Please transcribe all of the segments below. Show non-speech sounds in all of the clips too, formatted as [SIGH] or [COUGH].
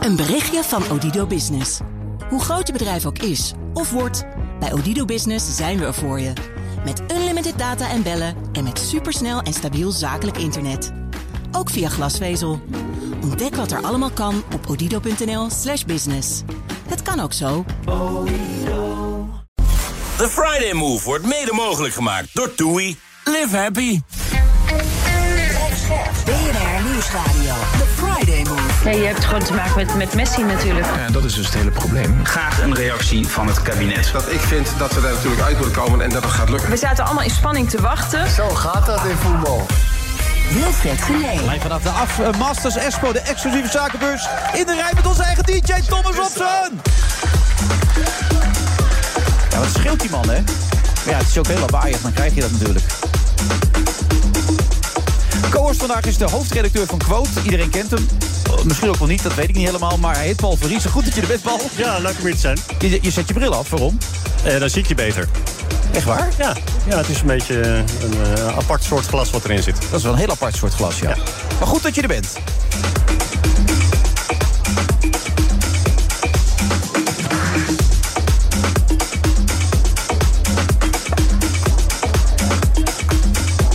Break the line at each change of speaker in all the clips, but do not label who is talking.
Een berichtje van Odido Business. Hoe groot je bedrijf ook is of wordt, bij Odido Business zijn we er voor je. Met unlimited data en bellen en met supersnel en stabiel zakelijk internet. Ook via glasvezel. Ontdek wat er allemaal kan op odido.nl/slash business. Het kan ook zo.
De Friday Move wordt mede mogelijk gemaakt door TUI. Live happy.
BNR Nieuwsradio. The Friday Move.
Nee, je hebt gewoon te maken met, met Messi natuurlijk.
En dat is dus het hele probleem.
Graag een reactie van het kabinet.
dat ik vind dat we daar natuurlijk uit moeten komen en dat het gaat lukken.
We zaten allemaal in spanning te wachten.
Wilfred Gelee.
Live vanaf de af eh, Masters Expo, de exclusieve zakenbeurs. In de rij met onze eigen DJ Thomas Robson. Ja, wat scheelt die man, hè? Maar ja, het is ook heel lawaaiig, dan krijg je dat natuurlijk. Co-host vandaag is de hoofdredacteur van Quote. Iedereen kent hem. Eh, Misschien ook wel niet, dat weet ik niet helemaal. Maar hij heet Paul Verriezen. Goed dat je er bent, Paul.
Ja, leuk om hier te zijn.
Je, je zet je bril af, waarom?
Eh, dan zie ik je beter.
Echt waar?
Ja, ja het is een beetje eh, een eh, apart soort glas wat erin zit.
Dat is wel een heel apart soort glas, ja.
Ja.
Maar goed dat je er bent.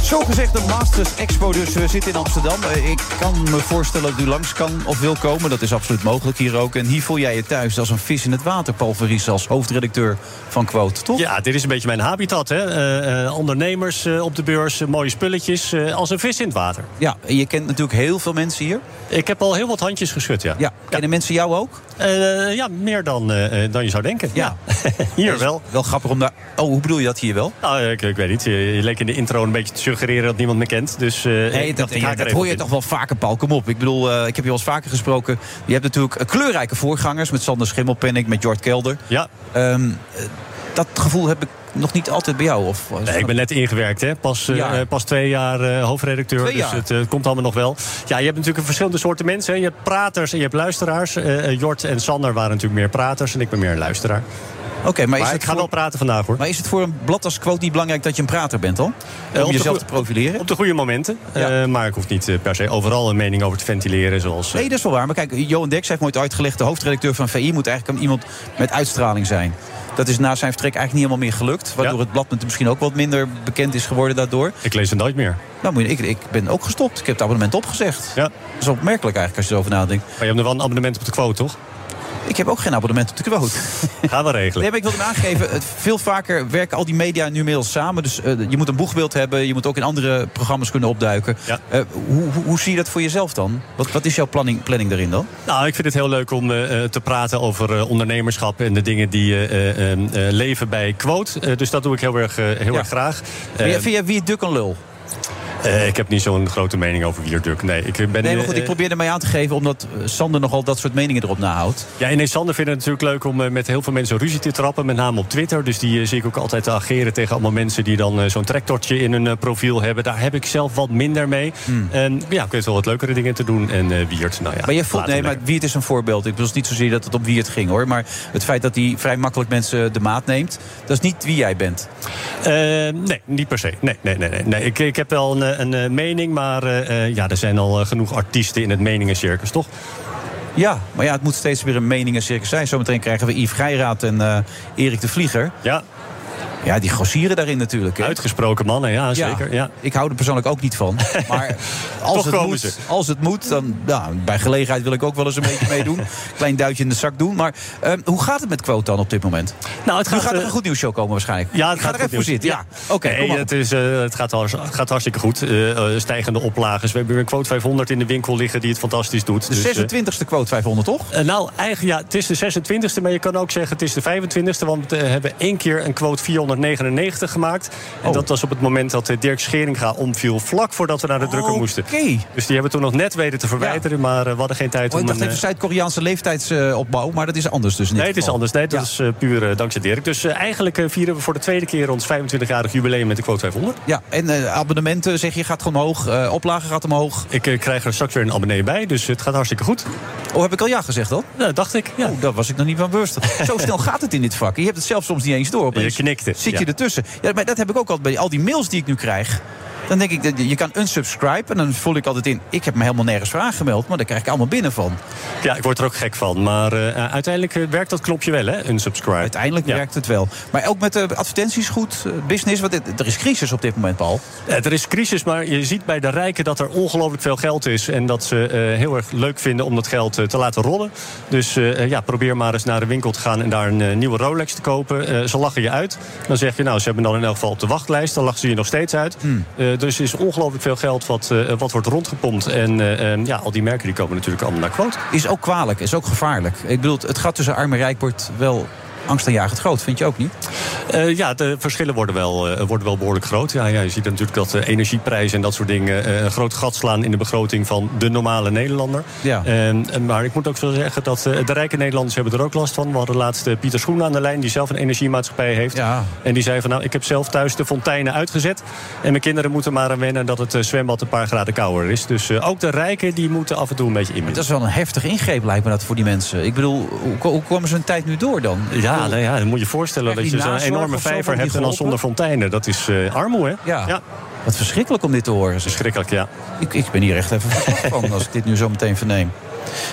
Zo gezegd de Masters Expo, dus we zitten in Amsterdam. Eh, Ik kan me voorstellen dat u langs kan of wil komen. Dat is absoluut mogelijk hier ook. En hier voel jij je thuis als een vis in het water, Paul Verries, als hoofdredacteur van Quote, toch?
Ja, dit is een beetje mijn habitat. Hè? Eh, eh, ondernemers eh, op de beurs, eh, mooie spulletjes, eh, als een vis in het water.
Ja, en je kent natuurlijk heel veel mensen hier.
Ik heb al heel wat handjes geschud, ja.
Ja, kennen mensen jou ook?
Eh, ja meer dan, eh, eh, dan je zou denken.
Ja.
[LAUGHS] hier wel.
Wel grappig om daar... Oh, hoe bedoel je dat hier wel?
Nou, ik, ik weet niet, je, je leek in de intro een beetje te suggereren dat niemand me kent. Dus, eh,
Nee,
ik
dat,
dacht, ik haak
dat
er even
hoor je
op in.
toch wel vaker, Paul. Kom op. Ik bedoel, eh, ik heb je al eens vaker gesproken. Je hebt natuurlijk eh, kleurrijke voorgangers met Sander Schimmelpenninck, met Jort Kelder.
Ja,
Ehm, eh, dat gevoel heb ik nog niet altijd bij jou. Of,
Nee, ik ben net ingewerkt, hè? Pas, eh,
Ja.
eh, pas twee jaar eh, hoofdredacteur.
Twee
dus
jaar.
het eh, komt allemaal nog wel. Ja, je hebt natuurlijk verschillende soorten mensen. Hè? Je hebt praters en je hebt luisteraars. Eh, eh, Jort en Sander waren natuurlijk meer praters en ik ben meer een luisteraar.
Oké, maar, is
maar
het
ik ga
voor-
wel praten vandaag hoor.
maar is het voor een blad als quote niet belangrijk dat je een prater bent dan? Om
Eh, op de
jezelf
goe-
te profileren?
Op de goede momenten.
Ja.
Eh, maar ik hoef niet eh, per se overal een mening over te ventileren. Zoals, eh,
Nee, dat is wel waar. Maar kijk, Johan Deks heeft nooit uitgelegd... de hoofdredacteur van VI moet eigenlijk iemand met uitstraling zijn. Dat is na zijn vertrek eigenlijk niet helemaal meer gelukt. Waardoor
Ja.
het blad misschien ook wat minder bekend is geworden daardoor.
ik lees het nooit meer.
Nou, moet je- ik, ik ben ook gestopt. Ik heb het abonnement opgezegd.
Ja.
Dat is opmerkelijk eigenlijk als je erover nadenkt.
Maar je hebt nog wel een abonnement op de quote, toch?
Ik heb ook geen abonnement op de quote.
Ga wel regelen.
Nee, maar ik wil hem aangeven. het- Veel vaker werken al die media nu inmiddels samen. Dus eh, je moet een boegbeeld hebben. Je moet ook in andere programma's kunnen opduiken.
Ja.
Eh, hoe, hoe, hoe zie je dat voor jezelf dan? Wat, wat is jouw planning, planning daarin dan?
Nou, ik vind het heel leuk om eh, eh, te praten over eh, ondernemerschap en de dingen die eh, eh, eh, leven bij Quote. Eh, dus dat doe ik heel erg, eh, heel
Ja.
erg graag.
Vind jij-
Eh,
vind jij wie duk een lul?
Eh, ik heb niet zo'n grote mening over Wierduk. Nee, ik ben.
Nee, maar goed,
eh,
ik probeer ermee aan te geven... omdat eh, Sander nogal dat soort meningen erop nahoudt.
eh, Ja, en Sander vindt het natuurlijk leuk om eh, met heel veel mensen ruzie te trappen. Met name op Twitter. Dus die eh, zie ik ook altijd te ageren tegen allemaal mensen die dan eh, zo'n trektortje in hun eh, profiel hebben. Daar heb ik zelf wat minder mee. En ja, ik weet wel wat leukere dingen te doen. En eh Wierd, nou ja.
Hmm. Maar je voelt,
laat
nee,
hem
maar
lekker.
Wiert is een voorbeeld. Ik bedoel het is niet zozeer dat het op Wiert ging hoor. Maar het feit dat hij vrij makkelijk mensen de maat neemt, dat is niet wie jij bent.
Eh, nee, niet per se. Nee, nee, nee. nee, nee. Ik, ik heb wel een, eh, een eh, mening, maar eh, eh, ja, er zijn al eh, genoeg artiesten in het meningencircus, toch?
Ja, maar ja, het moet steeds weer een meningencircus zijn. Zometeen krijgen we Yves Geiraat en eh, Erik de Vlieger.
Ja,
Ja, die grossieren daarin natuurlijk. hè.
uitgesproken mannen, ja, zeker. Ja.
Ik hou er persoonlijk ook niet
[LAUGHS]
van. Maar als,
Toch
het,
komen
moet,
ze.
als het moet, dan nou, bij gelegenheid wil ik ook wel eens een
[LAUGHS]
beetje meedoen. Klein duitje in de zak doen. Maar ehm, hoe gaat het met Quote dan op dit moment?
Nou, het
Nu gaat er
eh,
een goed nieuws show komen waarschijnlijk.
Ja, het
Ik
gaat
ga er
goed
even voor
nieuws.
zitten. Ja. Oké,
nee,
kom maar.
het, is, eh, het gaat, hars- het gaat hartstikke goed. Eh, eh, stijgende oplages. We hebben weer een quote 500 in de winkel liggen die het fantastisch doet. Dus, eh,
De 26e Quote 500, toch?
eh, nou, eigenlijk, ja, het is de 26e, maar je kan ook zeggen het is de 25e. Want we hebben één keer een quote 499 gemaakt. En
Oh.
dat was op het moment dat eh, Dirk Scheringa omviel. Vlak voordat we naar de drukker moesten.
Oké.
Dus die hebben we toen nog net weten te verwijderen. Maar eh, we hadden geen tijd
Oh, ik
om...
dacht
een,
even
eh,
Zuid-Koreaanse leeftijdsopbouw, maar dat is anders dus niet.
Nee, het is anders. Nee, dat is eh, puur eh, dankzij Dirk. Dus eh, eigenlijk eh, vieren we voor de tweede keer ons 25-jarig jubileum met de quote 500.
Ja, en eh, abonnementen zeg je gaat gewoon omhoog, eh oplagen gaat omhoog.
Ik eh, krijg er straks weer een abonnee bij, dus het gaat hartstikke goed.
Oh, heb ik al ja gezegd dan?
Ja, dacht ik. Ja.
Oh, daar was ik nog niet van bewust.
[LAUGHS]
Zo snel gaat het in dit vak. Je hebt het zelf soms niet eens door. opeens.
Je knikte,
Zit je
ja.
ertussen. Ja, maar dat heb ik ook altijd bij al die mails die ik nu krijg. Dan denk ik, dat je je kan unsubscribe. En dan voel ik altijd in, ik heb me helemaal nergens voor aangemeld. Maar daar krijg ik allemaal binnen van.
Ja, ik word er ook gek van. Maar eh, uiteindelijk eh, werkt dat knopje wel, hè? Unsubscribe.
Uiteindelijk
Ja.
werkt het wel. Maar ook met de advertenties goed, eh, business. Want dit- er is crisis op dit moment, Paul.
Eh, Er is crisis, maar je ziet bij de rijken dat er ongelooflijk veel geld is. En dat ze eh, heel erg leuk vinden om dat geld eh, te laten rollen. Dus eh, ja, probeer maar eens naar de winkel te gaan en daar een eh, nieuwe Rolex te kopen. Eh, ze lachen je uit. Dan zeg je, nou, ze hebben dan in elk geval op de wachtlijst. Dan lachen ze je nog steeds uit.
Hmm.
Eh, dus er is ongelooflijk veel geld wat, eh, wat wordt rondgepompt. En eh, eh, ja, al die merken die komen natuurlijk allemaal naar quote.
Is ook kwalijk, is ook gevaarlijk. Ik bedoel, het gat tussen arm en rijk wordt wel angstaanjagend groot. Vind je ook niet?
Eh, ja, de verschillen worden wel, eh, worden wel behoorlijk groot. Ja, ja, je ziet natuurlijk dat eh, energieprijzen en dat soort dingen eh, een groot gat slaan in de begroting van de normale Nederlander.
Ja.
En- en- maar ik moet ook zo zeggen dat eh, de rijke Nederlanders hebben er ook last van. We hadden laatst eh, Pieter Schoen aan de lijn, die zelf een energiemaatschappij heeft.
Ja.
En die zei van nou, ik heb zelf thuis de fonteinen uitgezet. En mijn kinderen moeten maar aan wennen dat het eh, zwembad een paar graden kouder is. Dus eh, ook de rijken die moeten af en toe een beetje inmiddelen.
Dat is wel een heftige ingreep, lijkt me dat, voor die mensen. Ik bedoel, hoe, hoe komen ze hun tijd nu door dan? Ik
Ja,
bedoel,
nou ja, dan moet je voorstellen
Krijg
dat
je
je zo'n
nazorg
enorme
of zo,
vijver
wordt die
hebt en dan
geholpen?
zonder fonteinen. Dat is eh, armoede, hè?
Ja.
ja.
Wat verschrikkelijk om dit te horen. zeg.
Schrikkelijk, ja.
Ik, ik ben hier echt even verslag
[LAUGHS]
van als ik dit nu zo meteen verneem.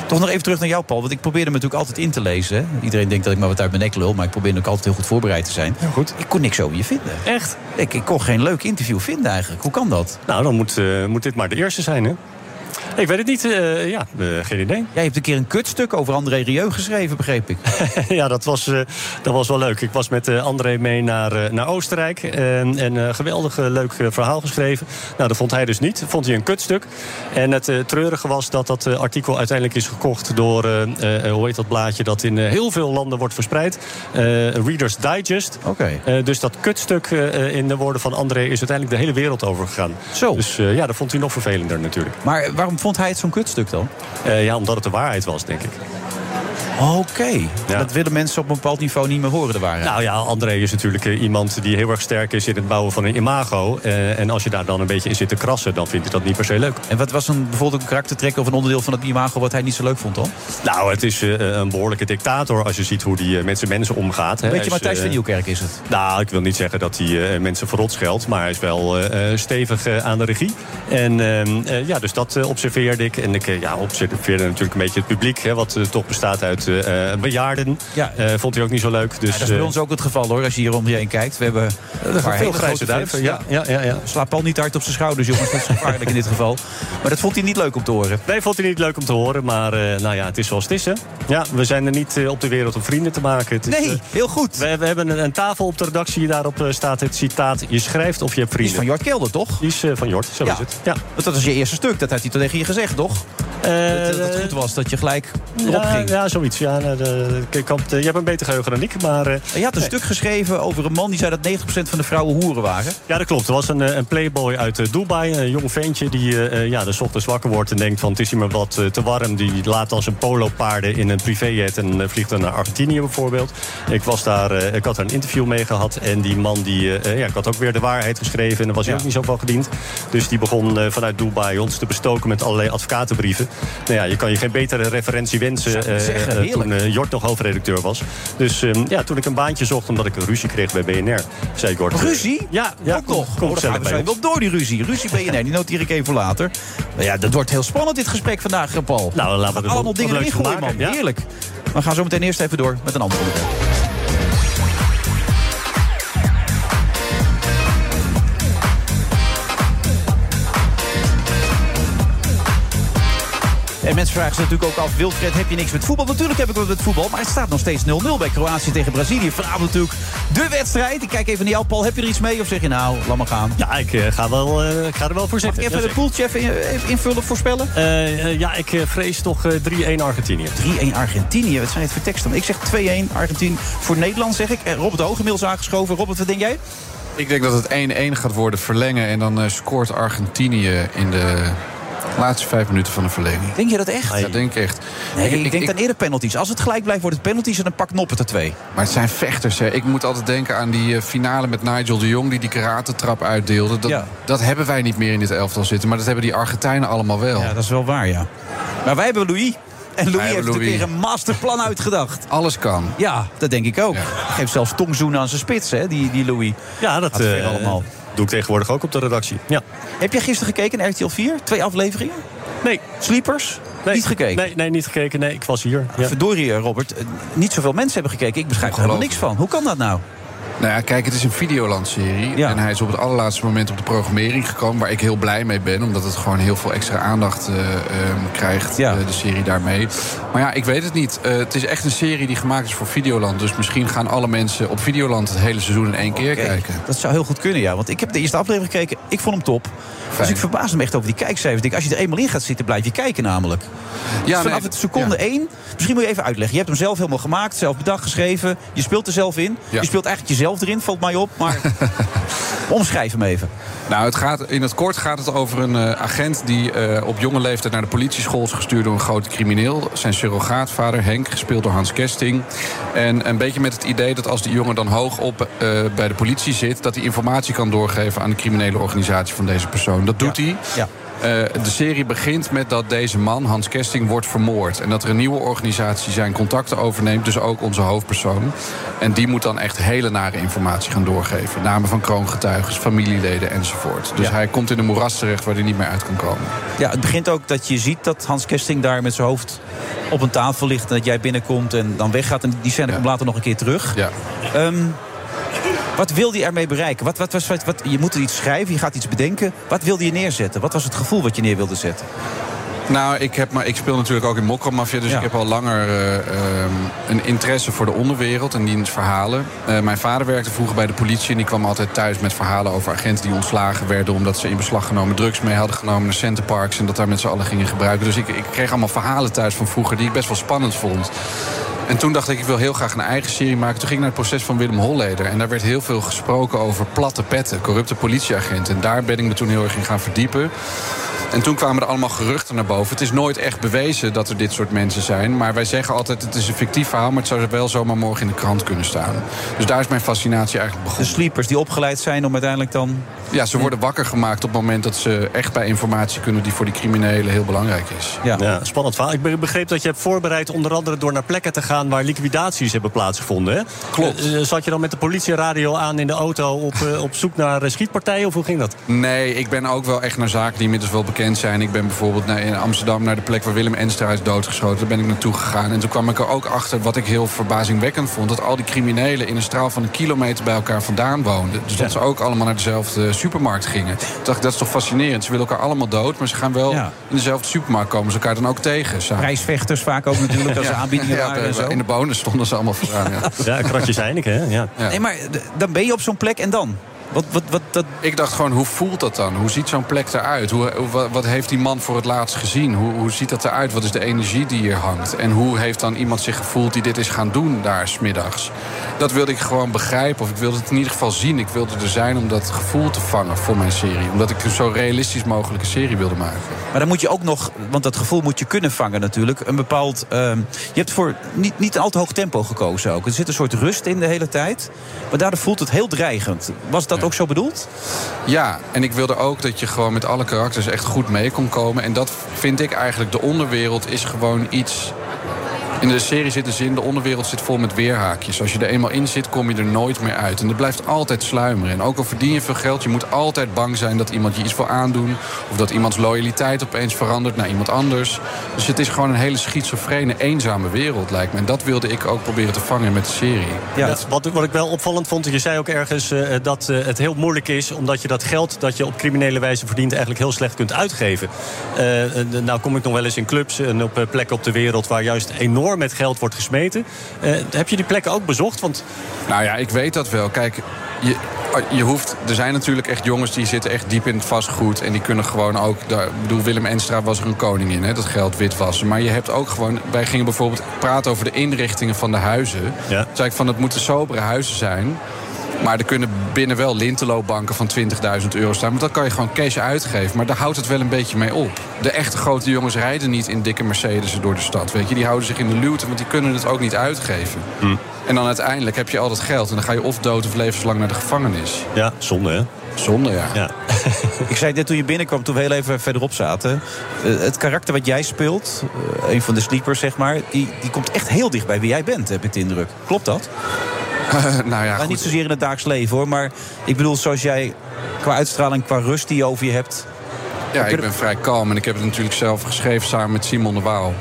Toch nog even terug naar jou, Paul. Want ik probeerde me natuurlijk altijd in te lezen. hè. Iedereen denkt dat ik maar wat uit mijn nek lul. Maar ik probeer ook altijd heel goed voorbereid te zijn.
goed.
Ik kon niks over je vinden.
Echt?
Ik, ik kon geen leuk interview vinden eigenlijk. Hoe kan dat?
Nou, dan moet, eh, moet dit maar de eerste zijn, hè? Ik weet het niet. eh, ja, eh, geen idee.
Jij hebt een keer een kutstuk over André Rieu geschreven, begreep ik.
[LAUGHS] ja, dat was, eh, dat was wel leuk. Ik was met eh, André mee naar, eh, naar Oostenrijk. En en eh, geweldig eh, leuk eh, verhaal geschreven. Nou, dat vond hij dus niet. Vond hij een kutstuk. En het eh, treurige was dat dat eh, artikel uiteindelijk is gekocht door, eh, eh, hoe heet dat blaadje, dat in eh, heel veel landen wordt verspreid. Eh, Reader's Digest.
Oké.
Eh, dus dat kutstuk eh, eh, in de woorden van André is uiteindelijk de hele wereld overgegaan.
Zo.
Dus eh, ja, dat vond hij nog vervelender natuurlijk.
Maar waarom vond hij het zo'n kutstuk dan?
Eh, ja, omdat het de waarheid was, denk ik.
Oké.
Ja.
Dat willen mensen op een bepaald niveau niet meer horen, de waarheid.
Nou ja, André is natuurlijk eh, iemand die heel erg sterk is in het bouwen van een imago. Eh, en als je daar dan een beetje in zit te krassen, dan vindt hij dat niet per se leuk.
En wat was een, bijvoorbeeld een karaktertrek of een onderdeel van het imago wat hij niet zo leuk vond dan?
Nou, het is eh, een behoorlijke dictator als je ziet hoe die eh, met zijn mensen omgaat. hè.
Weet
Hij
je,
is,
Matthijs
eh,
van Nieuwkerk is het.
Nou, ik wil niet zeggen dat hij eh, mensen verrot scheldt, maar hij is wel eh, eh, stevig eh, aan de regie. En ehm, eh, ja, dus dat eh, observeerde ik. En ik eh, ja, observeerde natuurlijk een beetje het publiek, hè, wat eh, toch bestaat uit eh, eh, bejaarden.
Ja.
Eh, vond hij ook niet zo leuk. Dus,
Ja, dat is bij
eh,
ons ook het geval hoor, als je hier om je heen kijkt. We hebben een paar hele grote
duiven.
fans.
Ja, ja, ja, ja.
Slaap Paul niet hard op zijn schouders, jongens. Dat is gevaarlijk in dit geval. Maar dat vond hij niet leuk om te horen.
Nee, vond hij niet leuk om te horen, maar eh, nou ja, het is zoals het is. Hè? Ja, we zijn er niet eh, op de wereld om vrienden te maken. Het is,
Nee,
eh,
heel goed.
we, we hebben een, een tafel op de redactie, daarop eh, staat het citaat... je schrijft of je hebt
Die is
vrienden.
van Jort Kelder, toch?
Die is eh, van Jort, zo
Ja.
is het. Ja.
Want dat was je eerste stuk, dat had hij toen tegen je gezegd, toch?
Eh,
dat, dat het goed was, dat je gelijk erop
ja,
ging.
ja, zoiets. Ja, nou, de- ik kan het- je hebt een beter geheugen dan ik, maar... eh,
Je had een
nee.
stuk geschreven over een man die zei dat 90% van de vrouwen hoeren waren.
Ja, dat klopt. Er was een, eh, een playboy uit eh, Dubai. Een jong ventje die eh, eh, ja, de ochtends wakker wordt en denkt van... het is hier maar wat eh, te warm. Die laat als een polo paarden in een privéjet en eh, vliegt dan naar Argentinië bijvoorbeeld. Ik, was daar, eh, ik had daar een interview mee gehad. En die man, die, eh, eh, ja, ik had ook weer de waarheid geschreven... en daar was hij
Ja.
ook niet zoveel gediend. Dus die begon eh, vanuit Dubai ons te bestoken met allerlei advocatenbrieven. Nou ja, je kan je geen betere referentie wensen eh,
zeggen,
eh,
heerlijk.
toen eh, Jort nog hoofdredacteur was. Dus eh, ja, toen ik een baantje zocht omdat ik een ruzie kreeg bij BNR... zei ik Jort... eh,
Ruzie?
Ja, ja
ook nog.
Kom
oh, dan
zelf
gaan we zo wel door die ruzie. Ruzie ben je, nee, die noteer ik even later. Nou ja, dat wordt heel spannend dit gesprek vandaag, eh, Paul.
Nou, laten we er
Allemaal
wat
dingen
leuks
erin
van
gooien, man.
maken, ja.
Heerlijk. We gaan zo meteen eerst even door met een ander onderwerp. En mensen vragen zich natuurlijk ook af, Wilfred, heb je niks met voetbal? Natuurlijk heb ik wat met voetbal, maar het staat nog steeds 0-0 bij Kroatië tegen Brazilië. Vanavond natuurlijk de wedstrijd. Ik kijk even naar jou, Paul. Heb je er iets mee? Of zeg je nou, laat maar gaan.
Ja, ik, eh, ga wel, eh, ik ga er wel voor
Mag
zitten.
ik even de
Jazeker.
poeltje even in- even invullen, voorspellen?
Eh, eh, ja, ik eh, vrees toch eh, 3-1 Argentinië.
3-1 Argentinië. Wat zijn het voor teksten? Ik zeg 2-1 Argentinië. Voor Nederland zeg ik. Eh, Robert Hoog inmiddels aangeschoven. Robert, wat denk jij?
Ik denk dat het 1-1 gaat worden verlengen. En dan eh, scoort Argentinië in de laatste vijf minuten van de verlenging.
Denk je dat echt?
Dat denk ik echt.
Nee, ik,
Ik- ik-
denk
ik-
dan eerder penalties. Als het gelijk blijft, wordt het penalties en dan pakt Noppen er twee.
Maar het zijn vechters. Hè. Ik moet altijd denken aan die eh, finale met Nigel de Jong... die die karatentrap uitdeelde. Dat,
Ja.
dat hebben wij niet meer in dit elftal zitten. Maar dat hebben die Argentijnen allemaal wel.
Ja, dat is wel waar, ja. Maar wij hebben Louis. En Louis heeft
hebben
natuurlijk
Louis.
weer een masterplan
[LAUGHS]
uitgedacht.
Alles kan.
Ja, dat denk ik ook.
Ja.
Geeft zelfs tongzoenen aan zijn spits, hè, die, die Louis.
Ja, dat
Gaat ver
eh,
allemaal.
doe ik tegenwoordig ook op de redactie. Ja.
Heb je gisteren gekeken naar RTL 4? Twee afleveringen?
Nee.
Sleepers?
Nee.
Niet gekeken?
Nee, nee, niet gekeken. Nee, ik was hier. Ja.
Verdorie, Robert. eh, Niet zoveel mensen hebben gekeken. Ik begrijp er helemaal niks van. Hoe kan dat nou?
Nou ja, kijk, het is een Videoland-serie.
Ja.
En hij is op het allerlaatste moment op de programmering gekomen. Waar ik heel blij mee ben, omdat het gewoon heel veel extra aandacht eh, ehm, krijgt,
Ja.
eh, de serie daarmee. Maar ja, ik weet het niet. Eh, het is echt een serie die gemaakt is voor Videoland. Dus misschien gaan alle mensen op Videoland het hele seizoen in één keer
Oké,
kijken.
Dat zou heel goed kunnen, ja. Want ik heb de eerste aflevering gekeken. Ik vond hem top. Dus ik verbaasde me echt over die kijkcijfers. Ik denk, als je er eenmaal in gaat zitten, blijf je kijken namelijk. dus vanaf
nee,
het seconde
ja.
één... Misschien moet je even uitleggen. Je hebt hem zelf helemaal gemaakt, zelf bedacht, geschreven. Je speelt er zelf in.
Ja.
Je speelt eigenlijk jezelf erin, valt mij op.
[LAUGHS]
Maar omschrijf hem even.
Nou, het gaat, in het kort gaat het over een eh, agent die eh, op jonge leeftijd naar de politieschool is gestuurd door een grote crimineel. Zijn surrogaatvader Henk, gespeeld door Hans Kesting. En een beetje met het idee dat als die jongen dan hoog op eh, bij de politie zit, dat hij informatie kan doorgeven aan de criminele organisatie van deze persoon. Dat doet hij.
Ja.
Eh, de serie begint met dat deze man, Hans Kesting, wordt vermoord. En dat er een nieuwe organisatie zijn contacten overneemt, dus ook onze hoofdpersoon. En die moet dan echt hele nare informatie gaan doorgeven. Namen van kroongetuigen, familieleden enzovoort. Dus
Ja.
hij komt in een moeras terecht waar hij niet meer uit kan komen.
Ja, het begint ook dat je ziet dat Hans Kesting daar met zijn hoofd op een tafel ligt. En dat jij binnenkomt en dan weggaat. En die scène komt later nog een keer terug.
Ja.
Ehm, wat wilde je ermee bereiken? Wat, wat, was wat, wat, je moet er iets schrijven, je gaat iets bedenken. Wat wilde je neerzetten? Wat was het gevoel wat je neer wilde zetten?
Nou, ik, heb, maar ik speel natuurlijk ook in Mokromafia, dus
Ja.
ik heb al langer eh, ehm, een interesse voor de onderwereld en diens verhalen. Eh, mijn vader werkte vroeger bij de politie en die kwam altijd thuis met verhalen over agenten die ontslagen werden omdat ze in beslag genomen drugs mee hadden genomen naar centerparks en dat daar met z'n allen gingen gebruiken. Dus ik, ik kreeg allemaal verhalen thuis van vroeger die ik best wel spannend vond. En toen dacht ik, ik wil heel graag een eigen serie maken. Toen ging ik naar het proces van Willem Holleder. En daar werd heel veel gesproken over platte petten, corrupte politieagenten. En daar ben ik me toen heel erg in gaan verdiepen. En toen kwamen er allemaal geruchten naar boven. Het is nooit echt bewezen dat er dit soort mensen zijn. Maar wij zeggen altijd, het is een fictief verhaal... maar het zou wel zomaar morgen in de krant kunnen staan. Dus daar is mijn fascinatie eigenlijk
De
begonnen.
sleepers die opgeleid zijn om uiteindelijk dan...
Ja, ze worden wakker gemaakt op het moment dat ze echt bij informatie kunnen... die voor die criminelen heel belangrijk is.
Ja.
Ja, spannend verhaal. Ik be- begreep dat je hebt voorbereid onder andere door naar plekken te gaan waar liquidaties hebben plaatsgevonden. Hè?
Klopt.
Eh, eh, zat je dan met de politieradio aan in de auto op, eh, op zoek naar eh, schietpartijen of hoe ging dat?
Nee, ik ben ook wel echt naar zaken die inmiddels wel bekend zijn. Ik ben bijvoorbeeld naar, in Amsterdam naar de plek waar Willem Enstra is doodgeschoten. Daar ben ik naartoe gegaan. En toen kwam ik er ook achter wat ik heel verbazingwekkend vond. Dat al die criminelen in een straal van een kilometer bij elkaar vandaan woonden. Dus dat ze ook allemaal naar dezelfde supermarkt gingen. Toen dacht ik, dat is toch fascinerend. Ze willen elkaar allemaal dood, maar ze gaan wel
Ja.
in dezelfde supermarkt komen. Ze elkaar dan ook tegen. samen.
Prijsvechters vaak ook natuurlijk, als ze
[LAUGHS]
aanbiedingen
Ja,
waren en zo.
in de bonus stonden ze allemaal vooraan. Ja.
Ja, een [LAUGHS] kratje Heineken, hè? Ja.
Ja.
Nee, maar d- dan ben je op zo'n plek en dan? Wat, wat, wat, dat,
Ik dacht gewoon, hoe voelt dat dan? Hoe ziet zo'n plek eruit? Hoe, hoe- wa- wat heeft die man voor het laatst gezien? Hoe, hoe ziet dat eruit? Wat is de energie die hier hangt? En hoe heeft dan iemand zich gevoeld die dit is gaan doen daar smiddags? Dat wilde ik gewoon begrijpen. Of ik wilde het in ieder geval zien. Ik wilde er zijn om dat gevoel te vangen voor mijn serie. Omdat ik een zo realistisch mogelijke serie wilde maken.
Maar dan moet je ook nog, want dat gevoel moet je kunnen vangen natuurlijk. Een bepaald. ehm, je hebt voor niet, niet een al te hoog tempo gekozen ook. Er zit een soort rust in de hele tijd. Maar daardoor voelt het heel dreigend. Was dat ook zo bedoeld?
Ja, en ik wilde ook dat je gewoon met alle karakters echt goed mee kon komen. En dat vind ik eigenlijk. De onderwereld is gewoon iets. In de serie zit een zin, de onderwereld zit vol met weerhaakjes. Als je er eenmaal in zit, kom je er nooit meer uit. En dat blijft altijd sluimeren. En ook al verdien je veel geld, je moet altijd bang zijn dat iemand je iets wil aandoen. Of dat iemands loyaliteit opeens verandert naar iemand anders. Dus het is gewoon een hele schizofrene, eenzame wereld, lijkt me. En dat wilde ik ook proberen te vangen met de serie.
Ja.
Dat, wat, wat ik wel opvallend vond, je zei ook ergens eh, dat eh, het heel moeilijk is... omdat je dat geld dat je op criminele wijze verdient... eigenlijk heel slecht kunt uitgeven. Eh, eh, nou kom ik nog wel eens in clubs en op eh, plekken op de wereld... waar juist enorm met geld wordt gesmeten. Eh, heb je die plekken ook bezocht? Want
Nou ja, ik weet dat wel. Kijk, je, je hoeft, er zijn natuurlijk echt jongens die zitten echt diep in het vastgoed. En die kunnen gewoon ook. Daar, ik bedoel, Willem Enstra was er een koning in, hè, dat geld witwassen. Maar je hebt ook gewoon. Wij gingen bijvoorbeeld praten over de inrichtingen van de huizen.
Ja.
Toen zei ik van het moeten sobere huizen zijn. Maar er kunnen binnen wel linteloopbanken van 20.000 euro staan. Want dan kan je gewoon cash uitgeven. Maar daar houdt het wel een beetje mee op. De echte grote jongens rijden niet in dikke Mercedes door de stad. Weet je? Die houden zich in de luwte, want die kunnen het ook niet uitgeven. En dan uiteindelijk heb je al dat geld. En dan ga je of dood of levenslang naar de gevangenis.
ja, zonde hè?
Zonde, ja.
Ja.
[LAUGHS] Ik zei net toen je binnenkwam, toen we heel even verderop zaten. eh, het karakter wat jij speelt, eh, een van de sleepers zeg maar. Die, die komt echt heel dicht bij wie jij bent, heb ik de indruk. Klopt dat?
[LAUGHS] nou ja,
Maar
goed.
niet zozeer in het dagelijks leven hoor. Maar ik bedoel, zoals jij qua uitstraling, qua rust die je over je hebt.
Ja, ik ben vrij kalm. En ik heb het natuurlijk zelf geschreven samen met Simon de Waal.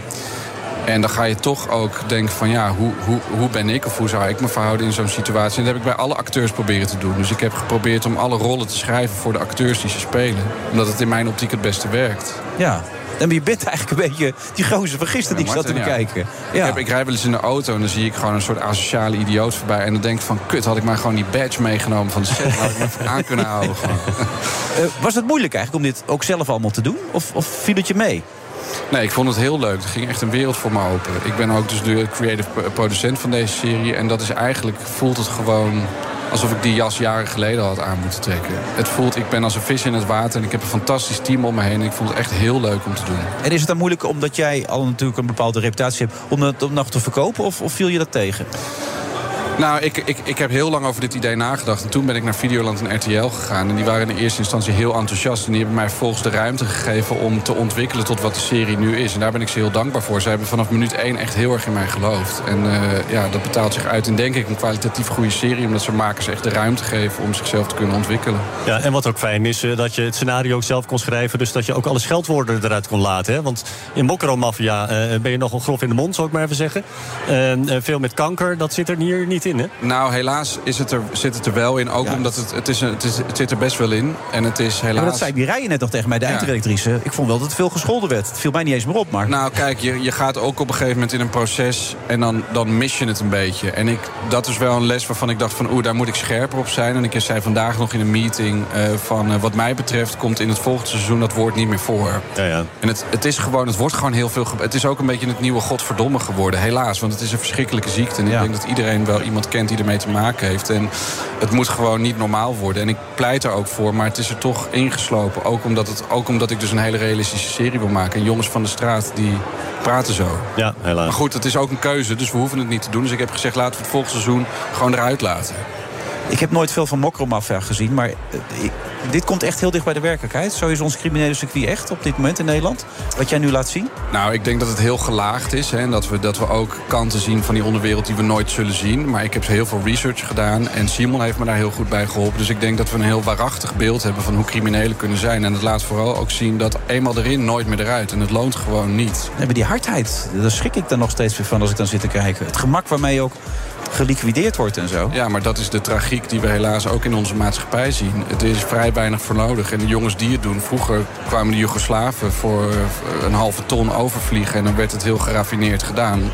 En dan ga je toch ook denken van ja, hoe, hoe, hoe ben ik of hoe zou ik me verhouden in zo'n situatie? En dat heb ik bij alle acteurs proberen te doen. Dus ik heb geprobeerd om alle rollen te schrijven voor de acteurs die ze spelen. Omdat het in mijn optiek het beste werkt.
Ja. En je bent eigenlijk een beetje die gozer van gisteren die ik zat te
Martin, ja.
bekijken.
Ik,
Ja.
heb, ik rij wel eens in de auto en dan zie ik gewoon een soort asociale idioot voorbij. En dan denk ik van kut, had ik maar gewoon die badge meegenomen van de set. Had ik me even aan kunnen houden. gewoon.
[LAUGHS] Eh, was het moeilijk eigenlijk om dit ook zelf allemaal te doen? Of, of viel het je mee?
Nee, ik vond het heel leuk. Er ging echt een wereld voor me open. Ik ben ook dus de creative p- producent van deze serie. En dat is eigenlijk, voelt het gewoon alsof ik die jas jaren geleden had aan moeten trekken. Het voelt, ik ben als een vis in het water en ik heb een fantastisch team om me heen. En ik vond het echt heel leuk om te doen.
En is het dan moeilijk omdat jij al natuurlijk een bepaalde reputatie hebt om dat om nog te verkopen? Of, of viel je dat tegen?
Nou, ik, ik, ik heb heel lang over dit idee nagedacht. En toen ben ik naar Videoland en RTL gegaan. En die waren in de eerste instantie heel enthousiast. En die hebben mij volgens de ruimte gegeven om te ontwikkelen tot wat de serie nu is. En daar ben ik ze heel dankbaar voor. Ze hebben vanaf minuut één echt heel erg in mij geloofd. En eh, ja, dat betaalt zich uit in denk ik een kwalitatief goede serie. Omdat ze makers echt de ruimte geven om zichzelf te kunnen ontwikkelen.
Ja, en wat ook fijn is, eh, dat je het scenario ook zelf kon schrijven. Dus dat je ook alle scheldwoorden eruit kon laten. Hè? Want in Mokro Mafia eh, ben je nogal grof in de mond, zou ik maar even zeggen. En, eh, veel met kanker, dat zit er hier niet in. Hè?
Nou, helaas is het er, zit het er wel in. Ook
Ja.
omdat het, het, is een, het, is, het zit er best wel in. En het is helaas...
Ja, maar dat zei die rijen net nog tegen mij, de
Ja.
eindredactrice. Ik vond wel dat het veel gescholden werd. Het viel mij niet eens meer op, maar...
Nou, kijk, je, je gaat ook op een gegeven moment in een proces en dan, dan mis je het een beetje. En ik, dat is wel een les waarvan ik dacht van oeh, daar moet ik scherper op zijn. En ik zei vandaag nog in een meeting eh, van eh, wat mij betreft komt in het volgende seizoen dat woord niet meer voor.
Ja, ja.
En het, het is gewoon, het wordt gewoon heel veel. ge- Het is ook een beetje het nieuwe godverdomme geworden, helaas. Want het is een verschrikkelijke ziekte. En ik
Ja.
denk dat iedereen wel iemand kent die ermee te maken heeft. En het moet gewoon niet normaal worden. En ik pleit er ook voor, maar het is er toch ingeslopen. Ook omdat, het, ook omdat ik dus een hele realistische serie wil maken. En jongens van de straat die praten zo.
Ja,
Maar
helaas.
goed, het is ook een keuze, dus we hoeven het niet te doen. Dus ik heb gezegd, laten we het volgend seizoen gewoon eruit laten.
Ik heb nooit veel van Mokromafia gezien, maar eh, ik- dit komt echt heel dicht bij de werkelijkheid. Zo is ons criminele circuit echt op dit moment in Nederland. Wat jij nu laat zien.
Nou, ik denk dat het heel gelaagd is. Hè, en dat we, dat we ook kanten zien van die onderwereld die we nooit zullen zien. Maar ik heb heel veel research gedaan. En Simon heeft me daar heel goed bij geholpen. Dus ik denk dat we een heel waarachtig beeld hebben van hoe criminelen kunnen zijn. En het laat vooral ook zien dat eenmaal erin, nooit meer eruit. En het loont gewoon niet.
Nee, maar die hardheid, daar schrik ik dan nog steeds weer van als ik dan zit te kijken. Het gemak waarmee je ook geliquideerd wordt en zo.
Ja, maar dat is de tragiek die we helaas ook in onze maatschappij zien. Het is vrij weinig voor nodig. En de jongens die het doen, vroeger kwamen de Joegoslaven voor eh, een halve ton overvliegen. En dan werd het heel geraffineerd gedaan.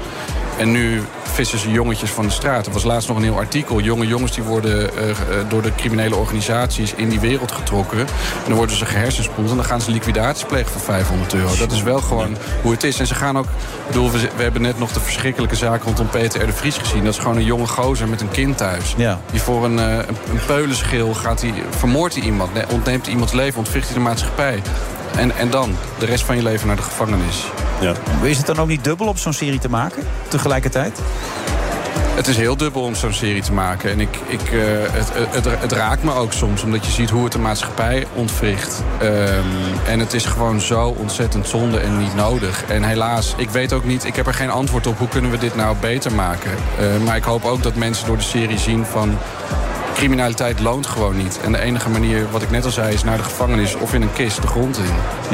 En nu vissen ze jongetjes van de straat. Er was laatst nog een heel artikel. Jonge jongens die worden eh, eh, door de criminele organisaties in die wereld getrokken. En dan worden ze gehersenspoeld en dan gaan ze liquidatie plegen voor 500 euro. Dat is wel gewoon hoe het is. En ze gaan ook... Ik bedoel, we, we hebben net nog de verschrikkelijke zaak rondom Peter R. de Vries gezien. Dat is gewoon een jonge gozer met een kind thuis.
Ja.
Die voor een, eh, een, een peulenschil gaat hij, vermoordt hij iemand. ne- Ontneemt iemands leven, ontwricht hij de maatschappij. En, en dan de rest van je leven naar de gevangenis.
Ja.
Is het dan ook niet dubbel om zo'n serie te maken? Tegelijkertijd?
Het is heel dubbel om zo'n serie te maken. En ik, ik, eh, het, het, het raakt me ook soms, omdat je ziet hoe het de maatschappij ontwricht. Ehm, en het is gewoon zo ontzettend zonde en niet nodig. En helaas, ik weet ook niet, ik heb er geen antwoord op hoe kunnen we dit nou beter maken. Eh, maar ik hoop ook dat mensen door de serie zien van. Criminaliteit loont gewoon niet. En de enige manier, wat ik net al zei, is naar de gevangenis of in een kist de grond in.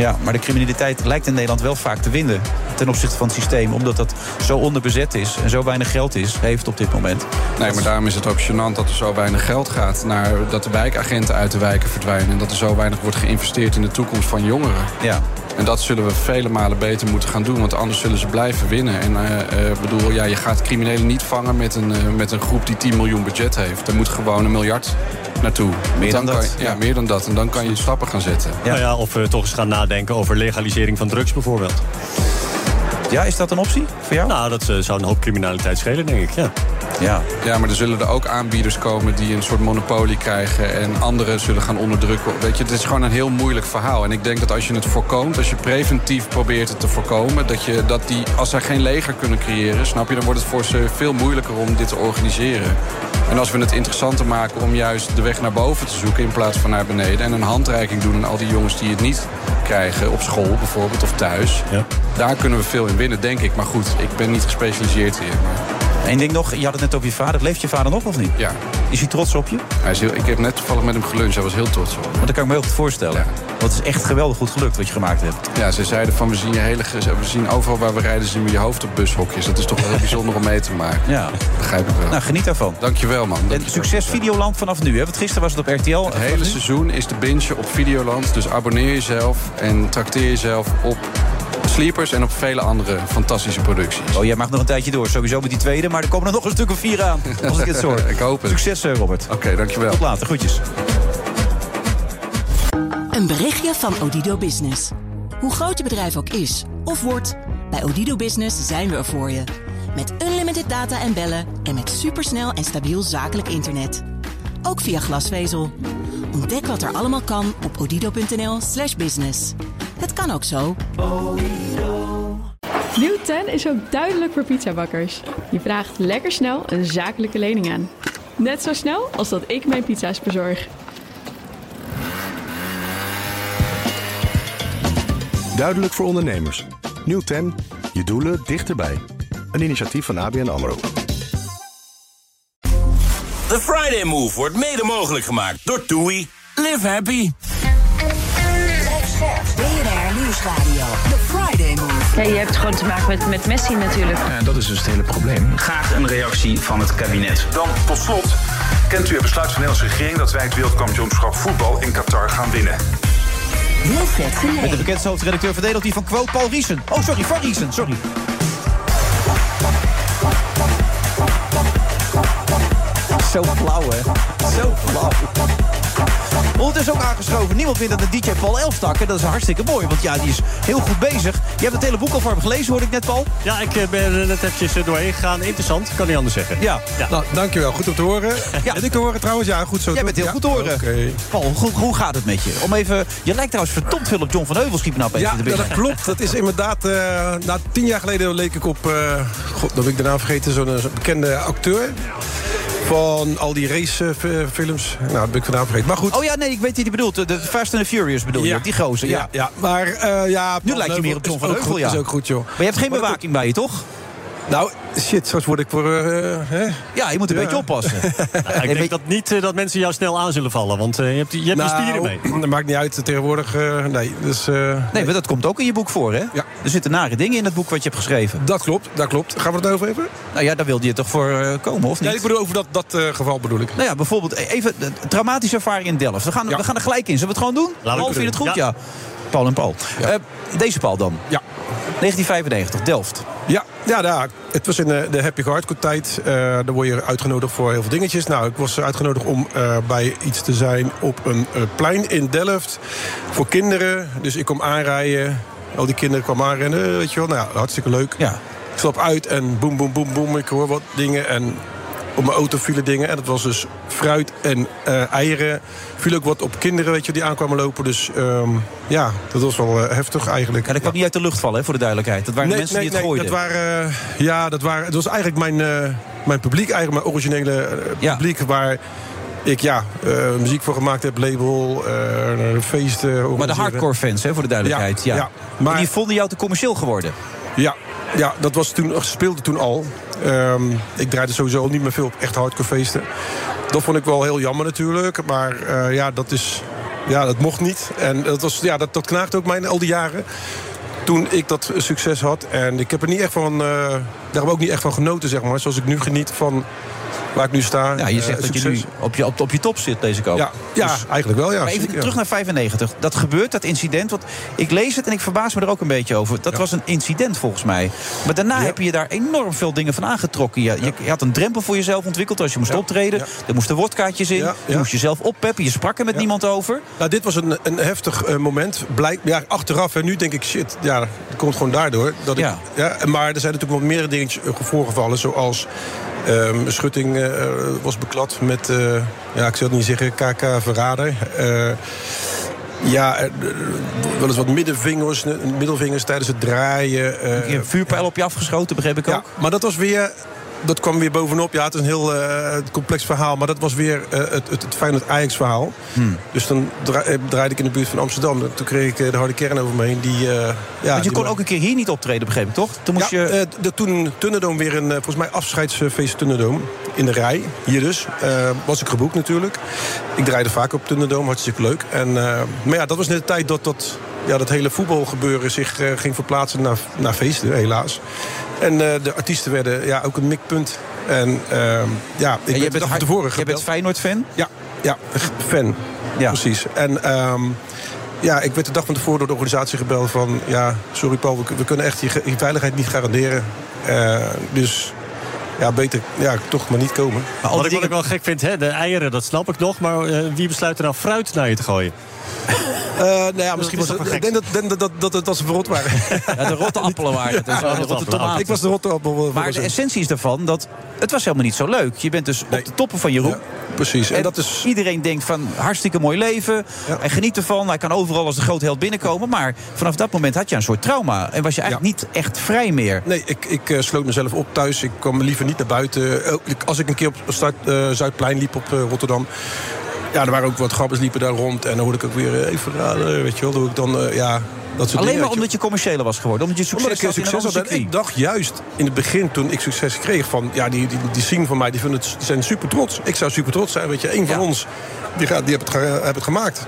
Ja, maar de criminaliteit lijkt in Nederland wel vaak te winnen. Ten opzichte van het systeem. Omdat dat zo onderbezet is en zo weinig geld is, heeft op dit moment.
Nee, maar daarom is het ook gênant dat er zo weinig geld gaat naar dat de wijkagenten uit de wijken verdwijnen. En dat er zo weinig wordt geïnvesteerd in de toekomst van jongeren.
Ja.
En dat zullen we vele malen beter moeten gaan doen, want anders zullen ze blijven winnen. En eh, eh, bedoel, ja, je gaat criminelen niet vangen met een, eh, met een groep die 10 miljoen budget heeft. Er moet gewoon een miljard naartoe. Want
dan
kan
dat,
je- ja,
ja.
meer dan dat. En dan kan je stappen gaan zetten.
Ja.
Nou ja, of we toch eens gaan nadenken over legalisering van drugs bijvoorbeeld.
ja, is dat een optie voor jou?
Nou, dat eh, zou een hoop
[LAUGHS]
criminaliteit schelen, denk ik. Ja.
Ja.
Ja, maar er zullen er ook aanbieders komen die een soort monopolie krijgen en anderen zullen gaan onderdrukken. Weet je, het is gewoon een heel moeilijk verhaal. En ik denk dat als je het voorkomt, als je preventief probeert het te voorkomen, dat, je, dat die, als zij geen leger kunnen creëren, snap je, dan wordt het voor ze veel moeilijker om dit te organiseren. En als we het interessanter maken om juist de weg naar boven te zoeken in plaats van naar beneden. En een handreiking doen aan al die jongens die het niet krijgen op school bijvoorbeeld of thuis.
Ja.
Daar kunnen we veel in winnen, denk ik. Maar goed, ik ben niet gespecialiseerd hier. Maar...
Eén ding nog, je had het net over je vader. Leeft je vader nog of niet?
Ja,
Is hij trots op je?
hij is heel, ik heb net toevallig met hem geluncht. Hij was heel trots op me.
Want dat kan ik me heel goed voorstellen. Want het is echt geweldig goed gelukt wat je gemaakt hebt.
Ja, ze zeiden van we zien, je hele, ge- we zien overal waar we rijden zien we je hoofd op bushokjes. Dat is toch wel
[LAUGHS]
heel bijzonder om mee te maken.
Ja.
Begrijp ik wel.
Nou, geniet daarvan.
Dankjewel man.
En
Dankjewel.
succes Videoland vanaf nu, hè? Want gisteren was het op RTL.
Het hele seizoen is de binge op Videoland. Dus abonneer jezelf en trakteer jezelf op Sleepers en op vele andere fantastische producties.
Oh, jij mag nog een tijdje door. Sowieso met die tweede, maar er komen er nog een stuk of vier aan. Als ik dit zo hoor.
[LAUGHS] Ik hoop het.
Succes, eh, Robert.
Oké, dankjewel.
Tot later, groetjes.
Een berichtje van Odido Business. Hoe groot je bedrijf ook is of wordt, bij Odido Business zijn we er voor je. Met unlimited data en bellen en met supersnel en stabiel zakelijk internet. Ook via glasvezel. Ontdek wat er allemaal kan op odido.nl/slash business. Het kan ook zo.
Nieuw 10 is ook duidelijk voor pizzabakkers. Je vraagt lekker snel een zakelijke lening aan. Net zo snel als dat ik mijn pizza's bezorg.
Duidelijk voor ondernemers. Nieuw ten, je doelen dichterbij. Een initiatief van ABN AMRO.
De Friday Move wordt mede mogelijk gemaakt door TUI. Live happy.
BNR Nieuwsradio. The Friday Move.
Ja, je hebt gewoon te maken met, met Messi natuurlijk.
En dat is dus het hele probleem. Graag een reactie van het kabinet.
Dan tot slot. Kent u het besluit van de Nederlandse regering dat wij het wereldkampioenschap voetbal in Qatar gaan winnen?
Wilfred
Met de
Genee.
bekendste hoofdredacteur verdedigt die van Quote, Paul Riesen. Oh, sorry, van Riesen, sorry. Zo flauw, hè? Zo flauw. Ondertussen dus ook aangeschoven. Niemand vindt dat de DJ Paul Elfstakker. Dat is hartstikke mooi, want ja, die is heel goed bezig. Je hebt het hele boek al voor hem gelezen, hoorde ik net, Paul.
Ja, ik eh, ben er net eventjes eh, doorheen gegaan. Interessant, kan niet anders zeggen.
Ja.
Nou, dankjewel. Goed om te horen.
Ja.
En ik te horen trouwens. Ja, goed zo.
Jij bent heel
Ja,
goed te horen.
oké.
Paul, hoe, hoe gaat het met je? Om even, je lijkt trouwens verdomd veel op John van Heuvel, schiep me nou
Ja,
even te
dat
binnen.
klopt. Dat is inderdaad... eh nou, tien jaar geleden leek ik op... eh, God, dat heb ik de naam vergeten. Zo'n eh, zo'n bekende acteur. Van al die racefilms. Nou, dat ben ik vandaag vergeten. Maar goed.
Oh ja, nee, ik weet wie die bedoelt. De- De Fast and the Furious bedoel je, ook, die gozer. Ja.
ja. ja. Maar eh, ja...
Nu
Paul
lijkt je meer
Heuvel
op John
is
van
ook
Heuvel,
goed,
ja.
is ook goed, joh.
Maar je hebt geen
Maar dat-
bewaking bij je, toch?
Nou, shit. Straks word ik voor... eh, hè?
Ja, je moet een
Ja.
beetje oppassen.
Ja, ik
En
denk
weet-
dat niet eh, dat mensen jou snel aan zullen vallen, want eh, je hebt, je hebt je spieren mee.
[LAUGHS] dat maakt niet uit. Tegenwoordig, eh, nee. Dus... eh,
Nee, maar dat komt ook in je boek voor, hè?
Ja.
Er zitten nare dingen in dat boek wat je hebt geschreven.
dat klopt, dat klopt. Gaan we het nou over hebben?
Nou ja, daar wilde je toch voor eh, komen, of niet?
Nee, ik bedoel over dat, dat eh, geval bedoel ik.
Nou ja, bijvoorbeeld eh, even de traumatische ervaring in Delft. We gaan,
Ja.
we gaan er gelijk in. Zullen we het gewoon doen?
het
Paul, vind je het
doen.
goed? Ja.
Ja.
Paul en Paul. Eh, deze Paul dan.
Ja.
1995, Delft.
Ja, ja, ja, het was in eh, de Happy Hardcore tijd. Eh dan word je uitgenodigd voor heel veel dingetjes. Nou, ik was uitgenodigd om eh, bij iets te zijn op een eh, plein in Delft. Voor kinderen. Dus ik kom aanrijden. Al die kinderen kwamen aanrennen, weet je wel. Nou ja, hartstikke leuk.
Ja.
Ik stap uit en boem, boem, boem, boem. Ik hoor wat dingen en op mijn auto vielen dingen. En dat was dus fruit en eh, eieren. Viel ook wat op kinderen, weet je, die aankwamen lopen. Dus ehm, ja, dat was wel eh, heftig eigenlijk.
Ja, dat kwam niet uit de lucht vallen, hè, voor de duidelijkheid. Dat waren de mensen die het gooiden.
Dat waren, eh, ja, dat waren, het was eigenlijk mijn, eh, mijn publiek, eigenlijk mijn originele eh,
Ja.
publiek waar ik ja, eh, muziek voor gemaakt heb, label, eh, feesten.
Maar de
organiseren.
hardcore fans, hè, voor de duidelijkheid. Ja,
Ja, ja. Maar-
En die vonden jou te commercieel geworden.
Ja, ja dat was toen, speelde toen al. Ehm, ik draaide sowieso al niet meer veel op echt hardcore feesten. Dat vond ik wel heel jammer natuurlijk. Maar eh, ja, dat is. Ja, dat mocht niet. En dat, was, ja, dat, dat knaagde ook mij al die jaren. Toen ik dat succes had. En ik heb er niet echt van. eh, daar heb ik ook niet echt van genoten, zeg maar. Zoals ik nu geniet van waar ik nu sta.
Ja, je
Eh,
zegt dat je nu
succes.
op je, op, op je top zit, deze koop.
Ja, ja
Dus-
eigenlijk wel, ja.
Maar even
zeker, ja.
terug naar 95. Dat gebeurt, dat incident. Want ik lees het en ik verbaas me er ook een beetje over. Dat was een incident volgens mij. Maar daarna heb je daar enorm veel dingen van aangetrokken. Je, je, je had een drempel voor jezelf ontwikkeld als je moest optreden.
Ja.
Er moesten wordkaartjes in.
Ja.
Je
Ja.
moest jezelf oppeppen. Je sprak er met niemand over.
Nou, dit was een, een heftig eh, moment. Blijk, ja, achteraf, en nu denk ik, shit, ja, dat komt gewoon daardoor. Dat
Ja.
Ik, ja, maar er zijn natuurlijk wat meer dingen eh, voorgevallen. Zoals ehm, schutting eh, was beklad met, eh, ja, ik zal het niet zeggen, KK-verrader. Eh, ja, eh, wel eens wat middenvingers, eh, middelvingers tijdens het draaien. eh,
Je hebt vuurpijl op je afgeschoten, begreep ik
ja,
ook.
maar dat was weer dat kwam weer bovenop. Ja, het is een heel eh, complex verhaal. Maar dat was weer eh, het, het, het Feyenoord-Ajax-verhaal.
Hmm.
Dus dan dra- eh, draaide ik in de buurt van Amsterdam. En Toen kreeg ik eh, de harde kern over me heen. Die, eh, ja,
Want je
die
kon
me-
ook een keer hier niet optreden, begreep ik, toch? Toen moest
ja,
je...
eh, de, toen Tunnedoom weer een, eh, volgens mij, afscheidsfeest Tunnedoom. In de rij, hier dus. Eh, was ik geboekt natuurlijk. Ik draaide vaak op Tunnedoom, hartstikke leuk. En, eh, maar ja, dat was net de tijd dat dat, ja, dat hele voetbalgebeuren zich eh, ging verplaatsen naar, naar feesten, helaas. En eh, de artiesten werden ja, ook een mikpunt. En eh, ja, ik
En
ben de dag
hard-
tevoren
jij bent
gebeld.
Feyenoord-fan?
Ja, ja fan. Precies. En ehm, ja, ik werd de dag van tevoren door de organisatie gebeld van... ja, sorry Paul, we, we kunnen echt je, ge- je veiligheid niet garanderen. Eh, dus ja, beter ja, toch maar niet komen.
Wat ik, wat ik wel gek vind, hè, de eieren, dat snap ik nog. Maar eh, wie besluit er nou fruit naar je te gooien?
Eh, nou ja, misschien
is
was het...
toch wel
Ik denk dat, denk dat, dat, dat, dat ze verrot waren.
de rotte appelen waren het.
[LAUGHS] Ja,
de
de rotte
rotte tomaten.
Ik was de rotte appel. eh,
Maar
voor
de
ons.
essentie is daarvan dat het was helemaal niet zo leuk. Je bent dus op de toppen van je roep.
precies.
En, dat is... iedereen denkt van hartstikke mooi leven. Hij geniet ervan. Hij kan overal als de grote held binnenkomen. Maar vanaf dat moment had je een soort trauma. En was je eigenlijk niet echt vrij meer.
Nee, ik, ik eh, sloot mezelf op thuis. Ik kwam liever niet naar buiten. Eh, ik- Als ik een keer op Zuid, eh, Zuidplein liep op eh, Rotterdam... Ja, er waren ook wat grappers liepen daar rond. En dan hoorde ik ook weer eh, even raden, weet je wel. Dan ik dan, eh, ja, dat soort
Alleen
dingen,
maar
weet je
omdat je commerciële was geworden. Omdat je succes
omdat ik
had in een
succes
ander
had. En
circuit.
ik dacht juist in het begin, toen ik succes kreeg, van ja, die, die, die zien van mij, die, vinden het, die zijn super trots. Ik zou super trots zijn, weet je, één van ons, die, gaat, die heeft, het, ge- heeft het gemaakt.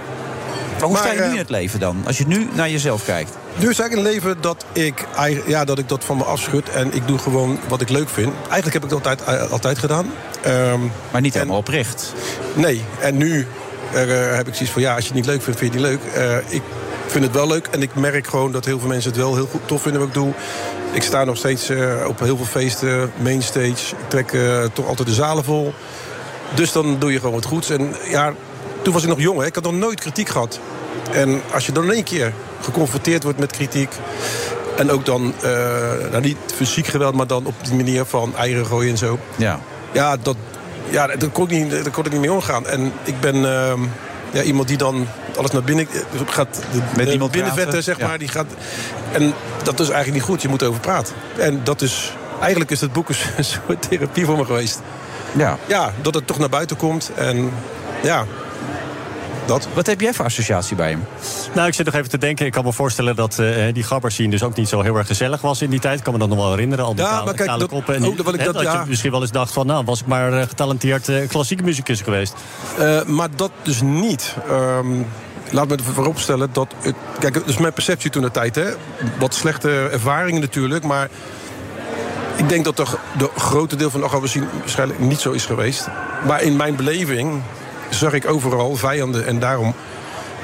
Maar hoe sta je nu
eh,
in het leven dan? Als je nu naar jezelf kijkt.
nu is eigenlijk een leven dat ik, ei- ja, dat ik dat van me afschud en ik doe gewoon wat ik leuk vind. Eigenlijk heb ik dat altijd, eh, altijd gedaan. Ehm,
maar niet helemaal oprecht.
Nee, en nu eh, heb ik zoiets van ja, als je het niet leuk vindt, vind je het niet leuk. Eh, ik vind het wel leuk en ik merk gewoon dat heel veel mensen het wel heel goed tof vinden wat ik doe. Ik sta nog steeds eh, op heel veel feesten, mainstage. Ik trek eh, toch altijd de zalen vol. Dus dan doe je gewoon wat goeds. En ja, toen was ik nog jong, hè. ik had nog nooit kritiek gehad. En als je dan in één keer geconfronteerd wordt met kritiek. En ook dan, eh, nou niet fysiek geweld, maar dan op die manier van eieren gooien en zo.
Ja.
Ja, dat, ja daar, kon ik niet, daar kon ik niet mee omgaan. En ik ben ehm, ja, iemand die dan alles naar binnen eh, gaat. De,
Met
de
iemand
binnenvetten,
praten,
zeg
ja.
maar. Die gaat, en dat is eigenlijk niet goed. Je moet erover praten. En dat is, eigenlijk is dat boek een [LAUGHS] soort therapie voor me geweest.
Ja.
Ja, dat het toch naar buiten komt. En ja, dat.
Wat heb jij voor associatie bij hem?
Nou, ik zit nog even te denken. Ik kan me voorstellen dat eh, die gabbers zien dus ook niet zo heel erg gezellig was in die tijd. Ik kan me dat nog wel herinneren. Al die
Ja,
kale,
maar kijk,
kale
dat-
koppen. en
oh,
die-
dat wil ik
hè,
dat- ja.
je misschien wel eens dacht van, nou, was ik maar eh, getalenteerd eh, klassiek muzikus geweest.
Eh, maar dat dus niet. Ehm, laat me ervoor opstellen dat... Het, kijk, dat is mijn perceptie toen de tijd. Hè? Wat slechte ervaringen natuurlijk, maar... Ik denk dat de, de grote deel van de Agabassien waarschijnlijk niet zo is geweest. Maar in mijn beleving zag ik overal vijanden. En daarom,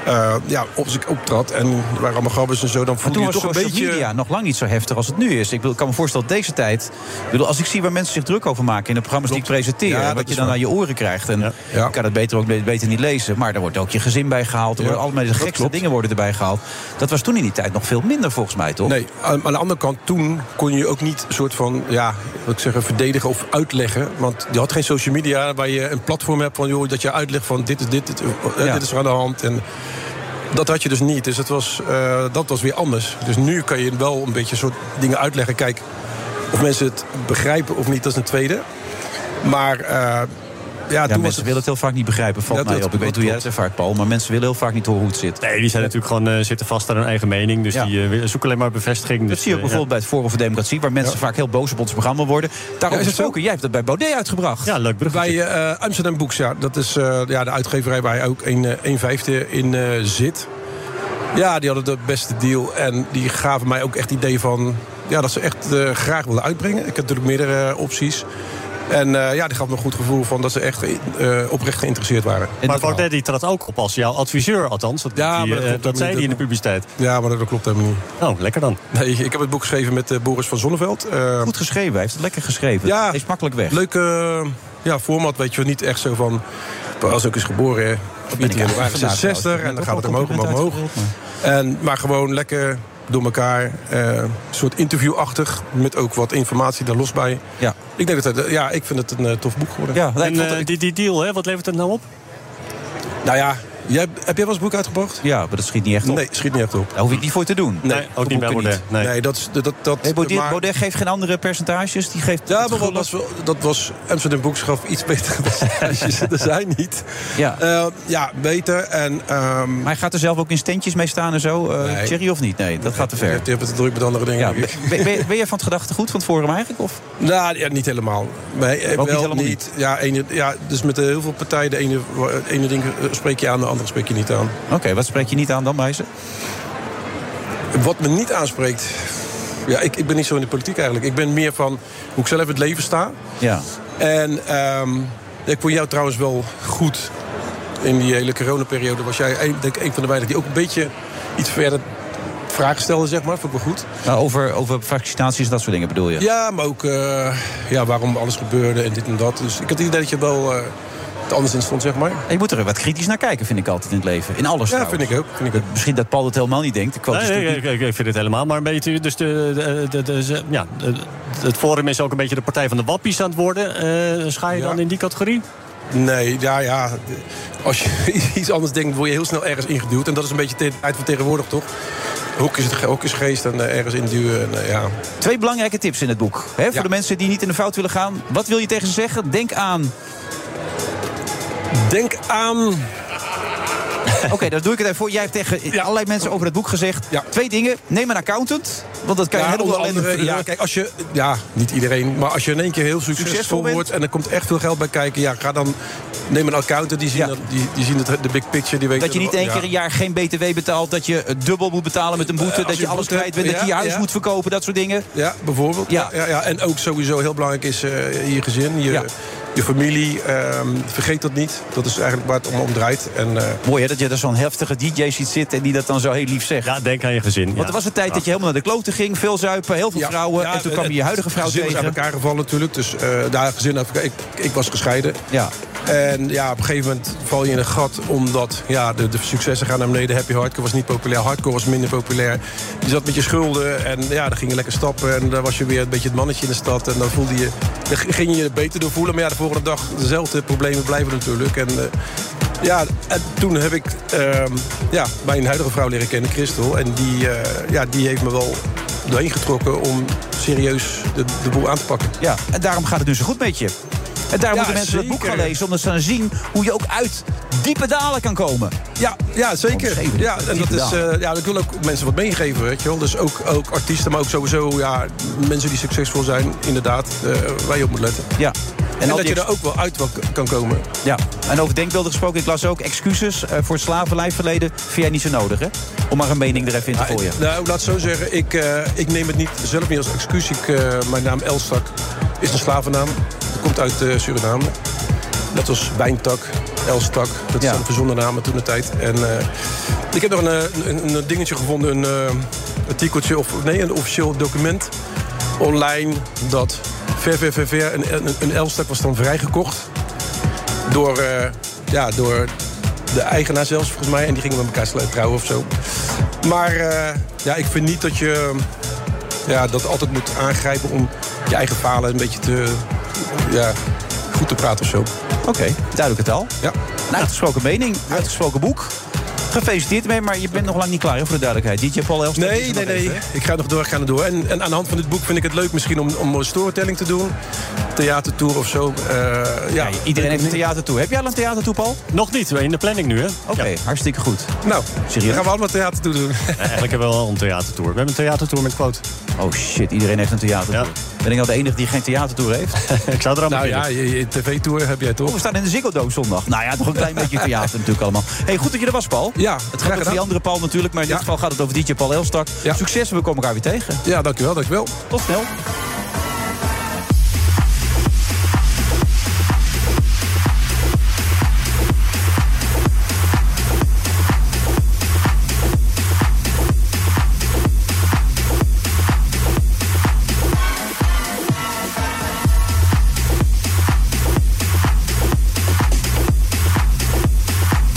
eh, ja, als ik optrad en er waren allemaal gabbers en zo... dan
Maar
voelde
toen
je
was
toch een
social
beetje...
media nog lang niet zo heftig als het nu is. Ik bedoel, ik kan me voorstellen dat deze tijd... Ik bedoel, als ik zie waar mensen zich druk over maken in de programma's die ik presenteer...
Ja, dat
wat je
is
dan
waar.
aan je oren krijgt. En je kan het beter ook be- beter niet lezen. Maar er wordt ook je gezin bij gehaald. Er
Ja,
worden allemaal de
dat
gekste
klopt.
dingen worden erbij gehaald. Dat was toen in die tijd nog veel minder volgens mij, toch?
Nee, aan, aan de andere kant, toen kon je ook niet een soort van, ja, wat ik zeggen, verdedigen of uitleggen. Want je had geen social media waar je een platform hebt van, joh, dat je uitlegt van dit is dit, dit, eh, dit is er aan de hand. En dat had je dus niet. Dus dat was, eh, dat was weer anders. Dus nu kan je wel een beetje soort dingen uitleggen. Kijk, of mensen het begrijpen of niet, dat is een tweede. Maar eh, ja,
Ja,
toen was
mensen
het...
willen het heel vaak niet begrijpen, valt
Ja,
mij
dat-
op. Ik weet
dat
hoe jij het
klopt.
ervaart, Paul, maar mensen willen heel vaak niet horen hoe het zit.
Nee, die zijn natuurlijk gewoon, eh, zitten vast aan hun eigen mening. Dus die eh, zoeken alleen maar bevestiging. dus, eh,
Dat zie je ook bijvoorbeeld bij het Forum voor Democratie... waar mensen vaak heel boos op ons programma worden. Daarom
Ja, is het zo?
gesproken, jij hebt dat bij Baudet uitgebracht.
Ja, leuk
Bij eh, Amsterdam Books, ja. Dat is eh, ja, de uitgeverij waar hij ook een, eh, een vijfde in eh, zit. Ja, die hadden de beste deal. En die gaven mij ook echt het idee van... Ja, dat ze echt eh, graag wilden uitbrengen. Ik heb natuurlijk meerdere eh, opties. En eh, ja, die gaf me een goed gevoel van dat ze echt eh, oprecht geïnteresseerd waren.
Maar Baudet die trad ook op als jouw adviseur, althans. Dat, ja,
maar dat
dat,
klopt helemaal
zei
niet.
hij in de publiciteit.
Ja, maar dat klopt helemaal niet.
Oh, lekker dan.
Nee, ik heb het boek geschreven met eh, Boris van Zonneveld. Eh,
Goed geschreven, hij heeft het lekker geschreven.
Ja.
Het is makkelijk weg.
Leuke eh, ja, format, weet je wel. Niet echt zo van... Als ook is geboren, hè,
ik
14 januari
eigenlijk vandaag
66
trouwens.
en dan
Ik
gaat
ben
het
ook
omhoog,
al
omhoog, omhoog.
compliment
En, maar gewoon lekker door elkaar. eh, Een soort interviewachtig, met ook wat informatie daar los bij.
Ja.
Ik, denk dat het, ja, ik vind het een eh, tof boek geworden.
Ja,
En, eh, die, die deal, hè, wat levert het nou op?
Nou ja, Jij, heb jij wel eens broek uitgebracht?
Ja, maar dat schiet niet echt op.
Nee, schiet niet echt op.
Daar hoef ik niet voor te doen.
Nee, ook
dat
niet
moet
bij
ik
Baudet. Nee. dat is... Dat, dat,
Nee, Baudet,
maar-
Baudet geeft geen andere percentages. Die geeft
Ja, maar dat was, wel- dat was Amsterdam Boekschap iets beter [LAUGHS] percentages. er zijn niet. Eh,
Ja.
ja, beter. En, maar
hij gaat er zelf ook in standjes mee staan en zo. eh,
Nee.
Thierry of niet? Nee, dat gaat te ver.
Je hebt het druk met andere dingen. [LAUGHS]
Ja,
denk
ben,
ik.
ben, ben- ben jij van het gedachtegoed van het forum eigenlijk? Of?
Nou, ja, niet helemaal. Nee, eh,
Ook
wel
niet helemaal
Ja, ene, ja, dus met eh, heel veel partijen, de ene, het ene ding eh, spreek je aan, de andere spreek je niet aan.
Oké, wat spreek je niet aan dan, Meijzen?
Wat me niet aanspreekt... Ja, ik, ik ben niet zo in de politiek eigenlijk. Ik ben meer van hoe ik zelf in het leven sta.
Ja.
En ehm, ik vond jou trouwens wel goed. In die hele coronaperiode was jij een, denk ik, een van de weinigen die ook een beetje iets verder vragen stelde, zeg maar. Vond ik wel goed.
Nou, over, over vaccinaties en dat soort dingen bedoel je?
Ja, maar ook eh, ja, waarom alles gebeurde en dit en dat. Dus ik had het idee dat je wel eh, het anders in stond, zeg maar.
Je moet er wat kritisch naar kijken, vind ik altijd in het leven. In alles
Ja,
trouwens.
vind ik ook. Vind ik ook.
Misschien dat Paul het helemaal niet denkt. De quote is
dus
Nee, nee,
natuurlijk
Eh, ik, ik, ik vind het helemaal maar een beetje. Dus de, de, de- de- ze- ja, de- het Forum is ook een beetje de partij van de wappies aan het worden. Eh schaai je dan in die categorie?
Nee, ja, ja. Als je [LAUGHS] iets anders denkt, word je heel snel ergens ingeduwd. En dat is een beetje de tijd van tegenwoordig, toch? Hoek is, het, ge- hoek is geest en eh, ergens induwen. En, eh, ja.
Twee belangrijke tips in het boek. Hè, voor
Ja.
de mensen die niet in de fout willen gaan. Wat wil je tegen ze zeggen? Denk aan...
Denk aan...
Oké,
[LAUGHS]
dat doe ik het even voor. Jij hebt tegen allerlei mensen over het boek gezegd... twee dingen. Neem een accountant, want dat kan je
Ja,
helemaal
onder andere,
alleen...
ja, kijk, als je, ja, niet iedereen, maar als je in één keer heel succesvol,
Succesvol bent.
wordt en er komt echt veel geld bij kijken, ja, ga dan neem een accountant, die zien, dat, die, die zien het, de big picture. Die weten
Dat je niet
wel-
één
ja.
keer een jaar geen BTW betaalt. Dat je het dubbel moet betalen met een boete.
Eh, als
dat
je
je alles
boete hebt,
kwijt bent. Dat je je
ja,
huis
ja.
moet verkopen. Dat soort dingen.
Ja, bijvoorbeeld. Ja. Ja, ja. En ook sowieso heel belangrijk is eh, je gezin, je, je familie. ehm, vergeet dat niet. Dat is eigenlijk waar het om, om draait. En, eh,
Mooi hè, dat je daar zo'n heftige DJ ziet zitten en die dat dan zo heel lief zegt.
Ja, denk aan je gezin.
Want er was een tijd dat je helemaal naar de kloten ging. Veel zuipen, heel veel vrouwen. en toen kwam je je huidige vrouw
eh, gezin
tegen.
is aan elkaar gevallen natuurlijk. Dus eh, daar gezin uit elkaar. Ik, ik was gescheiden.
Ja.
En ja, op een gegeven moment val je in een gat. Omdat ja, de, de successen gaan naar beneden. Happy Hardcore was niet populair. Hardcore was minder populair. Je zat met je schulden. En ja, dan ging je lekker stappen. En daar was je weer een beetje het mannetje in de stad. En dan voelde je... Dan ging je je beter door voelen. Maar ja, de volgende dag dezelfde problemen blijven natuurlijk. En... eh, ja, en toen heb ik ehm, ja, mijn huidige vrouw leren kennen, Christel. En die, eh, ja, die heeft me wel doorheen getrokken om serieus de, de boel aan te pakken.
Ja, en daarom gaat het nu zo goed met je. En daar
Ja,
moeten mensen het boek
zeker.
gaan lezen. Omdat ze dan zien hoe je ook uit diepe dalen kan komen.
Ja, ja zeker.
Omschreven,
Ja, en dat
diepe
is,
dalen.
eh, ja, ik wil ook mensen wat meegeven, weet je wel. Dus ook, ook artiesten, maar ook sowieso ja, mensen die succesvol zijn, inderdaad, eh, waar je op moet letten.
Ja.
En,
al
dat
die
je
ex-
er ook wel uit wel kan komen.
Ja, en over denkbeelden gesproken, ik las ook excuses eh, voor het slavenlijfverleden. Vind jij niet zo nodig, hè? Om maar een mening er even in te
Nou,
gooien.
ik- nou, laat het zo zeggen. Ik, eh, ik neem het niet zelf niet als excuus. Ik, eh, mijn naam Elstak is een slavennaam. Dat komt uit eh, Suriname. Dat was Wijntak, Elstak. Dat zijn verzonnen namen toen de tijd. En eh, ik heb nog een, eh, een, een dingetje gevonden. Een eh, artikeltje, of nee, een officieel document. Online dat ver, ver, ver, ver. Een, een, een Elstak was dan vrijgekocht. Door, eh, ja, door de eigenaar zelfs, volgens mij. En die gingen met elkaar slu- trouwen of zo. Maar eh, ja, ik vind niet dat je eh, ja, dat altijd moet aangrijpen om je eigen falen een beetje te ja, goed te praten of zo.
Oké, duidelijk het al.
Ja.
Een uitgesproken mening, uitgesproken boek. Gefeliciteerd mee, maar je bent nog lang niet klaar, hè, voor de duidelijkheid. DJ Paul Elstak.
Nee, nee, nee. Ik ga nog door, ik ga nog door. En, en aan de hand van dit boek vind ik het leuk misschien om, om een storytelling te doen. Theatertour of zo. Eh, ja,
Iedereen heeft een theatertour. Heb jij al een theatertour, Paul?
Nog niet, in de planning nu, hè? Oké,
hartstikke goed.
Nou,
Serieus?
gaan we allemaal theater toe doen.
Eigenlijk hebben we wel een theatertour. We hebben een theatertour met quote.
Oh shit, iedereen heeft een theatertour. Ben ik nou de enige die geen theatertour heeft?
[LAUGHS] ik zou er aan
Nou ja,
beginnen.
je, je tv-tour heb jij toch?
Oh, we staan in de Ziggo Dome zondag. Nou ja, nog een klein beetje theater [LAUGHS] natuurlijk allemaal. hey, goed dat je er was, Paul.
Ja,
Het
graag
gaat over
gedaan.
die andere Paul natuurlijk, maar in dit geval gaat het over DJ Paul Elstak. Succes, we komen elkaar weer tegen.
Ja, dankjewel, dankjewel.
Tot snel.
I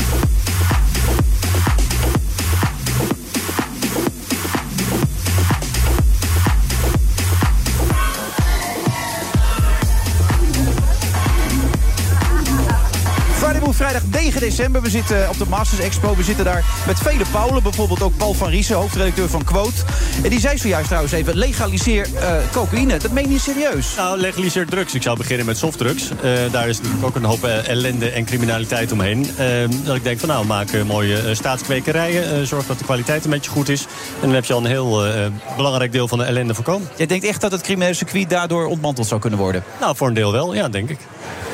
vrijdag 9 december. We zitten eh, op de Masters Expo. We zitten daar met vele Paulen. Bijvoorbeeld ook Paul van Riesen, hoofdredacteur van Quote. En die zei zojuist trouwens even, legaliseer eh, cocaïne. Dat meen je serieus?
Nou, legaliseer drugs. Ik zou beginnen met softdrugs. Eh, daar is natuurlijk ook een hoop eh, ellende en criminaliteit omheen. Eh, dat ik denk van nou, maak eh, mooie eh, staatskwekerijen. eh, zorg dat de kwaliteit een beetje goed is. En dan heb je al een heel eh, belangrijk deel van de ellende voorkomen.
Jij denkt echt dat het criminele circuit daardoor ontmanteld zou kunnen worden?
Nou, voor een deel wel, ja, denk ik.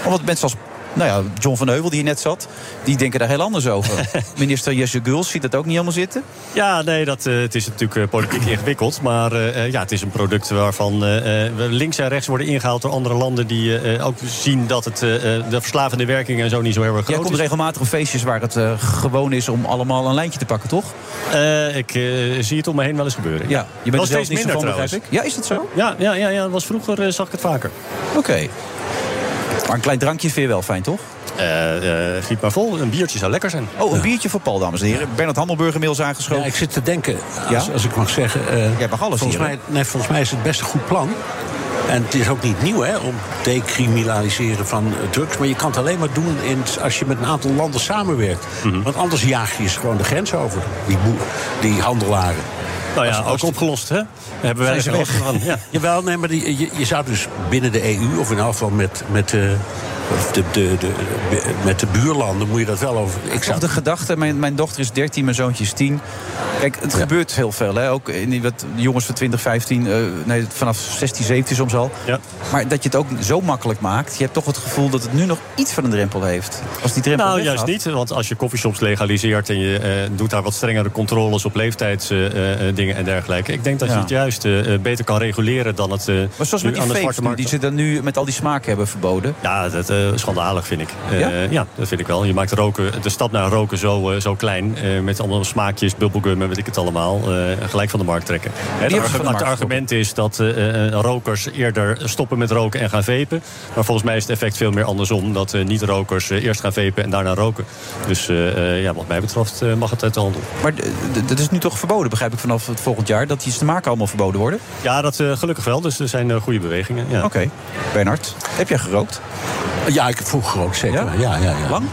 Omdat Oh, mensen als nou ja, John van Heuvel, die hier net zat, die denken daar heel anders
[LAUGHS]
over. Minister Jesse Guls ziet dat ook niet helemaal zitten.
Ja, nee, dat, eh, het is natuurlijk eh, politiek [LAUGHS] ingewikkeld. Maar eh, eh, ja, het is een product waarvan eh, eh, we links en rechts worden ingehaald door andere landen... die eh, eh, ook zien dat het, eh, eh, de verslavende werking en zo niet zo heel erg
Jij
groot
komt
is.
regelmatig op feestjes waar het eh, gewoon is om allemaal een lijntje te pakken, toch?
Eh, ik eh, zie het om me heen wel eens gebeuren.
Ja, je bent
Wel
er zelf niet zo van, begrijp
trouwens.
ik. Ja, is dat zo?
Ja, ja, ja, ja was vroeger eh, zag ik het vaker.
Oké. Maar een klein drankje vind je wel fijn, toch?
Eh eh, giet maar vol. Een biertje zou lekker zijn.
Oh, een biertje voor Paul, dames en heren. Bernard Handelburg inmiddels aangeschoven.
Ja, ik zit te denken, als, als ik mag zeggen. eh,
Jij mag alles
volgens
hier,
mij, nee, volgens mij is het best een goed plan. En het is ook niet nieuw hè, om decriminaliseren van eh, drugs. Maar je kan het alleen maar doen in, het- als je met een aantal landen samenwerkt.
Mhm.
Want anders jaag je ze gewoon de grens over, die, boer- die handelaren.
Nou ja, ook opgelost, hè? Hebben wij
Zijn ze
er
weg?
genoten van, ja.
[LAUGHS] Jawel, nee, maar die, je, je zou dus binnen de EU, of in elk geval met, met, eh, of de, de, de, de- met de buurlanden, moet je dat wel over. Ik zou
Of de gedachte, mijn, mijn dochter is 13, mijn zoontje is 10. Kijk, het gebeurt heel veel. Hè? Ook in die wat jongens van 20, 15, eh, nee, vanaf 16, 17 soms al. Maar dat je het ook zo makkelijk maakt. Je hebt toch het gevoel dat het nu nog iets van een drempel heeft. Als die drempel
Nou,
weggaat-
juist niet. Want als je coffeeshops legaliseert en je eh, doet daar wat strengere controles op leeftijdsdingen eh, dingen en dergelijke. Ik denk dat je
Ja.
het juist eh, eh, beter kan reguleren dan het. eh,
Maar zoals
nu
met die
aan de
vapes
zwarte
nu,
markt.
die ze dan nu met al die smaken hebben verboden.
Ja, dat eh schandalig vind ik. Eh,
Ja?
ja? dat vind ik wel. Je maakt roken, de stap naar roken zo, eh, zo klein. eh, met allemaal smaakjes, bubblegum en weet ik het allemaal. eh, gelijk van de markt trekken. Hè,
hebben
Het
ze van de
argument,
markt
het argument is dat eh, eh, rokers eerder stoppen met roken en gaan vapen. Maar volgens mij is het effect veel meer andersom. Dat eh, niet-rokers eh, eerst gaan vapen en daarna roken. Dus eh, eh, ja, wat mij betreft eh, mag het uit de handel.
Maar d- d- dat is nu toch verboden, begrijp ik, vanaf het volgend jaar. Dat die smaken allemaal verboden worden.
Ja, dat eh, gelukkig wel. Dus er zijn eh, goede bewegingen. Ja. Oké.
Bernard, heb jij gerookt?
Ja, ik heb vroeg gerookt, zeker. Ja? Ja, ja, Eh,
Lang?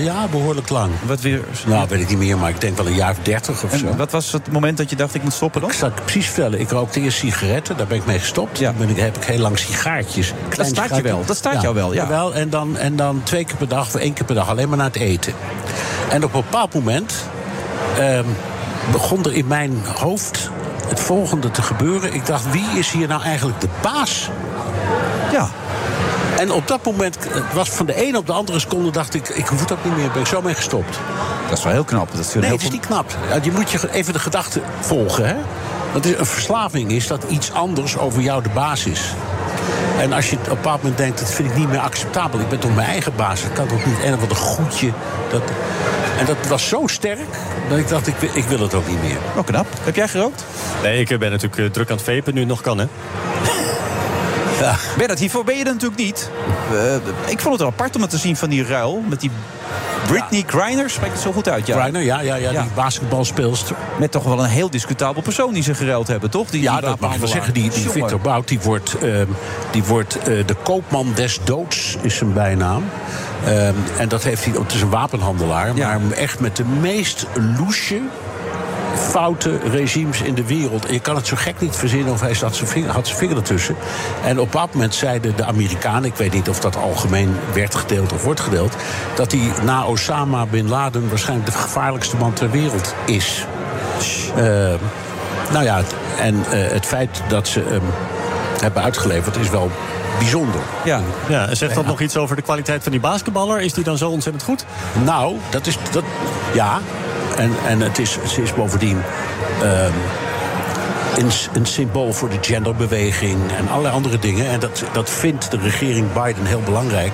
ja, behoorlijk lang.
Wat weer?
Nou, weet ik niet meer, maar ik denk wel een jaar of dertig of zo.
Wat was het moment dat je dacht, ik moet stoppen dan?
Ik zal het precies vertellen. Ik rookte eerst sigaretten, daar ben ik mee gestopt. Toen ben ik, heb ik heel lang sigaartjes. klein
staat je
sigaartje.
wel, dat staat jou wel, ja.
Jawel, en, dan, en dan twee keer per dag of één keer per dag alleen maar naar het eten. En op een bepaald moment ehm, begon er in mijn hoofd het volgende te gebeuren. Ik dacht, wie is hier nou eigenlijk de baas?
Ja.
En op dat moment het was van de ene op de andere seconde dacht ik, ik hoef dat niet meer, ben ik zo mee gestopt.
Dat is wel heel knap. Dat is
nee, het is niet knap. Ja, Je moet je ge- even de gedachte volgen. Hè? Dat is, een verslaving is dat iets anders over jou de baas is. En als je op een bepaald moment denkt, dat vind ik niet meer acceptabel. Ik ben toch mijn eigen baas. Ik kan toch niet en wat een goedje. Dat... En dat was zo sterk dat ik dacht, ik, wi- ik wil het ook niet meer.
Oh, knap. Heb jij gerookt?
Nee, ik eh, ben natuurlijk eh, druk aan het vapen nu het nog kan, hè?
Bernard, hiervoor ben je er natuurlijk niet. Eh, ik vond het wel apart om het te zien van die ruil. Met die Britney Griner, spreekt het zo goed uit. Ja.
Griner, ja, ja, ja, die basketbalspeelster.
Met toch wel een heel discutabel persoon die ze geruild hebben, toch? Die,
Ja,
die
dat mag ik wel
wapenhandelaar.
zeggen. Die, die
Jongen.
Victor Bout, die wordt, ehm, die wordt eh, de koopman des doods, is zijn bijnaam. Ehm, en dat heeft hij, het is een wapenhandelaar, maar echt met de meest loesje foute regimes in de wereld. En je kan het zo gek niet verzinnen of hij zat zijn vinger, had zijn vinger ertussen. En op dat moment zeiden de Amerikanen, ik weet niet of dat algemeen werd gedeeld of wordt gedeeld, dat hij na Osama bin Laden waarschijnlijk de gevaarlijkste man ter wereld is. Eh, nou ja, het- en eh, het feit dat ze hem hebben uitgeleverd is wel bijzonder. Eh,
Ja.
Ja, en zegt dat
Ja.
nog iets over de kwaliteit van die basketballer? Is die dan zo ontzettend goed?
Nou, dat is. Dat, ja, en, en het is, ze is bovendien. ehm, een, s- een symbool voor de genderbeweging en allerlei andere dingen. En dat, dat vindt de regering Biden heel belangrijk.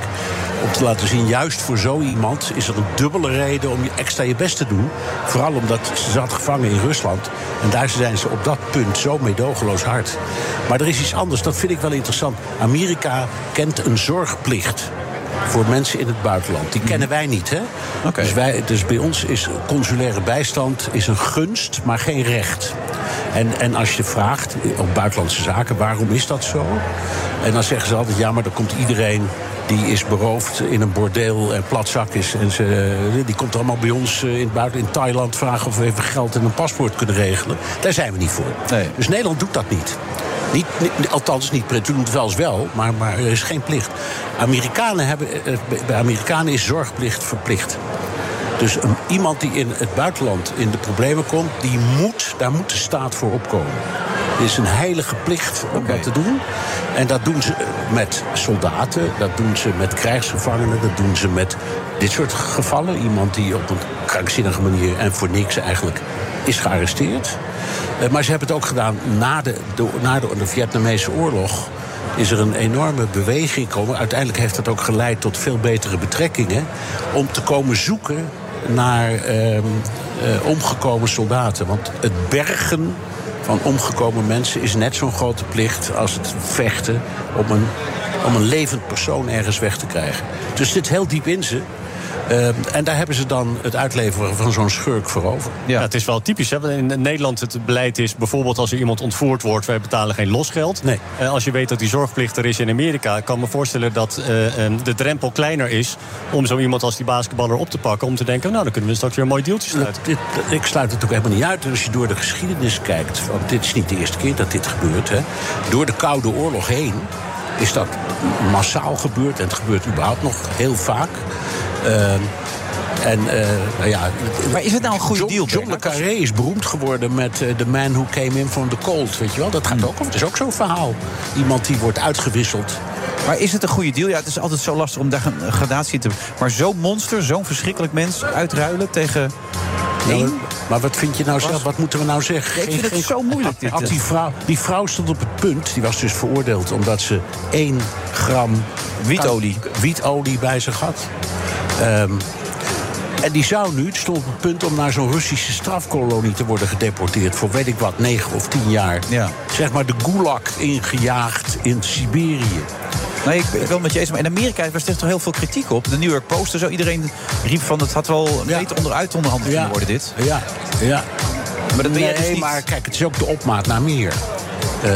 Om te laten zien, juist voor zo iemand is er een dubbele reden om je extra je best te doen. Vooral omdat ze zat gevangen in Rusland. En daar zijn ze op dat punt zo meedogenloos hard. Maar er is iets anders, dat vind ik wel interessant. Amerika kent een zorgplicht voor mensen in het buitenland. Die kennen wij niet, hè? Dus, wij, dus bij ons is consulaire bijstand is een gunst, maar geen recht. En, en als je vraagt op buitenlandse zaken, waarom is dat zo? En dan zeggen ze altijd, ja, maar dan komt iedereen die is beroofd in een bordeel en platzak is. En ze, die komt allemaal bij ons eh, in het buiten, in Thailand, vragen of we even geld en een paspoort kunnen regelen. Daar zijn we niet voor. Dus Nederland doet dat niet. Niet, niet- althans niet prettig. We doen het wel eens wel, maar, maar er is geen plicht. Amerikanen hebben, eh, eh, bij Amerikanen is zorgplicht verplicht. Dus een- iemand die in het buitenland in de problemen komt, die moet, daar moet de staat voor opkomen. Het is een heilige plicht om dat te doen. En dat doen ze eh, met soldaten, dat doen ze met krijgsgevangenen, dat doen ze met dit soort gevallen. Iemand die op een krankzinnige manier en voor niks eigenlijk is gearresteerd. Eh, Maar ze hebben het ook gedaan na de, de- na de, de Vietnamese oorlog is er een enorme beweging gekomen. Uiteindelijk heeft dat ook geleid tot veel betere betrekkingen. Om te komen zoeken naar ehm, eh, omgekomen soldaten. Want het bergen van omgekomen mensen is net zo'n grote plicht als het vechten om een, om een levend persoon ergens weg te krijgen. Dus het zit heel diep in ze. Ehm, en daar hebben ze dan het uitleveren van zo'n schurk voor over.
Ja. Nou, het is wel typisch. Hè? In Nederland het beleid is bijvoorbeeld als er iemand ontvoerd wordt, wij betalen geen losgeld. Eh, als je weet dat die zorgplicht er is in Amerika, ik kan me voorstellen dat eh, eh, de drempel kleiner is om zo iemand als die basketballer op te pakken. Om te denken, nou dan kunnen we straks weer een mooi deeltje sluiten.
ik sluit het ook helemaal niet uit. En Als je door de geschiedenis kijkt, want dit is niet de eerste keer dat dit gebeurt. Hè. Door de Koude Oorlog heen is dat massaal gebeurd. En het gebeurt überhaupt nog heel vaak. Ehm, en, eh, nou ja, maar is het nou een goede deal? John le Carré is beroemd geworden met eh, The Man Who Came In From The Cold. Weet je wel? Dat gaat ook over. Het is ook zo'n verhaal. Iemand die wordt uitgewisseld.
Maar is het een goede deal? Ja, het is altijd zo lastig om daar een gradatie te... Maar zo'n monster, zo'n verschrikkelijk mens uitruilen tegen één...
Maar wat vind je nou zelf? Wat moeten we nou zeggen?
Ik vind het zo moeilijk, dit. eh.
Had die, vrouw, die vrouw stond op het punt, die was dus veroordeeld omdat ze 1 gram wietolie, wietolie bij zich had. Ehm, en die zou nu, het stond op het punt om naar zo'n Russische strafkolonie te worden gedeporteerd voor weet ik wat, 9 of 10 jaar. Zeg maar de gulag ingejaagd in Siberië.
Nee, ik, ik wil met je eens, maar in Amerika was er toch heel veel kritiek op. De New York Post en zo, iedereen riep van... het had wel beter onderuit onderhandeld kunnen worden, dit.
Ja, ja.
Maar dat ben jij
nee,
dus niet.
maar kijk, het is ook de opmaat naar meer. Ehm,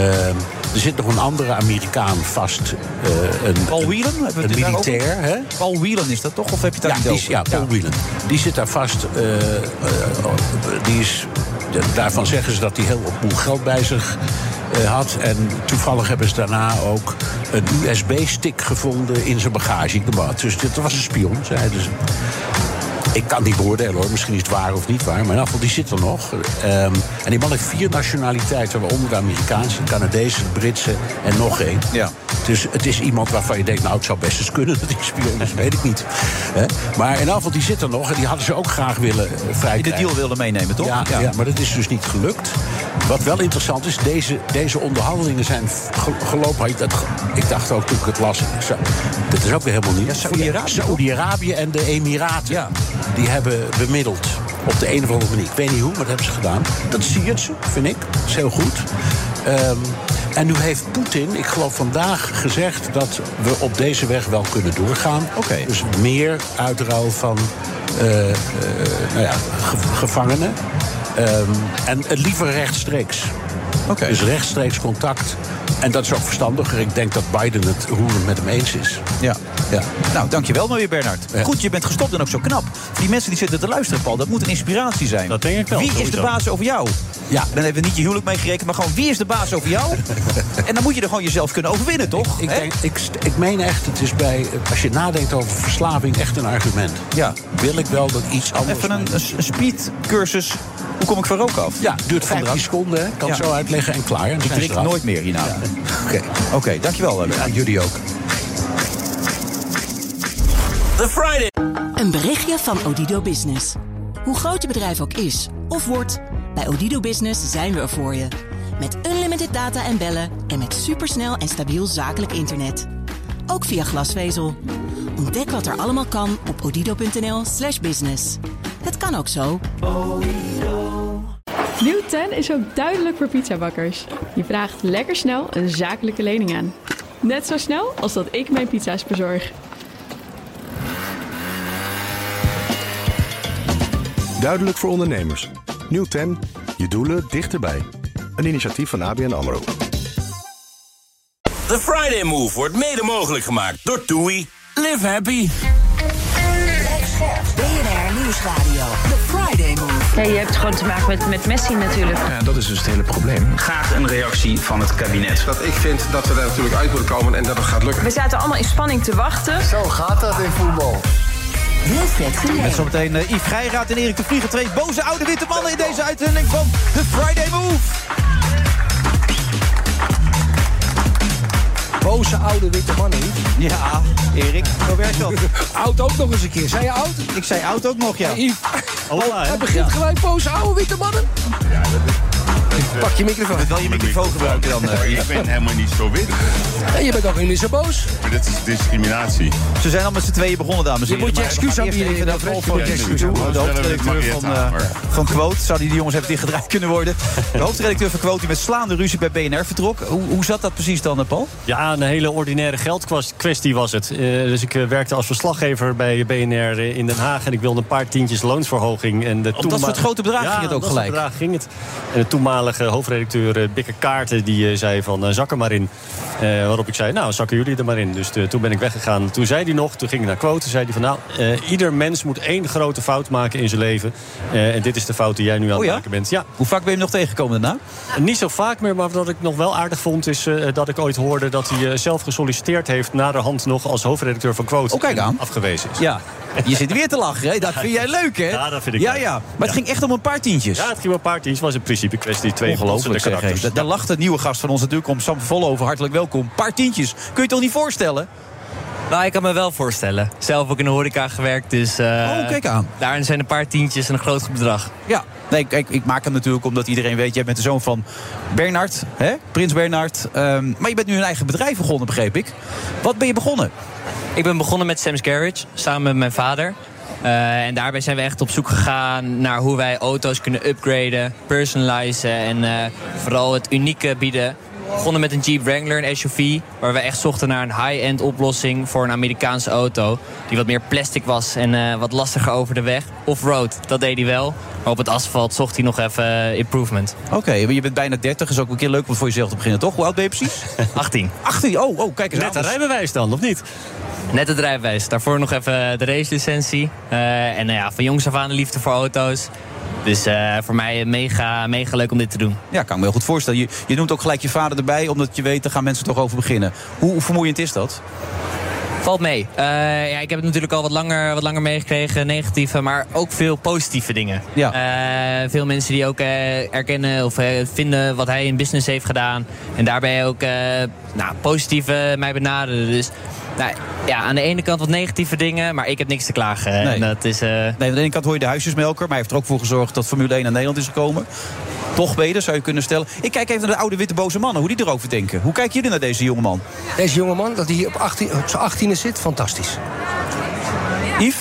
er zit nog een andere Amerikaan vast. eh, een,
Paul
een-
Whelan? Hebben we
Een
dit daar ook-
militair, hè?
Paul Whelan is dat toch? Of heb je het daar
Ja,
niet
die,
over?
is- ja, Paul Whelan. Die zit daar vast. eh, eh, eh, die is, daarvan zeggen ze dat hij heel op boel geld bij zich eh, had. En toevallig hebben ze daarna ook een USB-stick gevonden in zijn bagage. Dus dit was een spion, zeiden ze. Ik kan het niet beoordelen hoor, misschien is het waar of niet waar. Maar in ieder geval, die zit er nog. Ehm, en die man heeft vier nationaliteiten, waaronder de Amerikaanse, de Canadese, de Britse en nog één. Ja. Dus het is iemand waarvan je denkt, nou het zou best eens kunnen dat hij spion is, weet ik niet. Hè? Maar in ieder geval, die zit er nog en die hadden ze ook graag willen eh, vrijkrijgen.
Die de deal wilden meenemen, toch?
Ja,
Ja.
ja. maar dat is dus niet gelukt. Wat wel interessant is, deze, deze onderhandelingen zijn ge- gelopen. Ik dacht, ik dacht ook toen ik het las, ik zou- dat is ook weer helemaal niet.
Saoedi-Arabië.
Saoedi-Arabië en de Emiraten. Die hebben bemiddeld. Op de een of andere manier. Ik weet niet hoe, maar dat hebben ze gedaan. Dat zie je ze, vind ik. Dat is heel goed. Ehm, en nu heeft Poetin, ik geloof vandaag, gezegd dat we op deze weg wel kunnen doorgaan. Dus meer uitruil van eh, eh, nou ja, ge- gevangenen. Ehm, en eh, liever rechtstreeks. Dus rechtstreeks contact. En dat is ook verstandiger. Ik denk dat Biden het roerend met hem eens is.
Ja. ja. Nou, dankjewel maar weer, Bernard. Goed, je bent gestopt en ook zo knap. Voor die mensen die zitten te luisteren, Paul, dat moet een inspiratie zijn. Dat denk ik
wel,
Wie is de
sowieso.
baas over jou? Ja. Dan hebben we niet je huwelijk meegerekend, maar gewoon wie is de baas over
[LAUGHS]
jou? en dan moet je er gewoon jezelf kunnen overwinnen, toch?
Ik, denk, ik, st- ik meen echt, het is bij, eh, als je nadenkt over verslaving, echt een argument. Ja. Wil ik wel dat iets anders...
Even een, een speedcursus. Hoe kom ik van rook af?
Ja, duurt 15 seconden. hè. Ik kan het
Ja.
zo uitleggen en klaar. En dan
Ik
zijn ze
drink
eraf.
nooit meer hierna.
Oké,
Oké, dankjewel. eh,
Ja, jullie ook.
The Friday. Een berichtje van Odido Business. Hoe groot je bedrijf ook is of wordt, bij Odido Business zijn we er voor je. Met unlimited data en bellen en met supersnel en stabiel zakelijk internet. Ook via glasvezel. Ontdek wat er allemaal kan op odido.nl/slash business. Het kan ook zo.
Nieuw 10 is ook duidelijk voor pizzabakkers. Je vraagt lekker snel een zakelijke lening aan. Net zo snel als dat ik mijn pizza's bezorg.
Duidelijk voor ondernemers. Nieuw ten, je doelen dichterbij. Een initiatief van ABN AMRO.
De Friday Move wordt mede mogelijk gemaakt door TUI. Live happy.
BNR Nieuwsradio. The Friday Move.
Ja, je hebt gewoon te maken met, met Messi natuurlijk.
Ja, dat is dus het hele probleem. Graag een reactie van het kabinet.
Dat ik vind dat we daar natuurlijk uit moeten komen en dat het gaat lukken.
We zaten allemaal in spanning te wachten. Zo gaat dat in voetbal.
Met zometeen eh, Yves Geiraat en Erik de Vlieger. Twee boze oude witte mannen in deze uitzending van The Friday Move.
Boze oude witte mannen.
Ja, Erik, zo werkt dat.
[LAUGHS] oud ook nog eens een keer. Zei je oud? Oh,
Ik zei oud ook nog, ja.
Hij begint gelijk boze oude witte mannen.
Pak je microfoon. Wil je microfoon gebruiken dan? eh,
Ik ben helemaal niet zo wit.
En je bent ook niet zo boos.
Maar dit is discriminatie.
Ze zijn al met z'n tweeën begonnen, dames en
Je
heren.
moet je
Maar we
excuus
gaan eerst
aanbieden,
even naar
dat
Paul
weet
van
je.
Dijk
Ja, natuurlijk.
toe, De hoofdredacteur
Mariette
van, eh,
Hamer.
van Quote. Zouden die jongens even dichtgedraaid kunnen worden? De hoofdredacteur van Quote die met slaande ruzie bij BNR vertrok. Hoe, hoe zat dat precies dan, eh, Paul?
Ja, een hele ordinaire geldkwestie was het. Eh, dus ik eh, werkte als verslaggever bij BNR eh, in Den Haag... en ik wilde een paar tientjes loonsverhoging. En de
Om dat soort grote bedragen
Ja,
ging het ook
om dat soort
gelijk.
bedragen ging het. En de toenmalige hoofdredacteur eh, Bikke Kaarten die eh, zei van eh, zak er maar in. Eh, waarop ik zei, nou zakken jullie er maar in. Dus eh, toen ben ik weggegaan. Toen zei hij nog, toen ging ik naar quote, toen zei hij van nou, eh, ieder mens moet één grote fout maken in zijn leven. Eh, en dit is de fout die jij nu aan het maken bent. Ja.
Oh
Eh,
Hoe vaak ben je hem nog tegengekomen daarna?
Niet zo vaak meer, maar wat ik nog wel aardig vond is eh, dat ik ooit hoorde dat hij eh, zelf gesolliciteerd heeft naderhand nog als hoofdredacteur van Quote. en Afgewezen is.
Oh, Ja. Je zit weer te lachen, hè? Dat vind jij leuk, hè?
Ja, dat vind ik
Ja,
leuk.
ja. Maar het ging echt om een paar tientjes.
Ja, het ging om een paar tientjes. was in principe een kwestie twee
Ongelooflijk,
botsende
zeg. hé.
karakters.
Da- Daar lacht de nieuwe gast van ons natuurlijk om. Sam Vollover, hartelijk welkom. Paar tientjes. Kun je het toch niet voorstellen?
Nou, ik kan me wel voorstellen. Zelf ook in de horeca gewerkt, dus... eh,
Oh, kijk aan.
Daarin zijn een paar tientjes en een groot bedrag.
Ja, nee, kijk, ik maak hem natuurlijk omdat iedereen weet... jij bent de zoon van Bernard, hè? Prins Bernard. Ehm, maar je bent nu een eigen bedrijf begonnen, begreep ik. Wat ben je begonnen?
Ik ben begonnen met Sam's Garage, samen met mijn vader. Eh, en daarbij zijn we echt op zoek gegaan naar hoe wij auto's kunnen upgraden, personalizen en eh, vooral het unieke bieden. We begonnen met een Jeep Wrangler, een SUV, waar we echt zochten naar een high-end oplossing voor een Amerikaanse auto. Die wat meer plastic was en eh, wat lastiger over de weg. Off-road, dat deed hij wel. Maar op het asfalt zocht hij nog even eh, improvement.
Oké, maar je bent bijna 30, is ook een keer leuk om voor jezelf te beginnen, toch? Hoe oud ben je [LAUGHS] precies?
18.
18, oh, oh kijk eens
Net
aan.
een rijbewijs
dan, of niet?
Net het rijbewijs. Daarvoor nog even de racelicentie. Eh, en nou ja, van jongs af aan de liefde voor auto's. Dus eh, voor mij mega, mega leuk om dit te doen.
Ja, kan ik me heel goed voorstellen. Je, je noemt ook gelijk je vader erbij, omdat je weet, daar gaan mensen toch over beginnen. Hoe, hoe vermoeiend is dat?
Valt mee. Eh, ja, ik heb het natuurlijk al wat langer, wat langer meegekregen, negatieve, maar ook veel positieve dingen.
Ja.
Eh, veel mensen die ook eh, erkennen of eh, vinden wat hij in business heeft gedaan. En daarbij ook eh nou, positieve mij benaderen. Dus nou, ja, aan de ene kant wat negatieve dingen, maar ik heb niks te klagen. eh, En
Nou,
dat
eh,
is,
Nee, aan de ene kant hoor je de huisjesmelker, maar hij heeft er ook voor gezorgd dat Formule 1 naar Nederland is gekomen. Toch beter, zou je kunnen stellen. Ik kijk even naar de oude witte boze mannen, hoe die erover denken. Hoe kijken jullie naar deze jongeman?
Deze jongeman, dat hij op, 18, op zijn 18e zit, fantastisch.
Yves?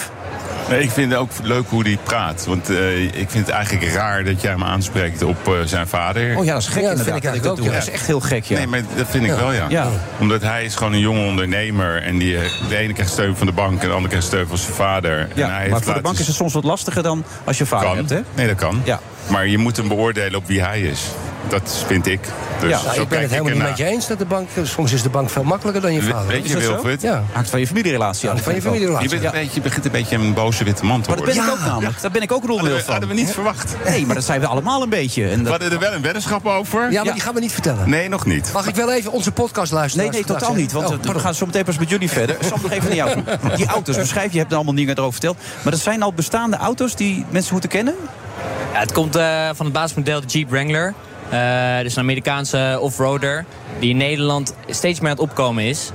Nee, ik vind het ook leuk hoe hij praat. Want eh, ik vind het eigenlijk raar dat jij hem aanspreekt op eh, zijn vader.
Oh ja, dat is gek
Ja, dat
inderdaad.
vind ik eigenlijk
dat
ook,
doe.
ja.
Dat is echt heel gek, ja.
Nee, maar dat vind ik
Ja.
wel, ja.
Ja.
Omdat hij is gewoon een jonge ondernemer. En die, eh, de ene krijgt steun van de bank en de andere krijgt steun van zijn vader.
Ja,
en hij
maar
heeft
voor de
laten
bank is het soms wat lastiger dan als je vader
Kan.
hebt, hè?
Nee, dat kan.
Ja.
Maar je moet hem beoordelen op wie hij is. Dat vind ik. Dus
ja,
zo
nou, ik ben
kijk
het helemaal niet
ernaar.
met je eens dat de bank... Soms is de bank veel makkelijker dan je
We-
vader.
Weet
Is
je,
dat zo?
Wilfred?
Ja.
Hangt van je familierelatie
af, Hangt van je vind ik ook. familierelatie
Je, bent een beetje, je begint een beetje een boze witte man te
Maar dat ben
worden.
ik ook namelijk. Daar ben ik ook een onderdeel van.
hadden we niet verwacht.
Nee, maar dat zijn we allemaal een beetje. En
We
dat-
hadden er wel een weddenschap over.
Ja, maar die gaan we niet vertellen.
Nee, nog niet.
Mag ik wel even onze podcast
Nee,
luisteren? Oh.
nee, totaal niet. Want we gaan zo meteen pas met jullie verder. Sam, nog even naar jou. toe. Die auto's, beschrijf, je hebt er allemaal dingen over verteld. Maar dat zijn al bestaande auto's die mensen moeten kennen?
Ja, het komt eh, van het basismodel de Jeep Wrangler. Eh, dus een Amerikaanse offroader die in Nederland steeds meer aan het opkomen is.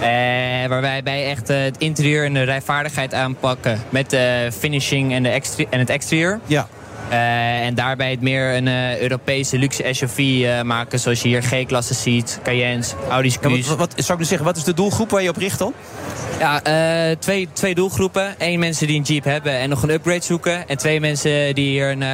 Eh, waarbij wij echt eh, het interieur en de rijvaardigheid aanpakken met de finishing en, de exter- en het exterieur.
Ja.
Eh, en daarbij het meer een eh, Europese luxe SUV eh, maken zoals je hier G-klasse ziet, Cayennes, Audi's Q's.
Ja, wat, wat, zou ik nu zeggen, wat is de doelgroep waar je op richt dan?
Ja, eh, twee, twee doelgroepen. Eén mensen die een Jeep hebben en nog een upgrade zoeken. En twee mensen die hier een, eh,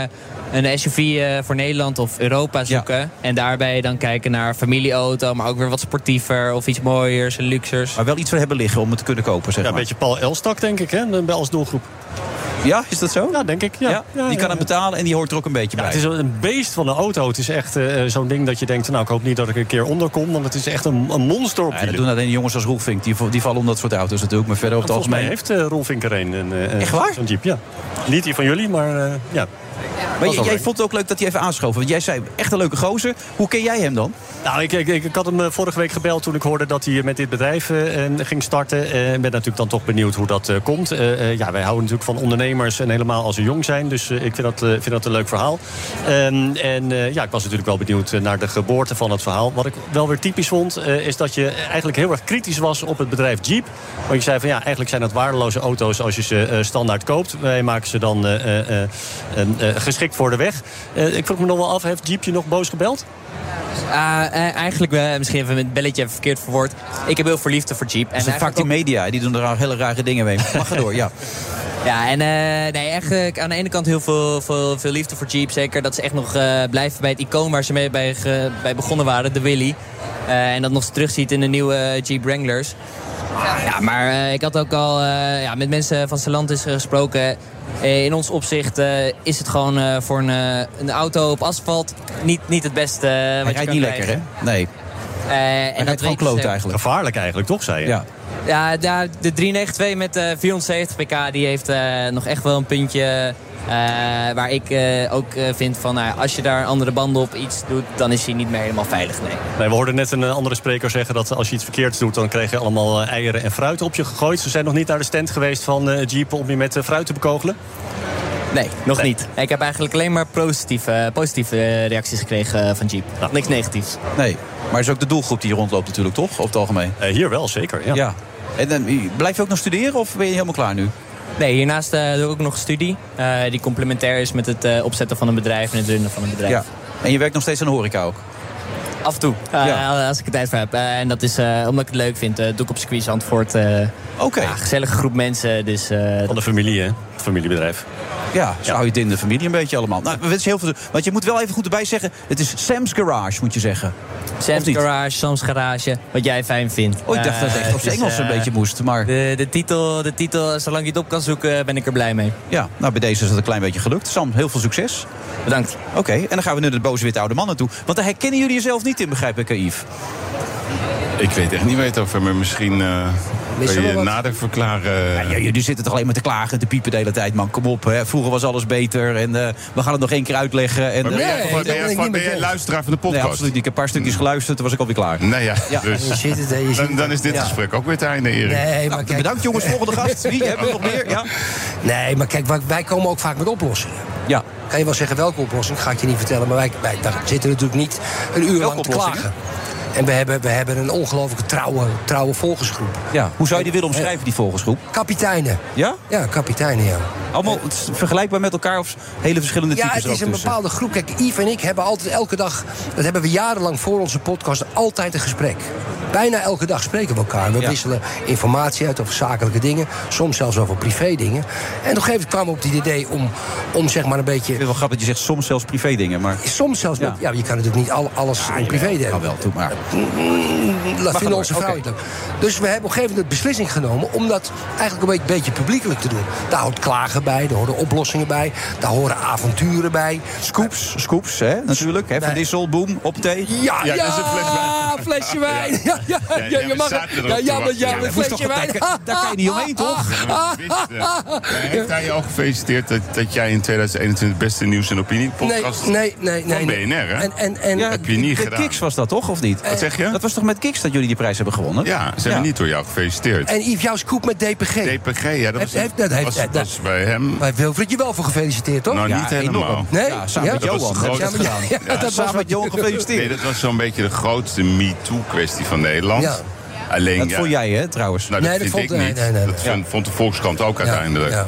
een SUV eh, voor Nederland of Europa zoeken. En daarbij dan kijken naar familieauto, maar ook weer wat sportiever of iets mooiers en luxers.
Maar wel iets voor hebben liggen om het te kunnen kopen, zeg
Ja, een
maar.
beetje Paul Elstak, denk ik, hè, bij- als doelgroep.
Ja, is dat zo?
Ja, denk ik. Ja.
die kan het betalen Ah, en die hoort er ook een beetje
Ja,
bij.
het is een beest van een auto. Het is echt eh, zo'n ding dat je denkt, nou ik hoop niet dat ik er een keer onder kom. Want het is echt een, een monster op
Ja, dat doen alleen jongens als Roelvink. Die, vo- die vallen om dat soort auto's natuurlijk. Maar verder over het
Volgens mij
algemeen.
heeft eh Rolfink er een. een, eh,
Echt waar?
Zo'n jeep, ja. Niet die van jullie, maar eh, ja.
Maar jij, jij vond het ook leuk dat hij even aanschoven. Want jij zei, echt een leuke gozer. Hoe ken jij hem dan?
Nou, ik, ik, ik, ik had hem eh, vorige week gebeld toen ik hoorde dat hij eh, met dit bedrijf eh, eh, ging starten. Eh, Ik ben natuurlijk dan toch benieuwd hoe dat eh, komt. Eh, eh, ja, wij houden natuurlijk van ondernemers en helemaal als ze jong zijn. Dus eh, ik vind dat, eh, vind dat een leuk verhaal. Ehm, en eh, ja, ik was natuurlijk wel benieuwd eh, naar de geboorte van het verhaal. Wat ik wel weer typisch vond, eh, is dat je eigenlijk heel erg kritisch was op het bedrijf Jeep. Want je zei van ja, eigenlijk zijn dat waardeloze auto's als je ze eh, standaard koopt. Wij maken ze dan eh, eh, eh, eh, geschikt voor de weg. Eh, ik vroeg me nog wel af, heeft Jeep je nog boos gebeld?
Ah, eh, eigenlijk eh, misschien even het belletje verkeerd verwoord. Ik heb heel veel liefde voor Jeep. En
Dat is vaak die media. hè, Die doen er hele rare dingen mee. Mag door, ja.
[LAUGHS] Ja, en eh, nee, echt, eh, aan de ene kant heel veel, veel, veel liefde voor Jeep. Zeker dat ze echt nog eh, blijven bij het icoon waar ze mee bij, ge- bij begonnen waren, de Willy. Eh, en dat nog terugziet in de nieuwe eh, Jeep Wranglers. Ja, maar eh, ik had ook al eh, ja, met mensen van Stellantis eh, gesproken. Eh, in ons opzicht eh, is het gewoon eh, voor een, eh, een auto op asfalt niet, niet het beste eh, wat je
Hij rijdt
kan
niet
krijgen.
lekker, hè? Nee.
Eh, en dat dus,
Gewoon
weten
kloot
ze.
eigenlijk.
Gevaarlijk eigenlijk, toch, zei je?
Ja.
Ja, ja, de 392 met eh 470 pk, die heeft eh, nog echt wel een puntje eh, waar ik eh, ook eh, vind van... nou, als je daar andere banden op iets doet, dan is hij niet meer helemaal veilig, nee.
Nee, we hoorden net een eh, andere spreker zeggen dat als je iets verkeerds doet... dan krijg je allemaal eh, eieren en fruit op je gegooid. Ze zijn nog niet naar de stand geweest van eh, Jeep om je met eh, fruit te bekogelen?
Nee, nog niet. Ik heb eigenlijk alleen maar positieve, positieve eh, reacties gekregen eh, van Jeep. Niks negatiefs.
Nee. Maar het is ook de doelgroep die hier rondloopt natuurlijk, toch? Over het algemeen.
Eh, hier wel, zeker. Ja.
En dan, blijf je ook nog studeren of ben je helemaal klaar nu?
Nee, hiernaast eh, doe ik ook nog een studie eh, die complementair is met het eh, opzetten van een bedrijf en het runnen van een bedrijf.
Ja. En je werkt nog steeds aan de horeca ook?
Af en toe, eh, als ik er tijd voor heb. Eh, en dat is eh, omdat ik het leuk vind. eh doe ik op circuit Zandvoort. eh ja, gezellige groep mensen. Dus,
van de familie, hè? Familiebedrijf.
Ja, zo hou je het in de familie een beetje allemaal. Nou, we wensen heel veel... Want je moet wel even goed erbij zeggen... het is Sam's Garage, moet je zeggen. Of
Sam's
niet?
Garage, Sam's Garage, wat jij fijn vindt.
Oh, ik dacht dat het echt op zijn
Eh,
Engels een
eh,
beetje moest, maar...
De, de, titel, de titel, zolang je het op kan zoeken, ben ik er blij mee.
Ja, nou bij deze is het een klein beetje gelukt. Sam, heel veel succes.
Bedankt.
Oké, en dan gaan we nu naar de boze witte oude mannen toe. Want daar herkennen jullie jezelf niet in, begrijp ik, hè, Yves.
Ik weet echt niet waar je het over hebt, maar misschien eh
Wist
kun
je wel
je
wat?
nader verklaren.
Ja, jullie zitten toch alleen maar te klagen en te piepen de hele tijd, man. Kom op, hè. vroeger was alles beter en eh, we gaan het nog één keer uitleggen. En,
Maar ben
eh,
jij- Nee, ben jij- dat ben ik niet ben met jij ons. luisteraar van de podcast?
Nee, absoluut niet. Ik heb een paar stukjes geluisterd, toen was ik alweer klaar.
Nou ja, dus.
Je ziet het, hè, je ziet
dan, dan is dit
Ja.
gesprek ook weer het einde, Erik.
Nou, bedankt jongens, volgende gast. Wie hebben we nog meer? Ja.
Nee, maar kijk, wij- wij komen ook vaak met oplossingen.
Ja.
Kan je wel zeggen welke oplossing, ga ik je niet vertellen. Maar wij, wij daar zitten natuurlijk niet een uur lang te klagen. En we hebben, we hebben een ongelooflijke trouwe, trouwe volgersgroep.
Ja, hoe zou je die willen omschrijven, die volgersgroep?
Kapiteinen.
Ja?
Ja, kapiteinen, ja.
Allemaal het is vergelijkbaar met elkaar of hele verschillende
Ja,
types
het
er
is
ook
een
tussen?
bepaalde groep. Kijk, Yves en ik hebben altijd elke dag... dat hebben we jarenlang voor onze podcast altijd een gesprek. Bijna elke dag spreken we elkaar. We wisselen informatie uit over zakelijke dingen. Soms zelfs over privé dingen. En op een gegeven moment kwamen we op het idee om, om zeg maar een beetje...
Ik vind het wel grappig dat je zegt soms zelfs privé dingen, maar...
Soms zelfs, met- ja. je kan natuurlijk niet al, alles in privé delen. Eh,
Kan Nou, wel, doe maar.
Dat
Mag
Mm, vinden
door,
onze vrouwen
oké.
het leuk. Dus we hebben op een gegeven moment de beslissing genomen om dat eigenlijk een beetje, beetje publiekelijk te doen. Daar hoort klagen bij, daar horen oplossingen bij, daar horen avonturen bij. Eh,
Scoops, scoops, hè, natuurlijk. Hè, van Dissel, boom, op thee.
Ja, ja, flesje wijn. Ja, ja, ja,
jij
je mag
zaten
het.
erop
Ja,
te
ja, maar
wachten,
ja,
ja.
een
Dat moest
flesje
toch-
wijn.
daar- daar kan je niet
[LAUGHS]
omheen, toch?
Ja, dat wist Nee, Heeft hij je al gefeliciteerd dat, dat jij in 2021 beste nieuws- en opiniepodcast
Nee, nee, nee, nee,
van
nee.
BNR, hè?
En- en- en-
heb je niet
de
gedaan.
Kiks was dat toch, of niet?
Wat zeg je?
Dat was toch met Kiks dat jullie die prijs hebben gewonnen?
Ja, ze hebben niet door jou gefeliciteerd.
En Yves, jouw scoop met DPG.
DPG, ja, dat was,
Heeft- heeft- dat heeft-
was,
dat-
was bij hem.
Bij Wilfried, je wel voor gefeliciteerd, toch?
Nou, niet helemaal.
Nee?
Dat was de
Ja,
grootste-
maar- ja, ja, dat was wat-
Nee, dat was zo'n beetje de grootste MeToo-kwestie van Nederland.
Ja.
Alleen,
Dat
ja,
vond jij, hè, trouwens?
Nou, dat vind ik niet. dat vind- vond de Volkskrant ook uiteindelijk.
Nou,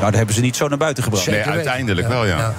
dat hebben ze niet zo naar buiten gebracht.
nee, uiteindelijk wel, ja.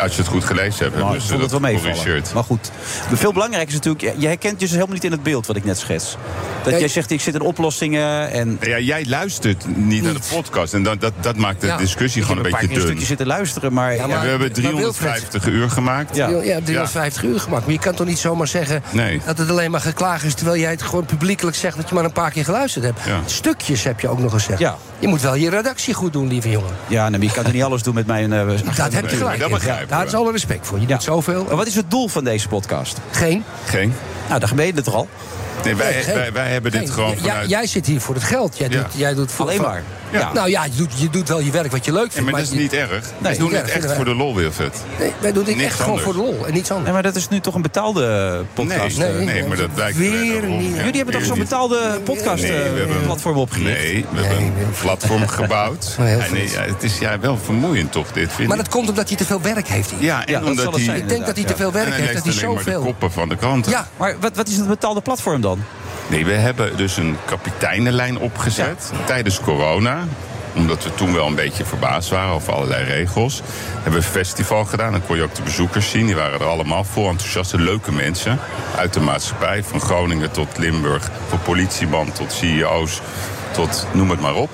Als je het goed gelezen hebt.
Maar
hebben
ik
ze
vond het wel
dat
meevallen.
gecorrigeerd.
Maar goed, veel belangrijker is natuurlijk... Je herkent je dus helemaal niet in het beeld wat ik net schets. Dat jij zegt, ik zit in oplossingen en...
Ja, jij luistert niet, naar de podcast. En dat, dat, dat maakt de discussie gewoon een beetje
Ik heb een paar keer een
dun.
stukje zitten luisteren, maar...
Ja, we hebben 350 uur gemaakt.
Ja, 350 uur gemaakt. Maar je kan toch niet zomaar zeggen
Nee.
dat het alleen maar geklaagd is... terwijl jij het gewoon publiekelijk zegt dat je maar een paar keer geluisterd hebt.
Ja.
Stukjes heb je ook nog gezegd.
Ja.
Je moet wel je redactie goed doen, lieve jongen.
Ja, nee, maar je kan er niet alles doen met mijn... eh, agenda.
heb je gelijk in. Ja, daar is alle respect voor. Je doet zoveel.
Maar wat is het doel van deze podcast?
Geen.
Geen.
Nou, dan ben je het toch al?
Nee, wij,
Nee, geen.
wij, wij hebben dit
Nee,
gewoon
j-
vanuit...
Jij zit hier voor het geld. Jij
Ja.
doet, jij doet voor,
Alleen
voor-
maar. Ja.
Nou ja, je doet, je doet wel je werk wat je leuk vindt.
Ja, maar dat is
je-
niet erg.
Nee,
wij doen
niet
dit
erg,
echt
vinden
voor
wij.
de lol, Wilfred.
Nee, wij doen dit
Niks
echt gewoon
anders.
voor de lol en niets anders.
Nee, maar dat is nu toch een betaalde eh, podcast?
Nee, nee, nee, maar dat lijkt wel
weer
erom,
niet.
ja.
Jullie hebben toch zo'n betaalde podcast? eh?
Nee,
Eh,
we hebben een
platform opgericht.
Nee, we hebben een
[LAUGHS]
platform gebouwd.
Maar heel
Ja, nee, ja, het is ja, wel vermoeiend toch, dit vind
Maar
ik.
dat komt omdat hij te veel werk heeft. hier.
Ja, en omdat hij...
Ik denk dat hij te veel werk heeft, dat hij
Maar de
zoveel...
koppen van de kranten.
Ja,
maar wat, wat is het betaalde platform dan?
Nee, we hebben dus een kapiteinenlijn opgezet tijdens corona omdat we toen wel een beetje verbaasd waren over allerlei regels. Hebben we een festival gedaan. Dan kon je ook de bezoekers zien. Die waren er allemaal vol enthousiaste, leuke mensen. Uit de maatschappij. Van Groningen tot Limburg. Van politieman tot CEO's. Tot noem het maar op.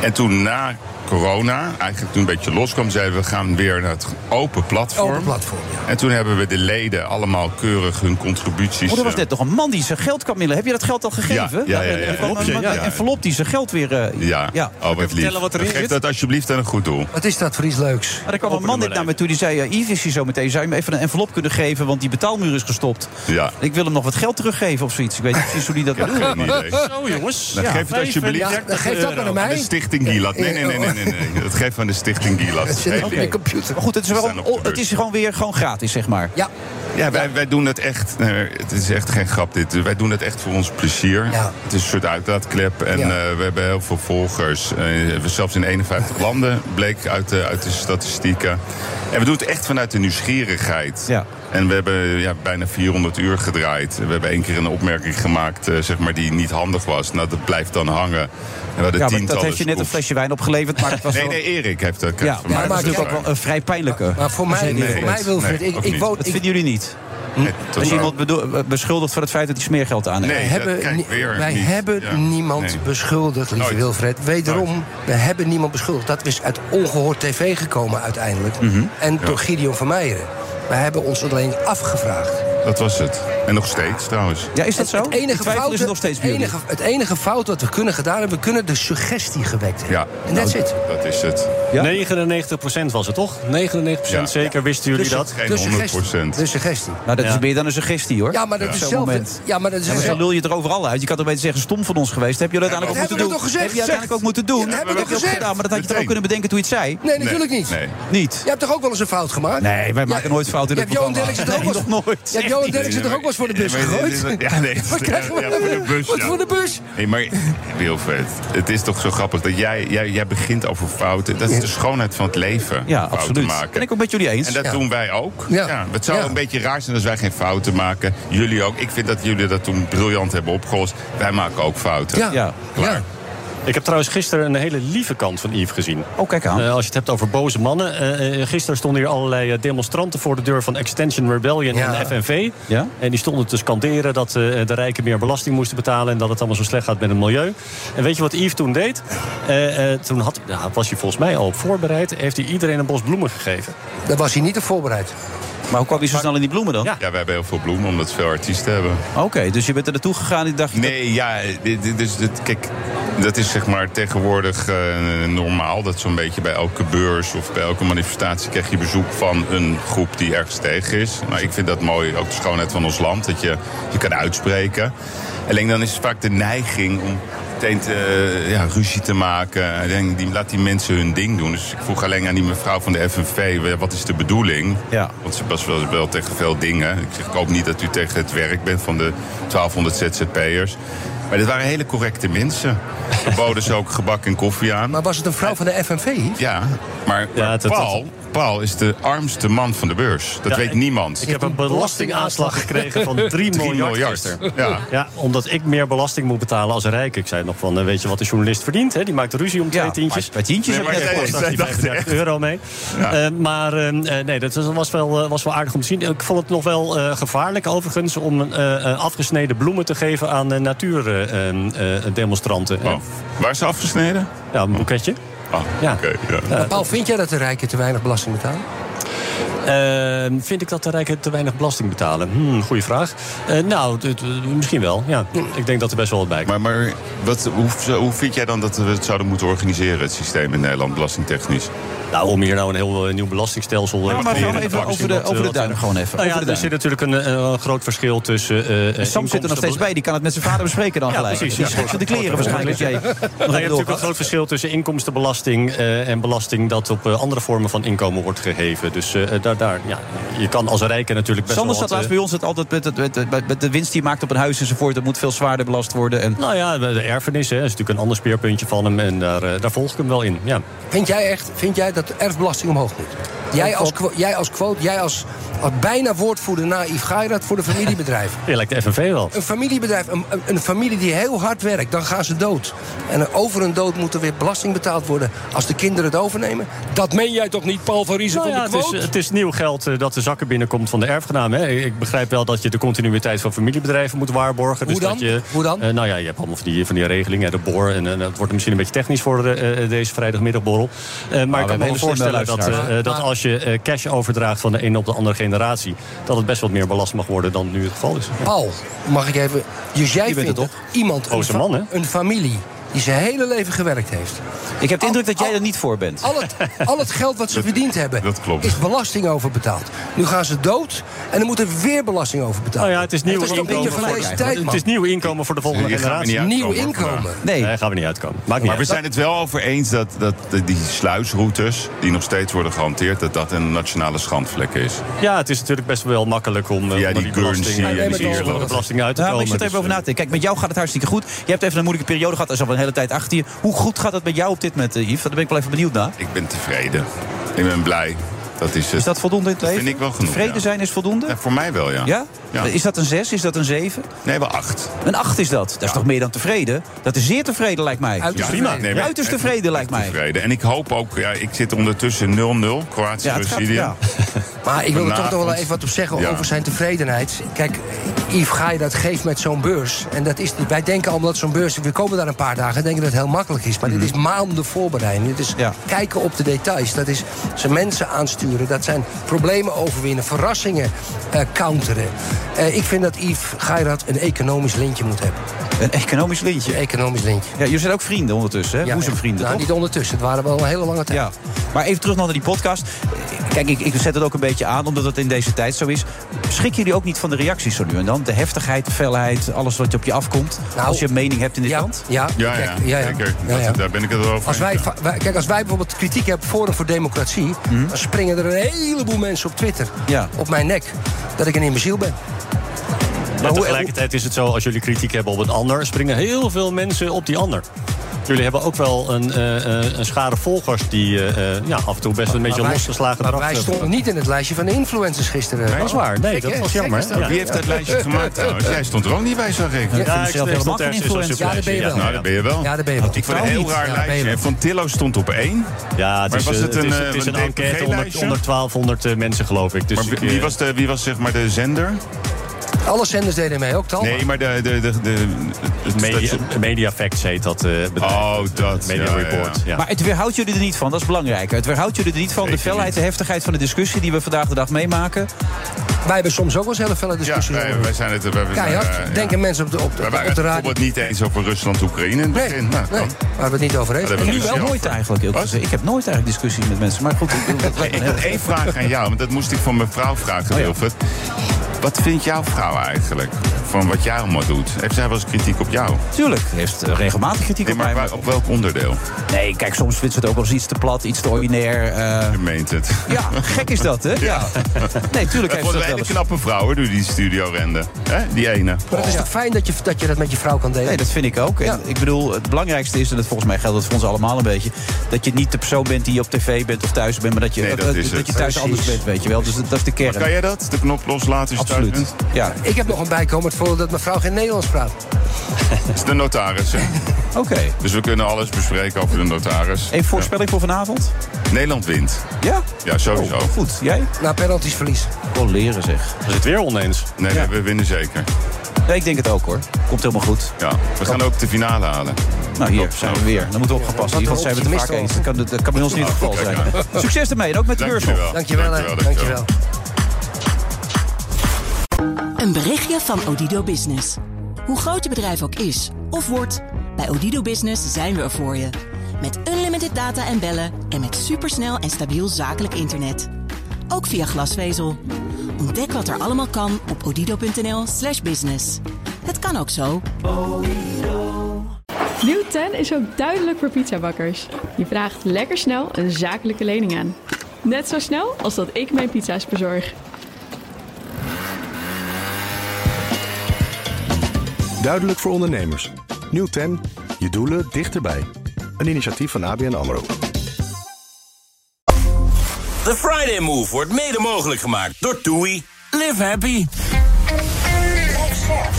En toen na corona, eigenlijk toen een beetje loskwam, zeiden we we gaan weer naar het open platform.
Open platform,
En toen hebben we de leden allemaal keurig hun contributies.
Oh, er was
eh,
net nog een man die zijn geld kwam inleggen. Heb je dat geld al gegeven?
Ja, ja, ja, ja.
Er kwam
Envelopje,
een man-
ja,
een
ja.
envelop die zijn geld weer... eh,
Ja,
Ja.
oh, wat lief.
vertellen wat erin
Geef
zit?
dat alsjeblieft aan een goed doel.
Wat is dat voor iets leuks?
Maar er kwam een man dit naar me toe die zei... eh, Yves is hier zo meteen, zou je hem even een envelop kunnen geven... want die betaalmuur is gestopt.
Ja.
Ik wil hem nog wat geld teruggeven of zoiets. Ik weet niet precies hoe die dat
Ja,
wil doen.
geen idee.
maar-
Zo, jongens.
Ja.
Dat geef het nou, alsjeblieft.
Ja, dan geef dat maar naar mij.
De Stichting Gielat. Nee, nee, nee, nee, nee.
[LAUGHS]
nee. Dat geeft aan de Stichting
[LAUGHS]
Gielat.
Het zit op je computer.
Maar goed, het is, wel,
op de
het is gewoon weer gewoon gratis, zeg maar.
Ja.
Ja, wij, wij doen dat echt. nee, het is echt geen grap dit. Wij doen dat echt voor ons plezier. Het is een soort uitlaatklep. En
Ja.
eh, we hebben heel veel volgers. Eh, we zelfs in
[LAUGHS]
51 landen bleek uit de, uit de statistieken. En we doen het echt vanuit de nieuwsgierigheid. En we hebben ja, bijna 400 uur gedraaid. We hebben één keer een opmerking gemaakt eh, zeg maar, die niet handig was. Nou, dat blijft dan hangen. En we hadden
Ja, maar dat
tientallen
heeft je net een
scoops.
flesje wijn opgeleverd. Maar het was
[LAUGHS] Nee,
wel-
nee, Erik heeft dat.
Ja,
van
maar
mij.
dat
Dat
is
is
natuurlijk ook
waar.
wel een vrij pijnlijke.
Maar voor
Als je
mij,
het niet
voor
weet.
mij Wilfred,
Nee,
ik,
of
ik
niet.
woon...
Dat
ik-
vinden jullie niet.
tot
Als
nou.
iemand bedo- eh, beschuldigd van het feit dat hij smeergeld aan heeft.
wij hebben, ni- wij hebben niemand beschuldigd, lieve Wilfred. Wederom, we hebben niemand beschuldigd. Dat is uit ongehoord tv gekomen uiteindelijk.
Mhm.
En door Gideon van Meijeren. We hebben ons alleen afgevraagd.
Dat was het. En nog steeds trouwens.
Ja, is dat zo?
Het enige,
Ik twijfel,
fout,
is het nog steeds bij
enige, het enige fout wat we kunnen gedaan hebben... we kunnen de suggestie gewekt hebben.
Ja,
En that's
nou,
it.
Dat is het.
99% was het toch? 99%
Ja.
zeker wisten jullie
Dus-
dat?
dus Geen 100%. De suggestie.
Nou, dat
Ja.
is meer dan een suggestie, hoor.
Ja, maar dat
Op
is
zo'n
hetzelfde.
moment.
Ja, maar dat is
Ja, maar dan lul je het er overal uit. Je kan toch beter zeggen, stom van ons geweest. Heb je dat
Ja,
uiteindelijk ook
dat
moeten doen?
hebben we toch
Heb je
gezegd?
uiteindelijk ook moeten doen?
Ja, dat hebben we
heb je ook
toch gezegd?
gedaan, maar dat had je toch ook kunnen bedenken toen je het zei?
Nee, natuurlijk niet.
Niet?
Je hebt toch ook wel eens een fout gemaakt?
Nee, wij maken nooit fouten
Je
in
hebt
dit
Johan
programma.
Derksen er ook wel eens...
Nee, nog nooit.
Je hebt Johan Derksen er ook wel eens voor de bus
Ja, maar dit is-
gegooid?
Ja, nee.
[LAUGHS] Wat krijgen we?
Ja, voor
[LAUGHS]
de bus,
Wat
ja.
voor de bus?
Nee, maar Wilfred, het is toch zo grappig dat jij, jij, jij begint over fouten. Dat is de schoonheid van het leven.
Ja,
fouten
absoluut.
maken.
Ben ik ook met jullie eens.
En dat
Ja.
doen wij ook.
Ja.
Ja. Het zou
Ja.
een beetje raar zijn als wij geen fouten maken. Jullie ook. Ik vind dat jullie dat toen briljant hebben opgelost. Wij maken ook fouten. Klaar.
Ik heb trouwens gisteren een hele lieve kant van Yves gezien.
Oh, kijk aan.
Eh, als je het hebt over boze mannen. eh, eh, gisteren stonden hier allerlei eh, demonstranten voor de deur van Extension Rebellion en de FNV.
Ja?
En die stonden te scanderen dat eh, de rijken meer belasting moesten betalen... en dat het allemaal zo slecht gaat met het milieu. En weet je wat Yves toen deed? Eh, eh, toen had, nou, was hij volgens mij al op voorbereid. Heeft hij iedereen een bos bloemen gegeven.
Daar was hij niet op voorbereid.
Maar hoe kwam je zo snel in die bloemen dan?
Ja. we hebben heel veel bloemen omdat we veel artiesten hebben.
Oké, dus je bent er naartoe gegaan en dacht...
Nee, ja, dit, dit, is- dit- kijk, dat is zeg maar tegenwoordig eh, normaal. Dat zo'n beetje bij elke beurs of bij elke manifestatie krijg je bezoek van een groep die ergens tegen is. Maar ik vind dat mooi, ook de schoonheid van ons land, dat je je kan uitspreken. Alleen dan is vaak de neiging om meteen te, eh, ja, ruzie te maken. Ik denk, die, laat die mensen hun ding doen. Dus ik vroeg alleen aan die mevrouw van de FNV, eh, wat is de bedoeling?
Ja.
Want ze was wel, wel tegen veel dingen. Ik zeg, ik hoop niet dat u tegen het werk bent van de 1200 ZZP'ers. Maar dit waren hele correcte mensen. Ze boden ze ook gebak en koffie aan.
Maar was het een vrouw van de FNV?
Ja, maar, maar
dat-
Paul,
dat-
Paul is de armste man van de beurs. Dat
Ja,
weet
ik-
niemand.
Ik heb een belastingaanslag
[LAUGHS]
gekregen van 3
Drie
miljard.
gisteren.
gisteren.
Ja.
Ja, omdat ik meer belasting moet betalen als rijk. Ik zei nog van, eh, weet je wat de journalist verdient? Hè? Die maakt ruzie om twee tientjes.
maar tientjes
Nee,
heb je
maar
net
zij-
gekost.
zij
Die
dachten
35
echt. euro mee. Eh, maar eh, eh, nee, dat was- was wel, eh, was wel aardig om te zien. Ik vond het nog wel eh, gevaarlijk overigens om eh, eh, afgesneden bloemen te geven aan eh, natuurdemonstranten.
Waar is afgesneden?
Ja, een boeketje. ja. Eh,
Maar Paul, vind jij dat de rijken te weinig belasting betalen?
Ehm, vind ik dat de rijken te weinig belasting betalen? Hmm, goeie vraag. Eh, nou, het- eh, misschien wel. Ja. Ik denk dat er best wel wat bij
Maar, maar wat, hoe, hoe vind jij dan dat we het zouden moeten organiseren, het systeem in Nederland, belastingtechnisch?
Nou, om hier nou een heel nieuw belastingstelsel eh,
Ja, maar gewoon even over de, over de duinen gewoon even.
Nou
Over
ja,
de
er
duinen.
zit natuurlijk een, eh, groot verschil tussen. eh, eh,
En Sam zit er nog steeds
inkomstenbela-
bij, die kan het met zijn vader bespreken dan
Ja,
gelijk.
precies.
Die
ja.
schrikt van de kleren waarschijnlijk.
Ja,
Jij,
je hebt natuurlijk een groot verschil tussen inkomstenbelasting eh, en belasting dat op eh, andere vormen van inkomen wordt geheven. Dus eh, daar, daar, ja, je kan als rijken natuurlijk best
Sander
wel. wat,
zat laatst
eh,
bij ons het altijd met, het- met, met- met de winst die hij maakt op een huis enzovoort. Dat moet veel zwaarder belast worden. En
Nou ja, de erfenis hè, is natuurlijk een ander speerpuntje van hem en daar, eh, daar volg ik hem wel in. Ja.
Vind jij echt vind jij dat de erfbelasting omhoog moet? Jij als, quo- jij als quote, jij als, als bijna woordvoerder na Yves Geirat voor de
[LAUGHS]
familiebedrijven.
Je lijkt de FNV wel.
Een familiebedrijf, een, een- een familie die heel hard werkt, dan gaan ze dood. En over hun dood moet er weer belasting betaald worden als de kinderen het overnemen. Dat meen jij toch niet, Paul van Riezen
Nou
van
ja,
de
het, is,
quote?
het is nieuw geld eh, dat de zakken binnenkomt van de erfgenaam. Hè. Ik begrijp wel dat je de continuïteit van familiebedrijven moet waarborgen.
Hoe
dus
dan?
Dat je,
Hoe dan?
nou ja, je hebt allemaal van die, van die regelingen, de BOR. En eh, dat wordt misschien een beetje technisch voor eh, eh, deze vrijdagmiddagborrel. Eh, maar ik
Nou, hebben
kan me wel
hele slimme
voorstellen dat, eh,
luisteraars.
eh, dat als je eh, cash overdraagt van de ene op de andere generatie... dat het best wat meer belast mag worden dan nu het geval is. Ja.
Paul, mag ik even... Dus jij
Je bent
vindt
het
dat iemand, een,
Oosterman,
fa-
hè?
een familie, die zijn hele leven gewerkt heeft...
Ik heb de indruk dat jij er niet voor bent.
Al het, al het geld wat ze verdiend hebben,
dat klopt.
is belasting over betaald. Nu gaan ze dood en dan moet er weer belasting over betaald
Nou ja, het is nieuw
Dat is toch een
inkomen
beetje van
voor
deze tijd,
Het
man.
is nieuw inkomen voor de volgende
Hier gaan we
generatie.
niet uitkomen Nieuw vandaag. inkomen?
Nee. daar gaan we niet uitkomen. Maakt niet
maar we
uit.
zijn het wel over eens dat, dat de- die sluisroutes, die nog steeds worden gehanteerd, dat dat een nationale schandvlek is.
Ja, het is natuurlijk best wel makkelijk om eh,
Ja,
om
die
die
Guernsey
belasting,
en die
om
Ierland.
de belasting uit te
Ja, Nou,
komen.
maar ik zit er
Dus,
even over na te denken. Kijk, met jou gaat het hartstikke goed. Je hebt even een moeilijke periode gehad. Dat is al een hele tijd achter je. Hoe goed gaat het met jou op dit moment, eh, Yves? Daar ben ik wel even benieuwd naar.
Ik ben tevreden. Ik ben blij. Dat is het.
Is dat voldoende in het leven?
vind ik wel genoeg,
Tevreden
ja.
zijn is voldoende?
Ja, voor mij wel, ja.
Ja?
Ja.
Is dat een 6? Is dat een 7?
Nee, wel 8.
Een 8 is dat. Dat is toch meer dan tevreden? Dat is zeer tevreden, lijkt mij.
Ja,
prima.
nee, maar-
Uiterst tevreden, lijkt mij.
Tevreden. En ik hoop ook, ja, ik zit ondertussen 0-0,
Ja, het
Kroatië-Brazilië.
gaat- Maar Ah, ik wil er toch nog wel
Vanavond.
even wat op zeggen
Ja.
over zijn tevredenheid. Kijk, Yves Gaai dat geeft met zo'n beurs. En dat is, wij denken allemaal dat zo'n beurs... We komen daar een paar dagen en denken dat het heel makkelijk is. Maar dit is maanden voorbereiding. Dit is kijken op de details. Dat is zijn mensen aansturen. Dat zijn problemen overwinnen. Verrassingen eh, counteren. Eh, ik vind dat Yves Geirat een economisch lintje moet hebben.
Een economisch lintje?
economisch lintje.
Ja, jullie zijn ook vrienden ondertussen, hè? Boezemvrienden,
Nou,
toch?
niet ondertussen. Het waren wel een hele lange tijd.
Ja. Maar even terug nog naar die podcast. Kijk, ik, ik zet het ook een beetje aan, omdat het in deze tijd zo is. Schrikken jullie ook niet van de reacties zo nu en dan? De heftigheid, de felheid, alles wat op je afkomt. als je een mening hebt in dit land?
Nou, Ja,
Ja, ja,
ja, ja.
zeker.
Ja, ja.
Dat- daar ben ik het wel over.
Als wij,
eens, ja.
va- wij- kijk, als wij bijvoorbeeld kritiek hebben op Forum voor Democratie... dan springen er een heleboel mensen op Twitter op mijn nek... dat ik een imbeziel ben.
Maar tegelijkertijd is het zo, als jullie kritiek hebben op een ander, springen heel veel mensen op die ander. Jullie hebben ook wel een, eh, eh, een schare volgers die eh, eh, ja, af en toe best een beetje
Maar wij-
losgeslagen
Maar
gedrag
wij
hebben.
stonden niet in het lijstje van de influencers gisteren.
Nee, dat is waar. Nee,
Gek,
dat
hè?
was jammer,
Gek is
hè? Ja.
Wie heeft dat
[LAUGHS]
lijstje gemaakt trouwens? Jij stond er ook niet bij, zag ik.
Ja, ik vind mezelf helemaal geen influencer. Ja, daar ben je wel.
Nou, daar ben je wel.
Ja, daar ben je wel.
Ik vond het een heel raar lijstje. hè. Van Tillo stond op één.
Ja, het
Maar
is,
was
eh,
het
het
een,
is,
eh,
het is
een
een enquête onder,
DPG-lijstje?
onder 1200 eh, mensen, geloof ik. Dus
Maar wie-
ik, eh,
wie was, de, wie was zeg maar de zender?
Alle zenders deden mee, ook Talma.
Nee, maar de... de, de, de het
Media, Media Facts heet dat eh, bedrijf.
Oh, dat.
Media
ja, ja, ja.
Report, ja.
Maar het weerhoudt jullie er niet van, dat is belangrijk. Het weerhoudt jullie er niet van, de felheid, de heftigheid van de discussie die we vandaag de dag meemaken.
Wij hebben soms ook wel eens hele felle discussies.
Ja, wij, wij zijn het... Wij, wij-
Keihard.
eh, ja.
Denken mensen op de, op de,
We
op de
waren het
radio.
bijvoorbeeld niet eens over Rusland-Oekraïne in het
Nee,
begin. Nou,
nee,
kan.
waar we het niet over eens.
Dat
En
hebben
nu
we dus
wel
zelf.
nooit
eigenlijk. heel gezegd. Ik heb nooit eigenlijk discussie met mensen. Maar goed, ik, dat
Hey,
lijkt
ik
me
had
heel-
één
Oh
vraag aan jou, want dat moest ik van mijn vrouw vragen, Wilfred. Wat vindt jouw vrouw eigenlijk van wat jij allemaal doet. Heeft zij wel eens kritiek op jou?
Tuurlijk, heeft eh, regelmatig kritiek
op mij. Maar op welk onderdeel?
Nee, kijk, soms vindt ze het ook wel eens iets te plat, iets te ordinair. eh.
Je meent het.
Ja, gek is dat, hè? Ja. Nee,
Het
tuurlijk heeft ze
een
dat wel
hele
eens.
knappe vrouw, hoor, door die studio rende. Hè? Die ene.
Maar het is toch fijn dat je dat, je dat met je vrouw kan delen?
Nee, dat vind ik ook. En Ik bedoel, het belangrijkste is, en dat volgens mij geldt dat voor ons allemaal een beetje... dat je niet de persoon bent die je op tv bent of thuis bent... maar dat je,
Nee, dat is het.
je thuis
Precies.
anders bent, weet je wel. Dus dat, dat is de kern.
Maar kan jij dat? De knop loslaten als je thuis
Absoluut. Ja.
Ik heb nog een bijkomend voordeel dat mijn vrouw geen Nederlands praat.
Het is de notaris.
[LAUGHS] Oké.
Dus we kunnen alles bespreken over de notaris.
Even voorspelling voor vanavond?
Nederland wint.
Ja? Oh,
Ja, sowieso.
goed, jij?
Na penalties verlies.
Gewoon leren, zeg.
Is het weer oneens?
Nee,
Ja.
we winnen zeker.
Nee, ik denk het ook, hoor. Komt helemaal goed.
Ja, we gaan ook de finale halen.
Nou, hier zijn we weer. Dan moeten we opgepast. In ieder geval zijn we het er vaak eens. Dat kan, dat kan bij ons niet het geval zijn. Succes ermee en ook met de beurs.
Oh, Dankjewel.
Dankjewel, hè. Dankjewel.
Een berichtje van Odido Business. Hoe groot je bedrijf ook is of wordt, bij Odido Business zijn we er voor je. Met unlimited data en bellen en met supersnel en stabiel zakelijk internet. Ook via glasvezel. Ontdek wat er allemaal kan op odido.nl/slash business. Het kan ook zo.
Nieuw 10 is ook duidelijk voor pizzabakkers. Je vraagt lekker snel een zakelijke lening aan. Net zo snel als dat ik mijn pizza's bezorg.
Duidelijk voor ondernemers. Nieuw ten, je doelen dichterbij. Een initiatief van ABN AMRO.
De Friday Move wordt mede mogelijk gemaakt door TUI. Live happy.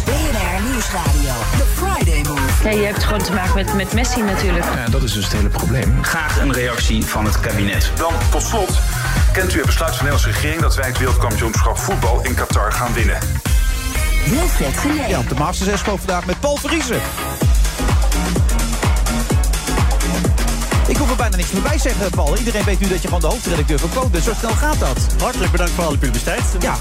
BNR Nieuwsradio. The Friday Move. Ja, je hebt gewoon te maken met, met Messi natuurlijk.
Ja, dat is dus het hele probleem. Graag een reactie van het kabinet. Dan tot slot. Kent u het besluit van de Nederlandse regering dat wij het wereldkampioenschap voetbal in Qatar gaan winnen?
Wilfred Genee. Ja, op de Masters Expo vandaag met Paul Verriezen. Ik hoef er bijna niks meer bij te zeggen, Paul. Iedereen weet nu dat je gewoon de hoofdredacteur van Code bent. Zo snel gaat dat.
Hartelijk bedankt voor alle publiciteit.
Ja,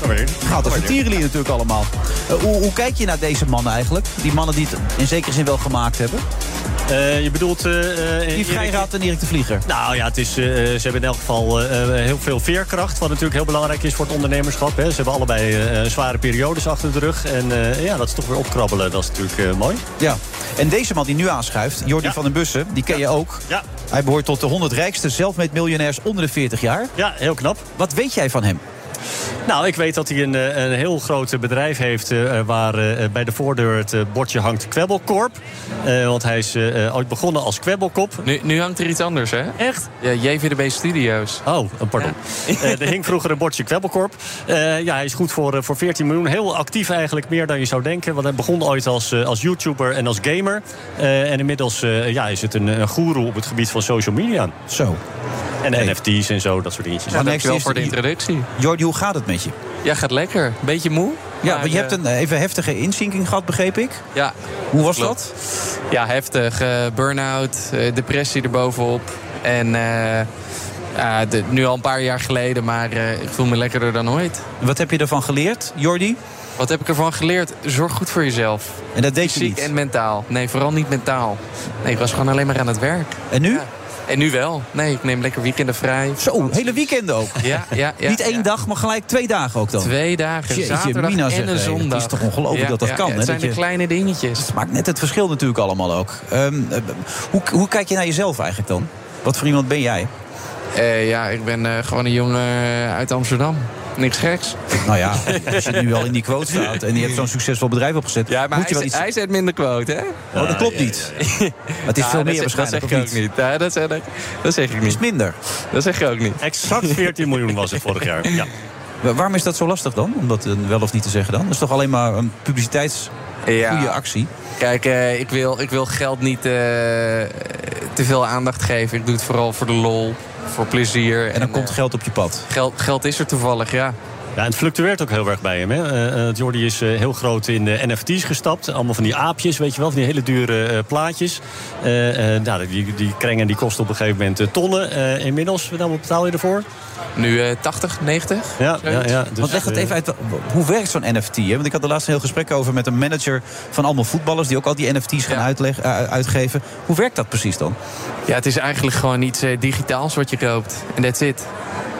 gaat als een tierenlier natuurlijk allemaal. Eh, hoe, hoe kijk je naar deze mannen eigenlijk? Die mannen die het in zekere zin wel gemaakt hebben.
Eh, je bedoelt...
Yves Geiraat en Erik de Vlieger.
Nou ja, het is, eh, ze hebben in elk geval eh, eh, heel veel veerkracht. Wat natuurlijk heel belangrijk is voor het ondernemerschap. Hè. Ze hebben allebei eh, zware periodes achter de rug. En eh, ja, dat is toch weer opkrabbelen. Dat is natuurlijk eh, mooi.
Ja. En deze man die nu aanschuift, Jordi van den Bussen, die ken je ook.
Ja.
Hij behoort tot de 100 rijkste zelfmeetmiljonairs onder de 40 jaar.
Ja, heel knap.
Wat weet jij van hem?
Nou, ik weet dat hij een, eh, een heel groot eh, bedrijf heeft... eh, waar eh, bij de voordeur het eh, bordje hangt Kwebbelkorp. Eh, want hij is eh, eh, ooit begonnen als Kwebbelkop.
Nu, nu hangt er iets anders, hè?
Echt?
Ja, JVDB Studios.
Oh, pardon. Eh, er hing vroeger een bordje kwebbelkorp. Eh, ja, hij is goed voor, eh, voor 14 miljoen. Heel actief eigenlijk, meer dan je zou denken. Want hij begon ooit als, eh, als YouTuber en als gamer. Eh, en inmiddels eh, ja, is het een, een goeroe op het gebied van social media.
Zo.
En NFT's en zo, dat soort dingetjes.
Ja, dankjewel voor de introductie.
Jordi, hoe gaat het met je?
Ja, gaat lekker. Beetje moe.
Ja,
maar,
want je hebt
eh,
een eh, even heftige inzinking gehad, begreep ik.
Ja.
Hoe was
dat? Ja, heftig. Eh, Burn-out, eh, depressie erbovenop. En eh, ja, de- nu al een paar jaar geleden, maar eh, ik voel me lekkerder dan ooit.
Wat heb je ervan geleerd, Jordi?
Wat heb ik ervan geleerd? Zorg goed voor jezelf.
En dat deed je
Fysiek
niet?
en mentaal. Nee, vooral niet mentaal. Nee, ik was gewoon alleen maar aan het werk.
En nu?
En nu wel. Nee, ik neem lekker weekenden vrij.
Zo, hele weekenden ook.
Ja, ja, ja.
Niet één
ja.
dag, maar gelijk twee dagen ook dan.
Twee dagen,
Jeetje,
zaterdag
Mina,
en
zeg,
een
hé,
zondag.
Het is toch ongelooflijk
Ja,
dat dat
ja,
kan.
ja,
hè,
het zijn
dat
de
je-
kleine dingetjes.
Het maakt net het verschil natuurlijk allemaal ook. Ehm, eh, hoe, hoe kijk je naar jezelf eigenlijk dan? Wat voor iemand ben jij?
Eh, ja, ik ben eh, gewoon een jongen uit Amsterdam. Niks geks.
Nou ja, [LAUGHS] als je nu al in die quote staat en je hebt zo'n succesvol bedrijf opgezet, ja,
Maar
moet
hij,
je wel iets.
zet- hij zet minder quote, hè?
Oh, dat klopt niet. Het is
Ja,
veel
dat
meer
zeg-
waarschijnlijk.
Dat zeg ik ook niet. Ja, dat, zeg, dat, dat zeg ik niet. Het is
minder.
Dat zeg ik ook niet.
Exact 14 miljoen was het vorig jaar. Ja.
Wa- Waarom is dat zo lastig dan? Om dat eh, wel of niet te zeggen dan? Dat is toch alleen maar een publiciteits...
Ja.
Goede actie.
Kijk, eh, ik, wil, ik wil geld niet eh, te veel aandacht geven. Ik doe het vooral voor de lol, voor plezier. En dan
komt geld op je pad.
Geld, geld is er toevallig, ja.
Ja, en het fluctueert ook heel erg bij hem. Hè. Eh, eh, Jordi is eh, heel groot in de NFT's gestapt. Allemaal van die aapjes, weet je wel, van die hele dure eh, plaatjes. Eh, eh, nou, die, die krengen die kosten op een gegeven moment eh, tonnen. Eh, inmiddels, wat betaal je ervoor?
Nu eh, 80, 90?
Ja, ja, ja.
dus-
dus, eh,
Want leg het even uit, hoe werkt zo'n NFT? Hè? Want ik had er laatst een heel gesprek over met een manager van allemaal voetballers... die ook al die NFT's gaan uitleg- eh, uitgeven. Hoe werkt dat precies dan?
Ja, het is eigenlijk gewoon iets eh, digitaals wat je koopt. En that's it.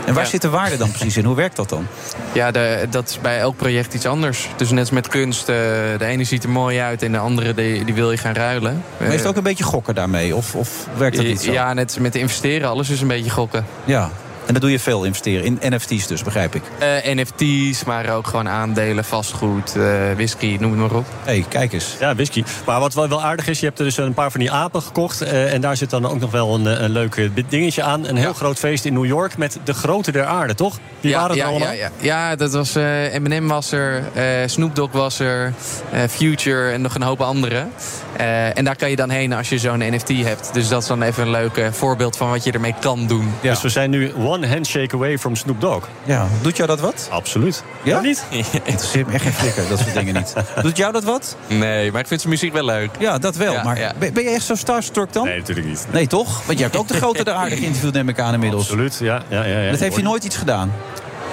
En waar ja. zit de waarde dan precies in? Hoe werkt dat dan?
Ja, de, dat is bij elk project iets anders. Dus net als met kunst, de ene ziet er mooi uit en de andere die, die wil je gaan ruilen. Eh,
Maar is het ook een beetje gokken daarmee? Of, of werkt dat niet zo?
Ja, net met investeren, alles is een beetje gokken.
Ja, en dat doe je veel investeren. In NFT's dus, begrijp ik.
Uh, NFT's, maar ook gewoon aandelen, vastgoed, uh, whisky, noem het maar op.
Hé, hey, kijk eens.
Ja, whisky. Maar wat wel aardig is, je hebt er dus een paar van die apen gekocht.
Eh,
Uh, en daar zit dan ook nog wel een, een leuk dingetje aan. Een heel ja. groot feest in New York met de grote der aarde, toch? Wie
ja,
waren
ja,
er allemaal?
Ja, ja. ja, dat was eh, Eminem was er, eh, Snoop Dogg was er, eh, Future en nog een hoop anderen. Eh, en daar kan je dan heen als je zo'n NFT hebt. Dus dat is dan even een leuk voorbeeld van wat je ermee kan doen.
Dus we zijn nu one handshake away from Snoop Dogg.
Ja, doet jou dat wat?
Absoluut.
Ja?
Dat
[LAUGHS]
niet?
Het is echt geen flikker, dat soort dingen niet. Doet jou dat wat?
Nee, maar ik vind zijn muziek wel leuk.
Ja, dat wel. Ja, maar ja. Ben, ben, je echt zo starstruck dan?
Nee, natuurlijk niet.
Nee, toch? Want je hebt ook de grote de aardig interview neem ik aan inmiddels.
Absoluut, ja. ja, ja, ja
dat heeft je nooit iets gedaan?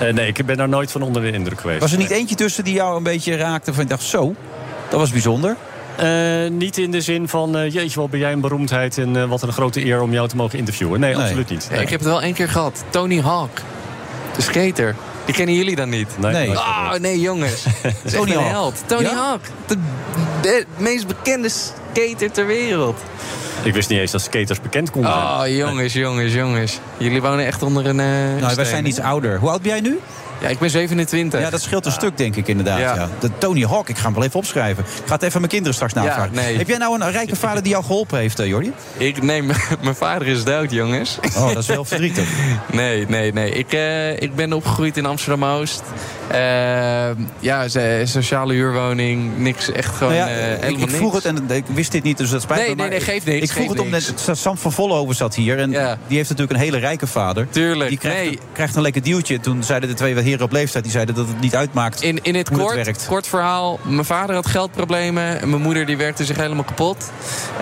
Uh, nee, ik ben daar nooit van onder de indruk geweest.
Was er niet eentje tussen die jou een beetje raakte van je dacht zo, dat was bijzonder?
Uh, niet in de zin van, uh, jeetje, wat ben jij een beroemdheid en uh, wat een grote eer om jou te mogen interviewen. Nee, nee. absoluut niet. Nee.
ik heb het wel één keer gehad. Tony Hawk, de skater. Die kennen jullie dan niet?
Nee. nee.
Oh, nee,
[LAUGHS]
jongens. Tony Hawk. Held. Tony ja? Hawk, de, de meest bekende skater ter wereld.
Ik wist niet eens dat skaters bekend konden zijn.
Oh, jongens, jongens, jongens. Jullie wonen echt onder een... nou,
wij zijn iets ouder. Hoe oud ben jij nu?
Ja, ik ben 27.
Ja, dat scheelt een ah. stuk, denk ik inderdaad. Ja. ja. De Tony Hawk, ik ga hem wel even opschrijven. Ik ga het even mijn kinderen straks navragen. Ja, nee. Heb jij nou een rijke vader die jou geholpen heeft, eh, Jordi?
Ik, nee, [LAUGHS] mijn vader is dood, jongens.
Oh, dat is
[LAUGHS]
wel verdrietig.
nee, nee, nee. Ik, uh, ik ben opgegroeid in Amsterdam-Oost. Uh, ja, sociale huurwoning, niks, echt gewoon nou ja, uh, helemaal
ik, ik vroeg
niks.
het en ik wist dit niet, dus dat spijt
nee,
me.
Nee, nee, geeft niks.
Ik vroeg het
niks.
omdat Sam van Vollenhoven zat hier. En ja. die heeft natuurlijk een hele rijke vader.
Tuurlijk,
Die krijgt,
nee.
een, krijgt een lekker duwtje. Toen zeiden de twee heren op leeftijd, die zeiden dat het niet uitmaakt
in, in het,
hoe
kort,
het werkt.
kort verhaal, mijn vader had geldproblemen. En mijn moeder die werkte zich helemaal kapot.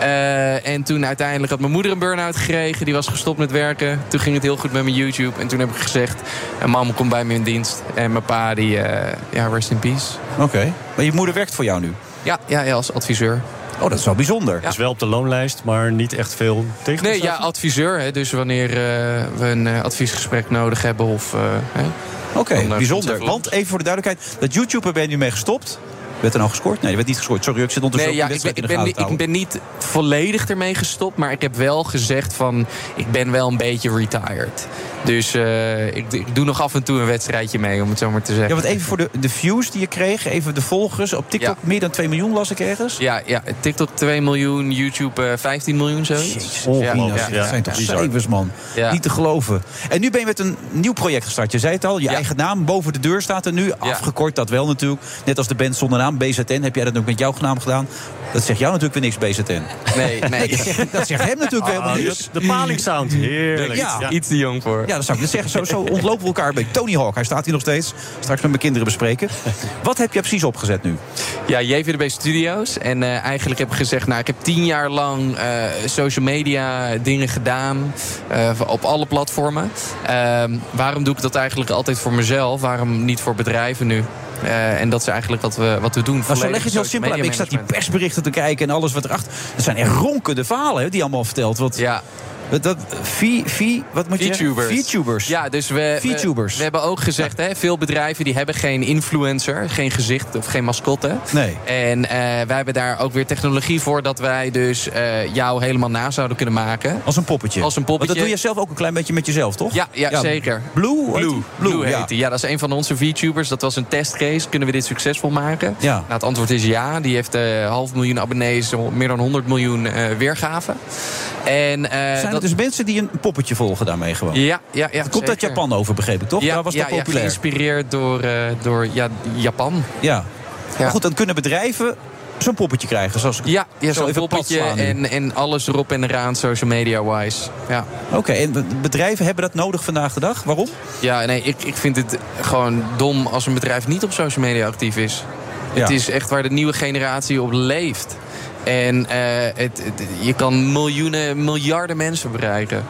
Uh, en toen uiteindelijk had mijn moeder een burn-out gekregen. Die was gestopt met werken. Toen ging het heel goed met mijn YouTube. En toen heb ik gezegd, mama komt bij me in dienst. En mijn pa die eh, ja, rest in peace.
Oké. Okay. Maar je moeder werkt voor jou nu?
Ja, ja, ja als adviseur.
Oh, dat is wel bijzonder.
Ja. Is wel op de loonlijst, maar niet echt veel tegen.
Nee, ja, adviseur. Hè, dus wanneer uh, we een uh, adviesgesprek nodig hebben of... Uh,
Oké, okay, bijzonder. Want even voor de duidelijkheid, dat YouTuber ben je nu mee gestopt. Werd er nou gescoord? Nee, je werd niet gescoord. Sorry, ik zit ondertussen
nee, ja, ik ben, ik, ben, niet, ik ben niet volledig ermee gestopt. Maar ik heb wel gezegd van... ik ben wel een beetje retired. Dus uh, ik, ik, doe nog af en toe een wedstrijdje mee, om het zo maar te zeggen.
Ja, want even voor de, de views die je kreeg. Even de volgers. Op TikTok ja. meer dan 2 miljoen las ik ergens.
Ja, ja TikTok 2 miljoen. YouTube uh, 15 miljoen, zoiets.
Jezus, oh, ja. ja. Dat zijn toch cijfers, man. Niet te geloven. En nu ben je met een nieuw project gestart. Je zei het al, je eigen naam. Boven de deur staat er nu. Afgekort, dat wel natuurlijk. Net als de band zonder naam. BZN. Heb jij dat ook met jouw naam gedaan? Dat zegt jou natuurlijk weer niks, BZN.
Nee,
[LAUGHS]
nee.
dat, zegt, dat zegt hem natuurlijk weer helemaal niks.
De paling sound. Heerlijk.
Ja. ja. Iets te jong voor.
Ja, dat zou ik net zeggen. Zo, zo ontlopen we elkaar bij Tony Hawk. Hij staat hier nog steeds. Straks met mijn kinderen bespreken. Wat heb je precies opgezet nu?
Ja, JVDB Studios. En uh, eigenlijk heb ik gezegd, nou, ik heb tien jaar lang uh, social media dingen gedaan. Uh, op alle platformen. Ehm, waarom doe ik dat eigenlijk altijd voor mezelf? Waarom niet voor bedrijven nu? Uh, en dat is eigenlijk wat we, wat we doen.
Nou, zo leg je het heel simpel uit. Ik zat die persberichten te kijken en alles wat erachter... Dat zijn echt ronkende verhalen hè, die allemaal verteld. Wat,
ja.
Wat, dat, v, v, wat moet
VTubers.
je VTubers.
Ja, dus we,
VTubers.
We, we hebben ook gezegd, ja. hè, veel bedrijven die hebben geen influencer, geen gezicht of geen mascotte.
Nee.
En uh, wij hebben daar ook weer technologie voor dat wij dus uh, jou helemaal na zouden kunnen maken.
Als een poppetje.
Als een poppetje.
Maar dat doe je zelf ook een klein beetje met jezelf, toch?
Ja, ja, ja zeker.
Blue?
Blue, Blue, Blue heet ja. ja. dat is een van onze VTubers. Dat was een testcase. Kunnen we dit succesvol maken?
Ja.
Nou, het antwoord is ja. Die heeft uh, half miljoen abonnees, meer dan 100 miljoen eh, weergaven. En... eh,
Zijn dat... dus mensen die een poppetje volgen daarmee gewoon?
Ja, ja, ja.
Dat komt uit Japan over, begreep ik toch?
Ja,
Daar was
ja,
dat populair.
Ja, geïnspireerd door, uh, door ja, Japan.
Ja. ja. Maar goed, dan kunnen bedrijven zo'n poppetje krijgen. Zoals
ja, ja zo'n
zo
poppetje en, en alles erop en eraan, social media-wise. Ja.
Oké, okay, en bedrijven hebben dat nodig vandaag de dag? Waarom?
Ja, nee, ik, ik vind het gewoon dom als een bedrijf niet op social media actief is. Ja. Het is echt waar de nieuwe generatie op leeft. En uh, het, het, je kan miljoenen, miljarden mensen bereiken.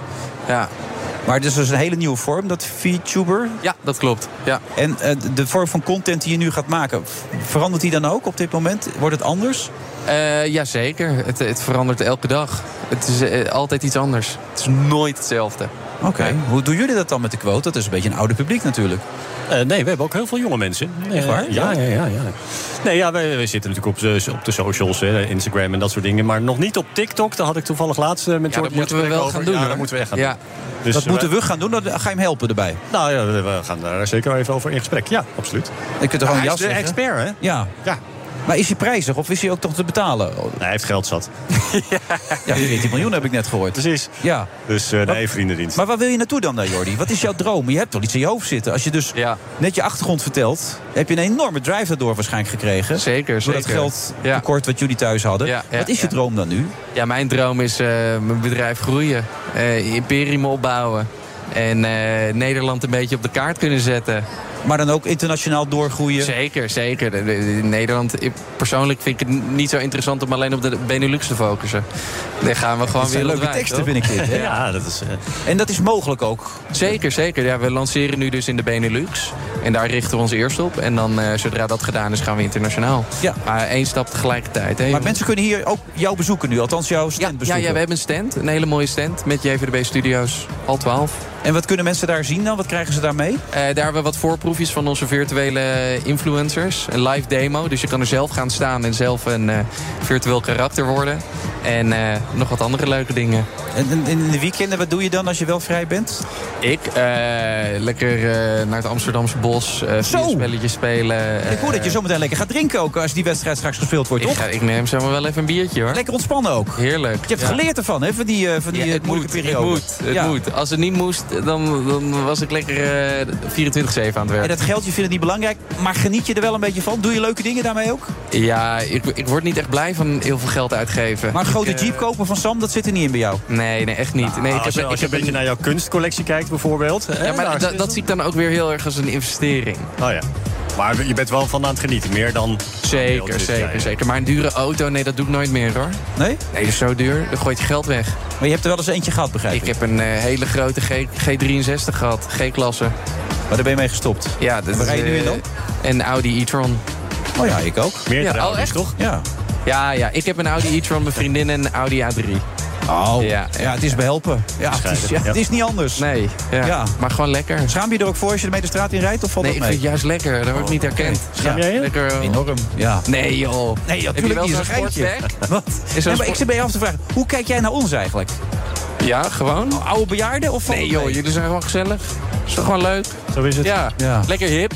Ja.
Maar het is dus een hele nieuwe vorm, dat VTuber?
Ja, dat klopt. Ja.
En uh, de vorm van content die je nu gaat maken, verandert die dan ook op dit moment? Wordt het anders?
Uh, Jazeker, het, het verandert elke dag. Het is altijd iets anders. Het is nooit hetzelfde.
Oké, Oké, okay. nee. hoe doen jullie dat dan met de quote? Dat is een beetje een oude publiek natuurlijk.
Uh, nee, we hebben ook heel veel jonge mensen.
Uh,
Eh,
Echt waar?
Ja, ja, ja. ja, Nee, ja, wij, wij zitten natuurlijk op de, op de socials, hè, Instagram en dat soort dingen. Maar nog niet op TikTok. Daar had ik toevallig laatst eh, met
ja, dat moeten we wel
over.
gaan doen.
Ja,
hoor.
dat moeten we echt gaan ja. doen. eh,
Dus dat moeten we gaan doen, dan
eh,
ga je hem helpen erbij.
Nou ja, we gaan daar zeker even over in gesprek. Ja, absoluut.
Ik kunt er gewoon
hij
jas
is de
zeggen.
expert, hè? Nou,
Ja. ja. Maar is hij prijzig of is hij ook toch te betalen?
Nee, hij heeft geld
[LAUGHS]
zat.
ja. ja, 14 miljoen heb ik net gehoord.
Precies.
Ja.
Dus uh, nee, vriendendienst.
Maar waar wil je naartoe dan, daar, Jordi? Wat is jouw droom? Je hebt toch iets in je hoofd zitten. Als je dus ja. net je achtergrond vertelt, heb je een enorme drive daardoor waarschijnlijk gekregen.
Zeker,
Door dat geld tekort wat jullie thuis hadden. Ja, wat is je droom dan nu?
Ja, mijn droom is uh, mijn bedrijf groeien. Uh, imperium opbouwen. En uh, Nederland een beetje op de kaart kunnen zetten.
Maar dan ook internationaal doorgroeien?
Zeker, zeker. In Nederland, ik, persoonlijk vind ik het niet zo interessant om alleen op de Benelux te focussen. Daar gaan we gewoon weer
leuke teksten, vind ik
[LAUGHS]
dit.
ja. ja, dat is... eh,
Uh... En dat is mogelijk ook?
Zeker, zeker. Ja, we lanceren nu dus in de Benelux. En daar richten we ons eerst op. En dan, uh, zodra dat gedaan is, gaan we internationaal. Ja. Maar één stap tegelijkertijd. Hè,
maar mensen kunnen hier ook jou bezoeken nu, althans jouw stand
ja,
bezoeken.
Ja, ja, we hebben een stand. Een hele mooie stand met JVDB Studios. Al 12.
En wat kunnen mensen daar zien dan? Wat krijgen ze daarmee? Uh,
Eh, daar hebben we wat voorproefjes van onze virtuele influencers. Een live demo. Dus je kan er zelf gaan staan en zelf een uh, virtueel karakter worden. En uh, nog wat andere leuke dingen.
En in de weekenden, wat doe je dan als je wel vrij bent?
Ik? eh, lekker eh, naar het Amsterdamse bos. spelletjes spelen. eh,
ik hoor dat je zometeen lekker gaat drinken ook als die wedstrijd straks gespeeld wordt,
ik
toch?
Ga, ik neem zomaar wel even een biertje hoor.
Lekker ontspannen ook.
Heerlijk.
Je hebt ja. geleerd ervan, hè? Van die, eh, van die ja,
het
moeilijke
moet,
periode.
Het moet, het ja. moet. Als het niet moest, dan, dan was ik lekker uh, 24-7 aan het werk. En
dat geld, je vindt het niet belangrijk, maar geniet je er wel een beetje van? Doe je leuke dingen daarmee ook?
Ja, ik, ik word niet echt blij van heel veel geld uitgeven.
Maar een grote
ik, eh,
uh... jeep kopen van Sam, dat zit er niet in bij jou?
Nee, nee echt niet. Nou, nee,
ik als, heb, je, als je een beetje naar jouw kunstcollectie kijkt bijvoorbeeld.
Ja, maar daar, da, dat zie ik dan ook weer heel erg als een investering.
Oh ja. Maar je bent wel van aan het genieten, meer dan...
Zeker, dus, zeker, ja, ja. zeker. Maar een dure auto, nee, dat doe ik nooit meer, hoor.
Nee?
Nee, dat is zo duur. Dan gooit je geld weg.
Maar je hebt er wel eens eentje gehad, begrijp ik?
Ik heb een uh, hele grote G G63 gehad, G-klasse.
Maar daar ben je mee gestopt?
Ja. eh,
Dat, waar rij je nu in dan?
Een Audi e-tron.
Oh ja, ik ook.
Meerdere ja, Audi's, oh, echt? toch?
Ja.
Ja, ja. Ik heb een Audi e-tron, mijn vriendin en een Audi A3.
Oh, ja, ja, het is behelpen. Ja, het is, ja, het is niet anders.
Nee, ja. ja. maar gewoon lekker.
Schaam je er ook voor als je ermee de straat in rijdt? Of valt
nee,
dat
ik
mee?
vind het juist lekker. Dat wordt oh, niet herkend.
Schaam jij je?
Lekker, eh,
uh... Enorm, ja.
Nee joh.
Nee, natuurlijk niet. Heb je wel zo'n Wat? Is zo [LAUGHS] nee, maar ik zit bij je af te vragen, hoe kijk jij naar ons eigenlijk?
Ja, gewoon.
O, oude bejaarden? Of
nee joh, jullie zijn gewoon gezellig. Is toch gewoon leuk?
Zo is het.
ja. lekker hip.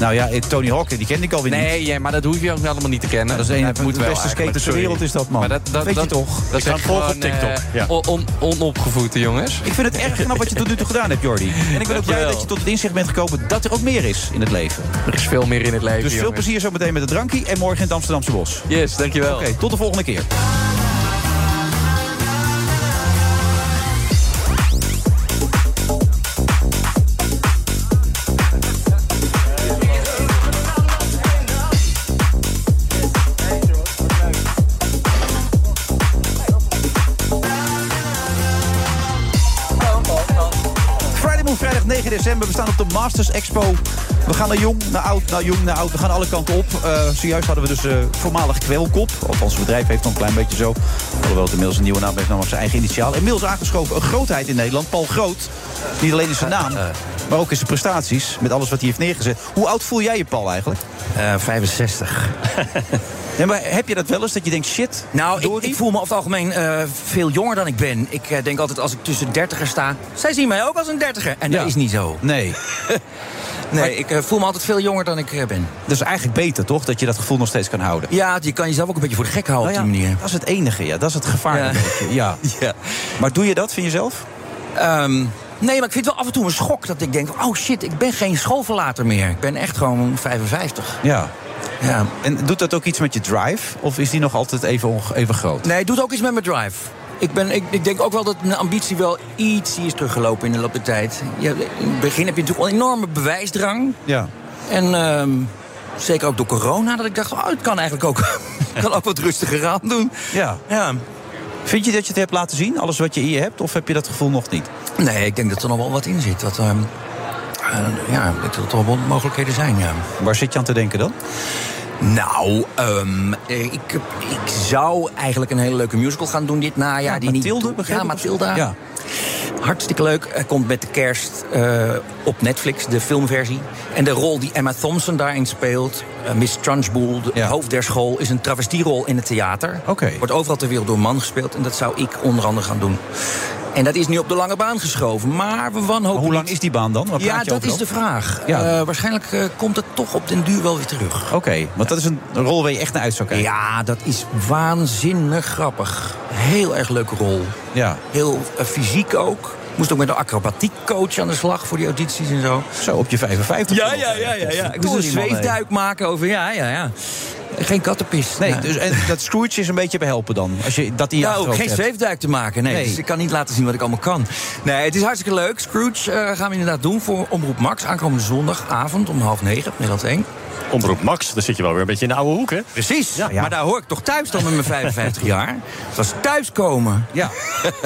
Nou ja, Tony Hawk, die kende ik alweer
nee,
niet.
Nee, ja, maar dat hoef je ook allemaal niet te kennen.
dat is een, dat moet de beste skater ter wereld is dat, man. Maar dat, dat, Weet dat, je toch?
Dat
zijn gewoon op TikTok.
eh,
Ja. On, on, onopgevoede jongens.
Ik vind het erg knap wat je tot nu toe gedaan hebt, Jordi. En ik ben ook blij dat je tot het inzicht bent gekomen dat er ook meer is in het leven.
Er is veel meer in het leven,
Dus veel
jongens.
plezier zo meteen met de drankie en morgen in het Amsterdamse Bos.
Yes, dankjewel.
Oké, okay, tot de volgende keer. december. We staan op de Masters Expo. We gaan naar jong, naar oud, naar jong, naar oud. We gaan alle kanten op. Uh, zojuist hadden we dus uh, voormalig kwelkop. Althans, het bedrijf heeft dan een klein beetje zo. Alhoewel het inmiddels een nieuwe naam heeft, namelijk zijn eigen initiaal. Inmiddels aangeschoven een grootheid in Nederland, Paul Groot. Niet alleen in zijn naam, maar ook in zijn prestaties. Met alles wat hij heeft neergezet. Hoe oud voel jij je, Paul, eigenlijk?
Uh, 65.
Ja, maar heb je dat wel eens, dat je denkt, shit?
Nou, ik, ik, voel me over het algemeen uh, veel jonger dan ik ben. Ik uh, denk altijd, als ik tussen dertiger sta... zij zien mij ook als een dertiger. En ja. dat is niet zo. [LAUGHS]
Nee.
nee, maar, ik uh, voel me altijd veel jonger dan ik eh, ben.
[LAUGHS] Dat is eigenlijk beter, toch? Dat je dat gevoel nog steeds kan houden.
Ja, je kan jezelf ook een beetje voor de gek houden nou ja, op die manier.
Dat is het enige, ja. Dat is het gevaar. Ja.
[LAUGHS]
ja. ja. Maar doe je dat, vind je zelf?
Um, nee, maar ik vind het wel af en toe een schok dat ik denk... oh shit, ik ben geen schoolverlater meer. Ik ben echt gewoon 55.
Ja. Ja. En doet dat ook iets met je drive? Of is die nog altijd even, even groot?
Nee, het doet ook iets met mijn drive. Ik, ben, ik, ik denk ook wel dat mijn ambitie wel iets is teruggelopen in de loop der tijd. Ja, in het begin heb je natuurlijk een enorme bewijsdrang.
Ja.
En um, zeker ook door corona, dat ik dacht, oh, het kan eigenlijk ook, [LAUGHS] kan ook wat rustiger aan doen.
Ja.
ja.
Vind je dat je het hebt laten zien, alles wat je in je hebt? Of heb je dat gevoel nog niet?
Nee, ik denk dat er nog wel wat in zit. Wat, um, uh, ja, dat er toch wel mogelijkheden zijn, ja.
Waar zit je aan te denken dan?
Nou, um, ik, ik zou eigenlijk een hele leuke musical gaan doen dit najaar. Ja,
die Mathilde,
niet... Ja, Mathilda.
Ja.
Hartstikke leuk. Hij komt met de kerst uh, op Netflix, de filmversie. En de rol die Emma Thompson daarin speelt, uh, Miss Trunchbull, de ja. hoofd der school, is een travestierol in het theater.
Okay.
Wordt overal ter wereld door een man gespeeld. En dat zou ik onder andere gaan doen. En dat is nu op de lange baan geschoven. Maar we wanhopen. Maar
hoe lang is die baan dan? Waar
ja,
je
dat is de [LAUGHS] vraag. Ja. Uh, waarschijnlijk uh, komt het toch op den duur wel weer terug.
Oké, okay, want ja. dat is een, een rol waar je echt naar uit zou kijken.
Ja, dat is waanzinnig grappig. Heel erg leuke rol.
Ja.
Heel uh, fysiek ook. Moest ook met een acrobatiekcoach aan de slag voor die audities en zo.
Zo, op je 55.
Ja, ja, ja, ja. ja. Ik moest een zweefduik maken over. Ja, ja, ja. Geen kattenpis.
Nee, nou. dus, en dat Scrooge is een beetje behelpen dan. Als je dat in je
nou, ook geen
hebt.
zweefduik te maken. Nee, nee. Dus ik kan niet laten zien wat ik allemaal kan. Nee, het is hartstikke leuk. Scrooge uh, gaan we inderdaad doen voor Omroep Max. Aankomende zondagavond om half negen, Nederland 1.
Omroep Max, daar zit je wel weer een beetje in de oude hoek, hè?
Precies, ja, ja. maar daar hoor ik toch thuis dan met mijn 55 jaar. Dat is thuiskomen. Oh,
Ja.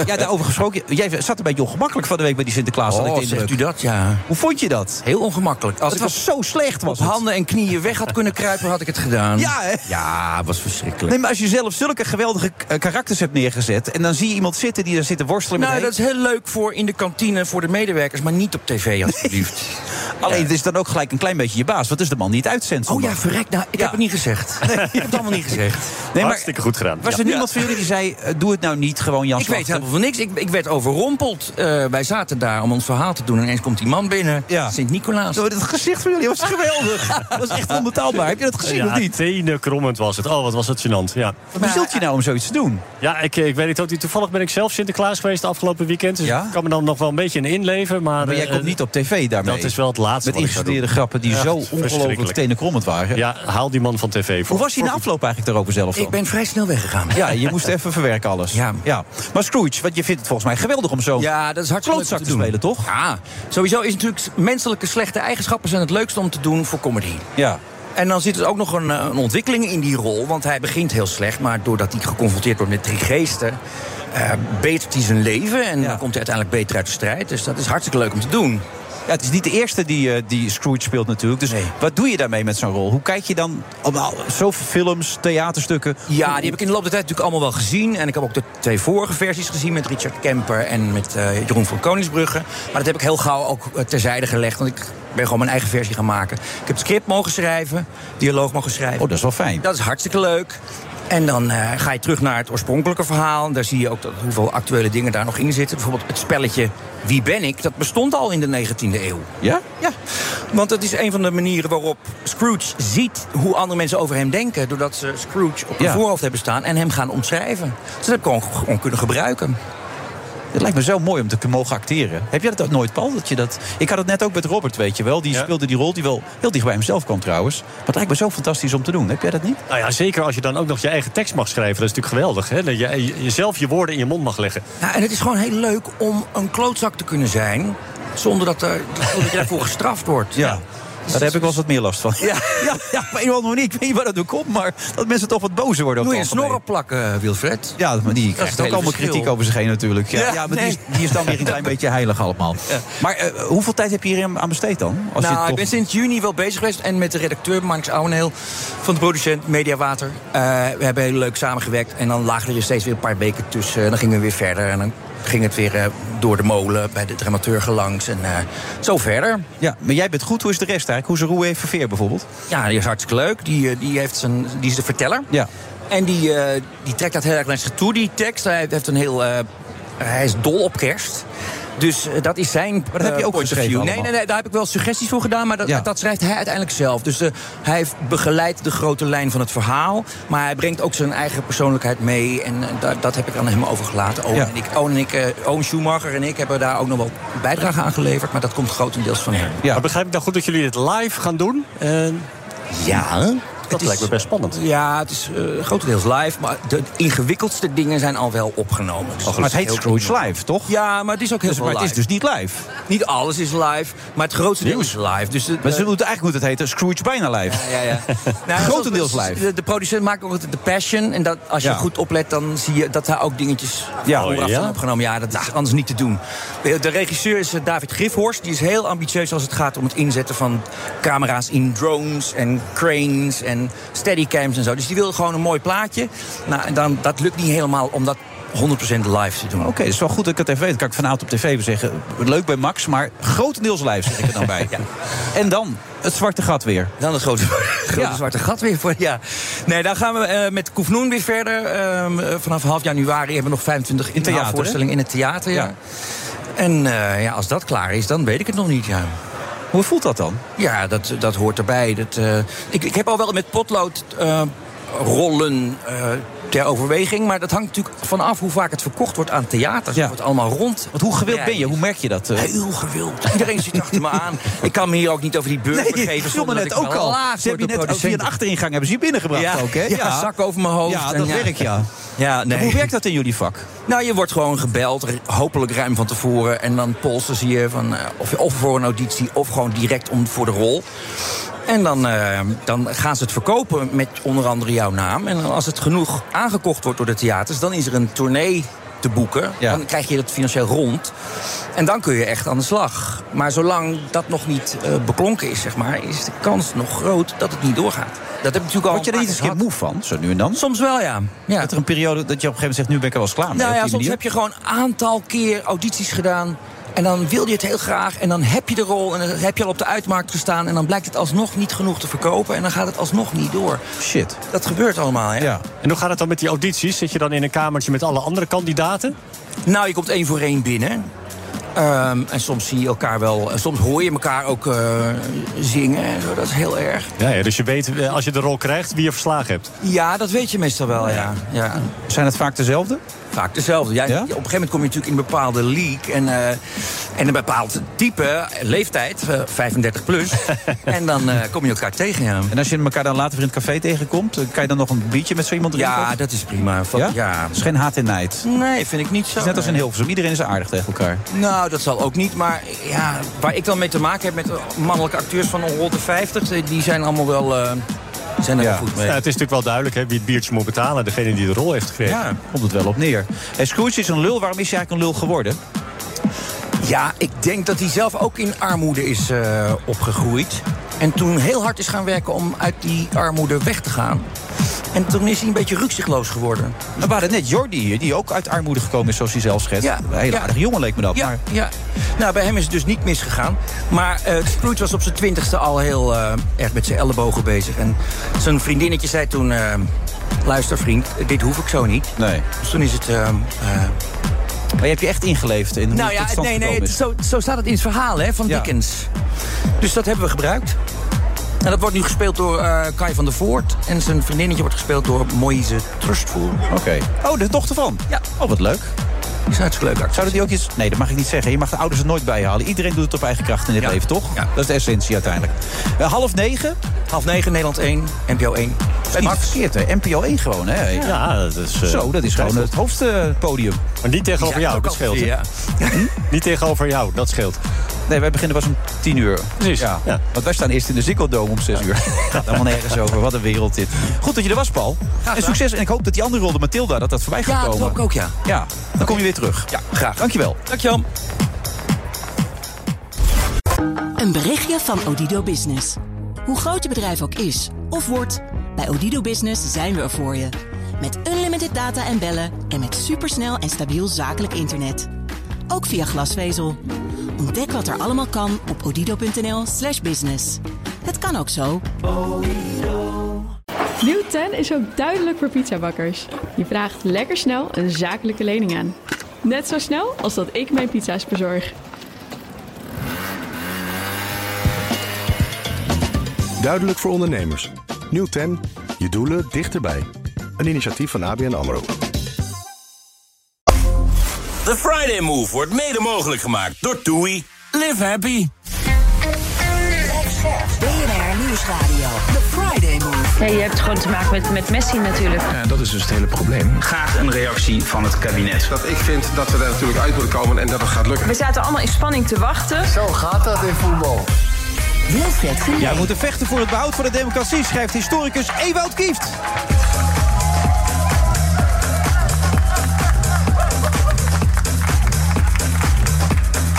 ja, daarover gesproken. Jij zat een beetje ongemakkelijk van de week bij die Sinterklaas.
Oh, ik zegt u dat, ja.
Hoe vond je dat?
Heel ongemakkelijk.
Als het ik was op, zo slecht was
op handen en knieën weg had kunnen kruipen, had ik het gedaan.
Ja, hè?
Ja, het was verschrikkelijk.
Nee, maar als je zelf zulke geweldige eh, karakters hebt neergezet... en dan zie je iemand zitten die daar zit te worstelen
nou,
met
dat heen. is heel leuk voor in de kantine, voor de medewerkers... maar niet op tv, alsjeblieft.
Nee. [LAUGHS] Alleen, het is dan ook gelijk een klein beetje je baas. Wat is de man die het uitzet?
Oh ja, verrek. Nou, ik ja. heb het niet
[LAUGHS]
gezegd. Nee, ik heb het allemaal niet gezegd.
Nee, maar, Hartstikke goed gedaan.
Was er ja. niemand van jullie die zei, uh, doe het nou niet, gewoon Jan
Ik weet helemaal van niks. Ik, ik werd overrompeld. Uh, wij zaten daar om ons verhaal te doen. En ineens komt die man binnen, ja. Sint-Nicolaas.
Oh, dat gezicht van jullie was geweldig. dat was echt onbetaalbaar. Heb je dat gezien of niet?
tenen krommend was het. Oh, wat was het gênant. Ja.
Wat bezielt je nou om zoiets te doen?
Ja, ik, eh, ik weet het ook niet. Toevallig ben ik zelf Sinterklaas geweest de afgelopen weekend. Dus ik kan me dan nog wel een beetje in inleven. Maar, eh,
maar jij komt uh, niet op tv daarmee.
Dat is wel het laatste
Met ingestudeerde grappen die zo ongelooflijk tenen waren.
Ja, haal die man van tv voor.
Hoe was je in de afloop eigenlijk daarover zelf dan?
Ik ben vrij snel weggegaan.
Ja, je moest even verwerken alles.
Ja.
ja. Maar Scrooge, want je vindt het volgens mij geweldig om zo'n
ja, dat is
klootzak te, te, spelen, toch?
Ja, sowieso is natuurlijk menselijke slechte eigenschappen zijn het leukste om te doen voor comedy.
Ja.
En dan zit er ook nog een, eh, een ontwikkeling in die rol. Want hij begint heel slecht, maar doordat hij geconfronteerd wordt met drie geesten... Uh, betert hij zijn leven en ja. dan komt hij uiteindelijk beter uit de strijd. Dus dat is hartstikke leuk om te doen.
Ja, het is niet de eerste die, uh, die Scrooge speelt natuurlijk. Dus nee. wat doe je daarmee met zo'n rol? Hoe kijk je dan op nou, zoveel films, theaterstukken?
Ja, die heb ik in de loop der tijd natuurlijk allemaal wel gezien. En ik heb ook de twee vorige versies gezien met Richard Kemper en met uh, Jeroen van Koningsbrugge. Maar dat heb ik heel gauw ook uh, terzijde gelegd. Want ik ben gewoon mijn eigen versie gaan maken. Ik heb het script mogen schrijven, dialoog mogen schrijven.
Oh, dat is wel fijn.
Dat is hartstikke leuk. En dan uh, ga je terug naar het oorspronkelijke verhaal. En daar zie je ook dat, hoeveel actuele dingen daar nog in zitten. Bijvoorbeeld het spelletje Wie ben ik? Dat bestond al in de 19e eeuw.
Ja?
Ja. Want dat is een van de manieren waarop Scrooge ziet hoe andere mensen over hem denken. Doordat ze Scrooge op hun ja. voorhoofd hebben staan en hem gaan omschrijven. Dus dat heb ik gewoon, gewoon kunnen gebruiken.
Het lijkt me zo mooi om te mogen acteren. Heb jij dat ook nooit, Paul? Dat je dat... Ik had het net ook met Robert, weet je wel. Die ja. speelde die rol die wel heel dicht bij hemzelf kwam trouwens. Maar het lijkt me zo fantastisch om te doen. Heb jij dat niet?
Nou ja, zeker als je dan ook nog je eigen tekst mag schrijven. Dat is natuurlijk geweldig. Hè? Dat je jezelf je woorden in je mond mag leggen.
Ja, en het is gewoon heel leuk om een klootzak te kunnen zijn... zonder dat,
[LAUGHS]
er, dat je daarvoor gestraft wordt.
ja. Daar heb ik wel eens wat meer last van.
Ja,
ja, ja op een of andere manier. Ik weet niet waar dat door komt, maar dat mensen toch wat bozer worden.
Moet je snorren plakken, eh, Wilfred?
Ja, maar die krijgt ook allemaal verschil. kritiek over zich heen natuurlijk. Ja, ja, ja maar nee. die, is, die, is, dan weer een
[LAUGHS]
klein beetje heilig allemaal. Ja.
eh,
Maar uh, hoeveel tijd heb je hier aan besteed dan?
Als nou, je toch... ik ben sinds juni wel bezig geweest. En met de redacteur Marks Ouweneel van de producent Mediawater. Uh, we hebben heel leuk samengewerkt. En dan lagen er steeds weer een paar weken tussen. En dan gingen we weer verder. En dan ging het weer uh, door de molen bij de dramaturgen langs en uh, zo verder.
Ja, maar jij bent goed. Hoe is de rest eigenlijk? Hoe is Roe even Veer bijvoorbeeld?
Ja, die is hartstikke leuk. Die, eh, die, heeft zijn, die is de verteller.
Ja.
En die, uh, die trekt dat heel erg naar zich toe, die tekst. Hij heeft een heel... eh, hij is dol op kerst. Dus dat is zijn. eh,
Maar dat heb je ook geschreven.
Nee, nee, nee, daar heb ik wel suggesties voor gedaan. Maar dat, ja. dat schrijft hij uiteindelijk zelf. Dus uh, hij begeleidt de grote lijn van het verhaal. Maar hij brengt ook zijn eigen persoonlijkheid mee. En uh, dat, dat heb ik aan hem overgelaten. Owen ja. en ik, Owen, en ik uh, Owen Schumacher en ik hebben daar ook nog wel bijdrage aan geleverd. Maar dat komt grotendeels van hem.
Ja. Maar begrijp ik nou goed dat jullie het live gaan doen?
ja.
Dat het lijkt me best spannend.
Ja, het is uh, grotendeels live. Maar de ingewikkeldste dingen zijn al wel opgenomen.
Dus oh, maar het heet Scrooge Live, toch?
Ja, maar het is ook heel
dus,
veel
Maar
live.
het is dus niet live.
Niet alles is live, maar het grootste deel is live. Dus de,
maar ze moeten eigenlijk moet het heten Scrooge bijna live.
Ja,
[LAUGHS]
ja, ja.
nou, grotendeels live.
De, de, producent maakt ook de passion. En dat, als je ja. goed oplet, dan zie je dat hij ook dingetjes ja. vooraf ja? opgenomen. Ja, dat is anders niet te doen. De regisseur is eh, David Griffhorst. Die is heel ambitieus als het gaat om het inzetten van camera's in drones en cranes en steadycams en zo. Dus die wil gewoon een mooi plaatje. Nou, en dan, dat lukt niet helemaal om dat 100% live te doen.
Oké, okay, dat is wel goed dat ik het even weet. Dat kan ik vanavond op tv zeggen. Leuk bij Max, maar grotendeels live zeg ik er dan
[LAUGHS]
bij. ja. En dan het zwarte gat weer.
Dan het grote, [LAUGHS] grote ja. zwarte gat weer. Voor, ja. Nee, dan gaan we uh, met Koefnoen weer verder. Uh, vanaf half januari hebben we nog 25 in voorstellingen in het theater. Ja. ja. En uh, ja, als dat klaar is, dan weet ik het nog niet. Ja.
Hoe voelt dat dan?
Ja, dat, dat hoort erbij. Dat, eh, ik, ik heb al wel met potlood eh, rollen uh, ter overweging. Maar dat hangt natuurlijk vanaf hoe vaak het verkocht wordt aan theaters. Ja. Of het allemaal rond.
Want hoe gewild ben je? Hoe merk je dat? Uh...
Hey, heel gewild. Iedereen zit achter me aan. Ik kan me hier ook niet over die burgers nee, geven.
Ik net ook al. Ze hebben je net ook via een achteringang hebben ze je binnengebracht
ja.
ook, hè?
Ja, ja, zak over mijn hoofd.
Ja, dat
en,
werkt ja. ja nee. Hoe werkt dat in jullie vak?
Nou, je wordt gewoon gebeld, hopelijk ruim van tevoren. En dan polsen ze je van, uh, of, of voor een auditie of gewoon direct om, voor de rol. En dan, uh, dan gaan ze het verkopen met onder andere jouw naam. En als het genoeg aangekocht wordt door de theaters, dan is er een tournee te boeken. Ja. Dan krijg je dat financieel rond. En dan kun je echt aan de slag. Maar zolang dat nog niet uh, beklonken is, zeg maar, is de kans nog groot dat het niet doorgaat. Dat heb natuurlijk al
Word je er niet eens een keer moe van, zo nu en dan?
Soms wel, ja. ja.
Dat er een periode dat je op een gegeven moment zegt, nu ben ik er wel eens klaar mee.
Nou ja, soms manier. heb je gewoon een aantal keer audities gedaan. En dan wil je het heel graag. En dan heb je de rol. En dan heb je al op de uitmarkt gestaan. En dan blijkt het alsnog niet genoeg te verkopen. En dan gaat het alsnog niet door.
Shit.
Dat gebeurt allemaal, hè? Ja.
En hoe gaat het dan met die audities? Zit je dan in een kamertje met alle andere kandidaten?
Nou, je komt één voor één binnen. Um, en soms zie je elkaar wel. eh, soms hoor je elkaar ook uh, zingen. En zo, dat is heel erg.
Ja, ja, dus je weet als je de rol krijgt wie je verslagen hebt.
Ja, dat weet je meestal wel. Ja. ja. ja.
Zijn het vaak dezelfde?
Vaak dezelfde. Ja, Op een gegeven moment kom je natuurlijk in een bepaalde league. En, uh, en een bepaald type, leeftijd, uh, 35
[LAUGHS]
plus. en dan eh, kom je elkaar tegen. Ja.
En als je elkaar dan later weer in het café tegenkomt, eh, kan je dan nog een biertje met zo iemand drinken?
Ja, dat is prima. Van, ja?
is geen haat en nijd.
Nee, vind ik niet zo.
Het is net als in Hilversum. Iedereen is aardig tegen elkaar.
Nou, nou, dat zal ook niet. Maar ja, waar ik dan mee te maken heb met eh, mannelijke acteurs van rond de 50, die zijn allemaal wel. Uh, zijn er ja. wel goed mee.
Ja, het is natuurlijk wel duidelijk hè, wie het biertje moet betalen. Degene die de rol heeft gekregen. Ja,
komt het wel op neer. En Scrooge is een lul. Waarom is hij eigenlijk een lul geworden?
Ja, ik denk dat hij zelf ook in armoede is uh, opgegroeid. En toen heel hard is gaan werken om uit die armoede weg te gaan. En toen is hij een beetje rukzichtloos geworden.
We waren net Jordi hier, die ook uit armoede gekomen is, zoals hij zelf schetst. Ja, een hele ja. aardige jongen leek me dat.
Ja,
maar...
ja. Nou, bij hem is het dus niet misgegaan. Maar uh, Scrooge was op zijn twintigste al heel uh, erg met zijn ellebogen bezig. En zijn vriendinnetje zei toen... Uh, Luister vriend, dit hoef ik zo niet.
Nee.
Dus toen is het...
Maar je hebt je echt ingeleefd in hoe
nou ja,
het
nee, nee, het, zo, zo, staat het in het verhaal hè, van ja. Dickens. Dus dat hebben we gebruikt. En dat wordt nu gespeeld door uh, Kai van der Voort. En zijn vriendinnetje wordt gespeeld door Moise Trustful.
Oké. Okay. Oh, de dochter van?
Ja.
Oh, wat leuk.
Die is hartstikke leuk.
Zouden die ook iets... Nee, dat mag ik niet zeggen. Je mag de ouders er nooit bij halen. Iedereen doet het op eigen kracht in dit ja. leven, toch? Ja. Dat is de essentie uiteindelijk. Uh, half negen.
Half negen, Nederland 1, NPO 1.
Het Max. verkeerd, hè? NPO 1 gewoon, hè?
Ja, ja dat is... Uh,
Zo, dat is eh, gewoon het hoofdpodium.
Maar niet tegenover jou, dat scheelt. Vier, ja. niet tegenover jou, dat scheelt.
Nee, wij beginnen pas om tien uur.
Precies. Ja. ja.
Want wij staan eerst in de Zikkeldome om zes uur. [LAUGHS] Gaat allemaal nergens over. Wat een wereld dit. Goed dat je er was, Paul. Graag en succes. En ik hoop dat die andere rolde, Matilda, dat dat voorbij gaat
ja,
komen.
Ja, dat hoop ik ook, ja.
Ja, dan okay. kom je weer terug.
Ja, graag.
Dankjewel.
Dankjewel.
Een berichtje van Odido Business. Hoe groot je bedrijf ook is of wordt... Bij Odido Business zijn we er voor je. Met unlimited data en bellen en met supersnel en stabiel zakelijk internet. Ook via glasvezel. Ontdek wat er allemaal kan op odido.nl/slash business. Het kan ook zo.
Nieuw 10 is ook duidelijk voor pizzabakkers. Je vraagt lekker snel een zakelijke lening aan. Net zo snel als dat ik mijn pizza's bezorg.
Duidelijk voor ondernemers. Nieuw 10. Je doelen dichterbij. Een initiatief van ABN AMRO.
The Friday Move wordt mede mogelijk gemaakt door TUI. Live happy.
BNR Nieuwsradio. The Friday Move.
Nee, je hebt gewoon te maken met, met Messi natuurlijk.
Ja, dat is dus het hele probleem.
Graag een reactie van het kabinet.
Dat ik vind dat we daar natuurlijk uit moeten komen en dat het gaat lukken.
We zaten allemaal in spanning te wachten.
Zo gaat dat in voetbal.
Ja, we moeten vechten voor het behoud van de democratie, schrijft historicus Ewout Kieft.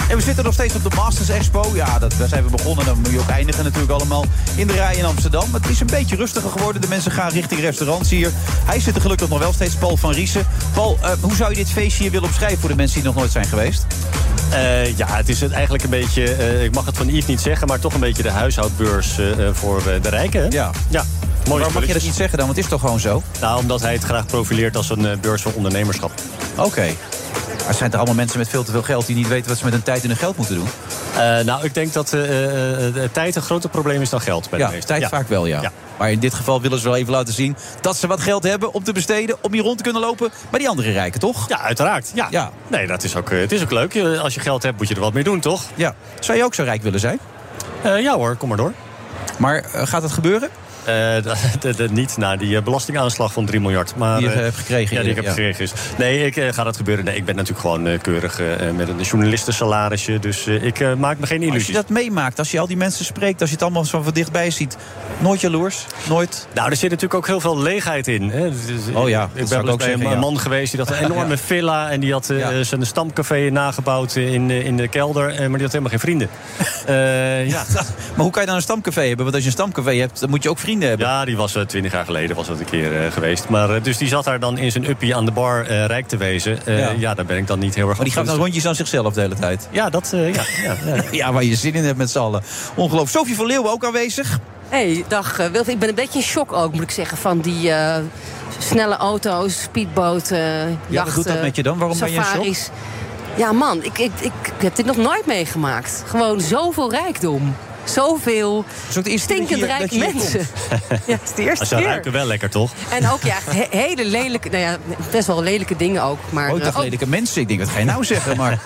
En we zitten nog steeds op de Masters Expo. Ja, dat, daar zijn we begonnen. Dan moet je ook eindigen natuurlijk allemaal in de rij in Amsterdam. Maar het is een beetje rustiger geworden. De mensen gaan richting restaurants hier. Hij zit er gelukkig nog wel steeds, Paul van Riesen. Paul, uh, hoe zou je dit feestje hier willen omschrijven voor de mensen die nog nooit zijn geweest?
Uh, ja, het is het eigenlijk een beetje, uh, ik mag het van Yves niet zeggen, maar toch een beetje de huishoudbeurs eh, voor de rijken. Hè?
Ja.
ja.
Mooi Waarom mag je dat niet zeggen dan? Want het is toch gewoon zo?
Nou, omdat hij het graag profileert als een eh, beurs voor ondernemerschap.
Oké. Okay. Het zijn toch allemaal mensen met veel te veel geld die niet weten wat ze met hun tijd en hun geld moeten doen?
Uh, nou, ik denk dat uh, de tijd een groter probleem is dan geld bij
ja,
de meeste.
tijd ja. vaak wel, ja. ja. Maar in dit geval willen ze wel even laten zien dat ze wat geld hebben om te besteden, om hier rond te kunnen lopen. Maar die andere rijken, toch?
Ja, uiteraard. Ja. ja. Nee, dat is ook, eh, het is ook leuk. Als je geld hebt, moet je er wat mee doen, toch?
Ja. Zou je ook zo rijk willen zijn?
Uh, ja hoor, kom maar door.
Maar eh, gaat dat gebeuren?
Uh, [LAUGHS] de, de, de, niet na die eh, belastingaanslag van 3 miljard. Maar, eh,
die je hebt gekregen.
Ja, die ik heb ja. gekregen. Is. Nee, ik, uh, ga dat gebeuren. Nee, ik ben natuurlijk gewoon uh, keurig met een journalistensalarisje. Dus ik maak me geen illusies.
Als je dat meemaakt, als je al die mensen spreekt... als je het allemaal van, van dichtbij ziet, nooit jaloers? Nooit?
Nou, er zit natuurlijk ook heel veel leegheid in. Hè. Dus,
oh ja,
Ik ben ook bij zeggen, een ja. man geweest die had
[LAUGHS]
een enorme villa... en die had zijn stamcafé nagebouwd in, eh, in de kelder. maar die had helemaal geen
[LAUGHS]
vrienden. Eh,
ja. Maar hoe kan je dan een stamcafé hebben? Want als je een stamcafé hebt, dan moet je ook vrienden hebben.
Ja, die was twintig uh, jaar geleden was dat een keer uh, geweest. Maar, uh, dus die zat daar dan in zijn uppie aan de bar eh, rijk te wezen. Ja. ja. daar ben ik dan niet heel erg
Maar die gaat dan rondjes aan zichzelf de hele
[LAUGHS]
tijd.
Ja, dat, ja, ja,
ja. [LAUGHS] ja, waar je zin in hebt met z'n allen. Ongelooflijk. Sofie van Leeuwen ook aanwezig.
Hey, dag eh, Wilf. Ik ben een beetje in shock ook, moet ik zeggen, van die uh, snelle auto's, speedboten, jachten,
Ja, wat doet dat met je dan? Waarom
safaris.
ben je in shock?
Ja, man, ik, ik, ik heb dit nog nooit meegemaakt. Gewoon zoveel rijkdom zoveel stinkend rijke mensen.
ja, het is de Ze ruiken wel lekker, toch?
En ook ja, he hele lelijke, nou ja, best wel lelijke dingen ook. Maar,
oh, ik dacht uh, lelijke mensen. Ik denk, wat ga je nou zeggen? [LAUGHS] Maar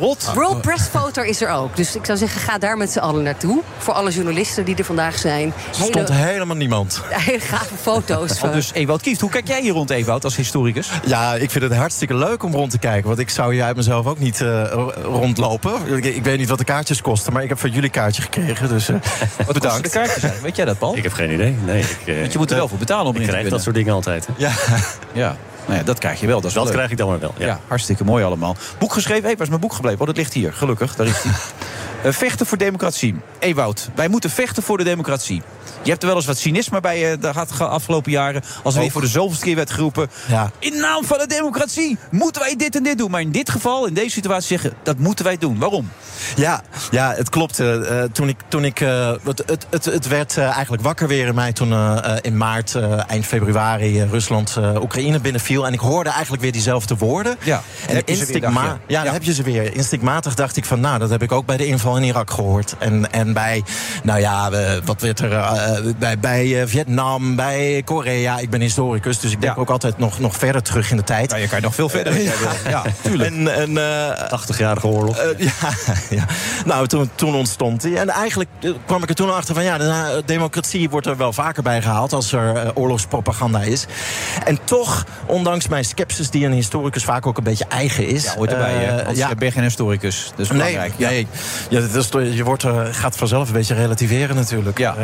rot.
World Press Photo is er ook. Dus ik zou zeggen, ga daar met z'n allen naartoe. Voor alle journalisten die er vandaag zijn.
Hele, Stond helemaal niemand.
[LAUGHS] Hele gave
[LAUGHS]
foto's.
Oh, dus Ewout Kieft, hoe kijk jij hier rond, Ewout, als historicus?
Ja, ik vind het hartstikke leuk om rond te kijken. Want ik zou hier uit mezelf ook niet uh, rondlopen. Ik, ik weet niet wat de kaartjes kosten, maar ik heb van jullie kaartje gekregen. Dus, uh,
Wat bedankt. de kaartjes zijn? Weet jij dat, Paul?
Ik heb geen idee. Nee, ik, eh,
uh, Want je moet er wel voor betalen om
ik krijg dat soort dingen altijd. Hè?
Ja. ja. Nou ja, [LAUGHS] dat krijg je wel. Dat, is
dat
wel
krijg ik dan maar wel. Ja.
ja. hartstikke mooi allemaal. Boek geschreven. Hé, hey, waar is mijn boek gebleven? Oh, dat ligt hier. Gelukkig, daar is
[LAUGHS]
hij. uh, vechten voor democratie. Ewout, wij moeten vechten voor de democratie. Je hebt er wel eens wat cynisme bij je gehad de afgelopen jaren. Als er weer voor de zoveelste keer werd geroepen... Ja. in naam van de democratie moeten wij dit en dit doen. Maar in dit geval, in deze situatie zeggen... dat moeten wij doen. Waarom?
Ja, ja het klopt. Uh, toen ik, toen ik, uh, het, het, het, het, werd uh, eigenlijk wakker weer in mij toen eh, in maart, eh, eind februari... Rusland eh, Oekraïne binnenviel. En ik hoorde eigenlijk weer diezelfde woorden.
Ja,
en instinctmatig ja, ja, dan ja. heb je ze weer. Instinctmatig dacht ik van... nou, dat heb ik ook bij de inval in Irak gehoord. En, en bij, nou ja, wat werd er eh, bij, bij Vietnam, bij Korea. Ik ben historicus, dus ik denk ja. ook altijd nog, nog verder terug in de tijd.
Ja, je kan nog veel verder.
[LAUGHS] ja, ja, tuurlijk.
En, en, uh, 80-jarige oorlog.
Uh, [LAUGHS] ja, ja, nou, toen, toen ontstond die. En eigenlijk eh, kwam ik er toen achter van... ja, de democratie wordt er wel vaker bij gehaald... als er uh, oorlogspropaganda is. En toch, ondanks mijn sceptisch die een historicus vaak ook een beetje eigen is... eh,
Ja, hoort erbij, ja. je bent geen historicus. Dus belangrijk.
Nee, nee. Ja, dat is, je wordt, er gaat vanzelf een beetje relativeren natuurlijk. Eh,
Ja.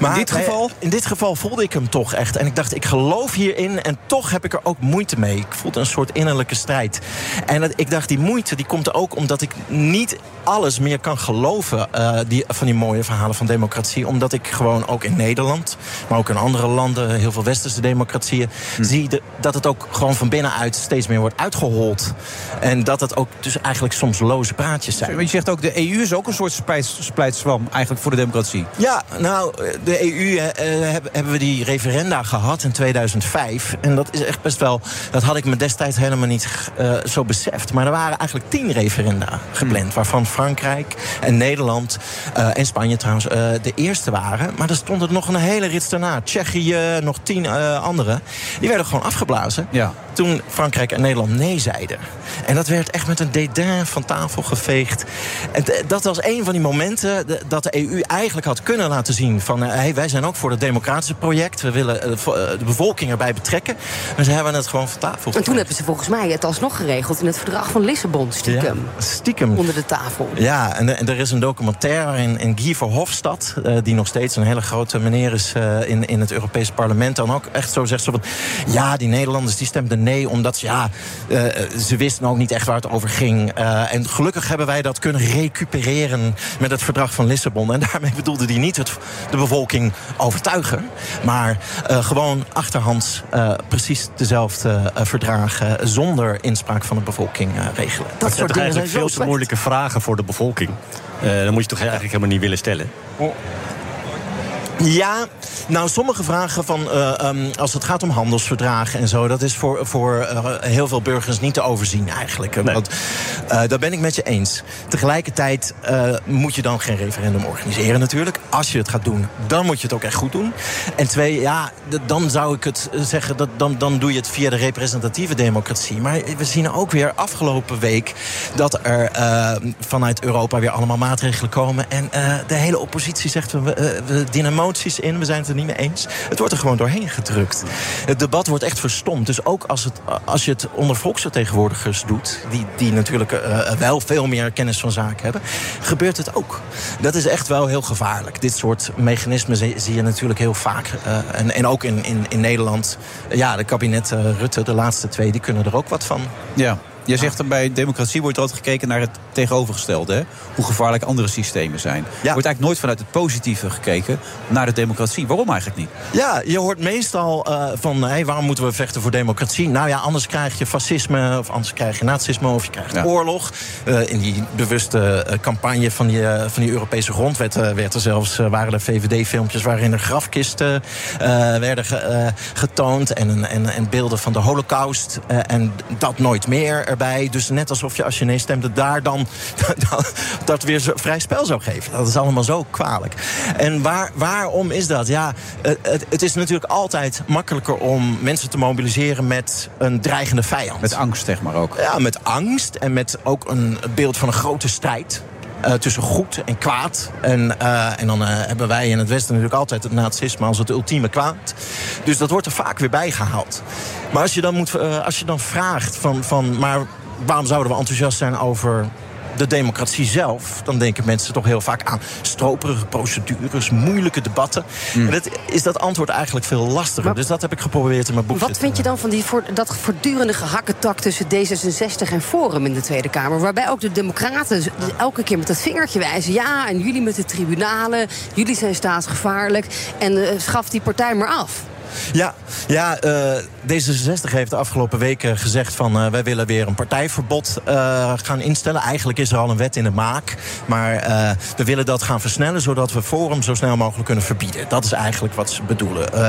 maar in dit geval? In dit geval voelde ik hem toch echt. En ik dacht, ik geloof hierin en toch heb ik er ook moeite mee. Ik voelde een soort innerlijke strijd. En dat, ik dacht, die moeite die komt ook omdat ik niet alles meer kan geloven... Uh, die, van die mooie verhalen van democratie. Omdat ik gewoon ook in Nederland, maar ook in andere landen... heel veel westerse democratieën, hm. zie de, dat het ook gewoon van binnenuit... steeds meer wordt uitgehold. En dat het ook dus eigenlijk soms loze praatjes zijn.
Maar je zegt ook, de EU is ook een soort splijt, splijtswam eigenlijk voor de democratie.
Ja, nou, de EU EU eh, hebben we die referenda gehad in 2005. En dat is echt best wel. Dat had ik me destijds helemaal niet uh, zo beseft. Maar er waren eigenlijk tien referenda gepland. Waarvan Frankrijk en Nederland uh, en Spanje trouwens uh, de eerste waren. Maar er stonden nog een hele rits daarna. Tsjechië, eh, nog tien andere. Die werden gewoon afgeblazen.
Ja.
Toen Frankrijk en Nederland nee zeiden. En dat werd echt met een dédain van tafel eh, E geveegd. En dat was een van die momenten dat de EU eigenlijk had kunnen laten zien: van hey, wij zijn ook voor het democratische project. We willen eh, vo- eh, de bevolking erbij betrekken. Maar ze hebben het gewoon van tafel
En toen hebben ze volgens mij het alsnog geregeld in het verdrag van Lissabon, stiekem.
Ja, stiekem.
Onder de tafel.
Ja, en, en er is een documentaire waarin in Guy Verhofstadt... eh, die nog steeds een hele grote meneer is eh, in, in het Europese parlement... dan ook echt zo zegt zo van... ja, die Nederlanders die stemden nee omdat ze, ja, eh, ze wisten ook niet echt waar het over ging. Eh, en gelukkig hebben wij dat kunnen recupereren met het verdrag van Lissabon. En daarmee bedoelde hij niet het, de bevolking overtuigen... maar eh, gewoon achterhands eh, precies dezelfde eh, verdragen... zonder inspraak van de bevolking eh, regelen.
Dat zijn toch eigenlijk veel te moeilijke vragen voor de bevolking. Eh, dan moet je toch eigenlijk helemaal niet willen stellen.
Ja, nou sommige vragen van eh, ehm, als het gaat om handelsverdragen en zo, dat is voor, voor eh, heel veel burgers niet te overzien eigenlijk. Want, eh, daar ben ik met je eens. Tegelijkertijd eh, moet je dan geen referendum organiseren natuurlijk. Als je het gaat doen, dan moet je het ook echt goed doen. En twee, ja, d- dan zou ik het eh, zeggen, dat, dan, dan doe je het via de representatieve democratie. Maar we zien ook weer afgelopen week dat er eh, vanuit Europa weer allemaal maatregelen komen. En eh, de hele oppositie zegt, we, eh, we dienen moties in, we zijn het er niet mee eens. Het wordt er gewoon doorheen gedrukt. Het debat wordt echt verstomd. Dus ook als, het, als je het onder volksvertegenwoordigers doet, die, die natuurlijk eh, wel veel meer kennis van zaken hebben, gebeurt het ook. Dat is echt wel heel gevaarlijk. Dit soort mechanismen zie, zie je natuurlijk heel vaak. eh, en, en ook in, in, in Nederland. Ja, de kabinet eh, Rutte, de laatste twee, die kunnen er ook wat van.
Ja. Jij zegt dan bij democratie wordt altijd gekeken naar het tegenovergestelde. Hè? Hoe gevaarlijk andere systemen zijn. Er wordt eigenlijk nooit vanuit het positieve gekeken naar de democratie. Waarom eigenlijk niet?
Ja, je hoort meestal eh, van hé, waarom moeten we vechten voor democratie? Nou ja, anders krijg je fascisme, of anders krijg je nazisme, of je krijgt oorlog. Eh, in die bewuste eh, campagne van die, eh, van die Europese grondwet eh, werd er zelfs, eh, waren er VVD-filmpjes waarin er grafkisten eh, werden ge- eh, getoond en, een- en, en beelden van de holocaust eh, en dat nooit meer erbij. Dus net alsof je als je nee stemde daar dan [LAUGHS] dat weer zo- vrij spel zou geven. Dat is allemaal zo kwalijk. En waar, waarom is dat? Ja, eh, het, het is natuurlijk altijd makkelijker om mensen te mobiliseren met een dreigende vijand. Met
angst, zeg maar ook.
Ja, met angst en met ook een beeld van een grote strijd. eh, tussen goed en kwaad. En, eh, en dan eh, hebben wij in het Westen natuurlijk altijd het nazisme als het ultieme kwaad. Dus dat wordt er vaak weer bijgehaald. Maar als je dan, moet, eh, als je dan vraagt van, van. Maar waarom zouden we enthousiast zijn over de democratie zelf, dan denken mensen toch heel vaak aan stroperige procedures, moeilijke debatten. En dat is dat antwoord eigenlijk veel lastiger. dus dat heb ik geprobeerd in mijn boek.
Wat vind je dan van die voor, dat voortdurende gehakketak tussen D66 en Forum in de Tweede Kamer? Waarbij ook de Democraten z- elke keer met dat vingertje wijzen. Ja, en jullie met de tribunalen, jullie zijn staatsgevaarlijk. En eh, schaf die partij maar af.
Ja, ja eh, D66 heeft de afgelopen weken gezegd van eh, wij willen weer een partijverbod eh, gaan instellen. Eigenlijk is er al een wet in de maak. Maar eh, we willen dat gaan versnellen, zodat we Forum zo snel mogelijk kunnen verbieden. Dat is eigenlijk wat ze bedoelen. Eh,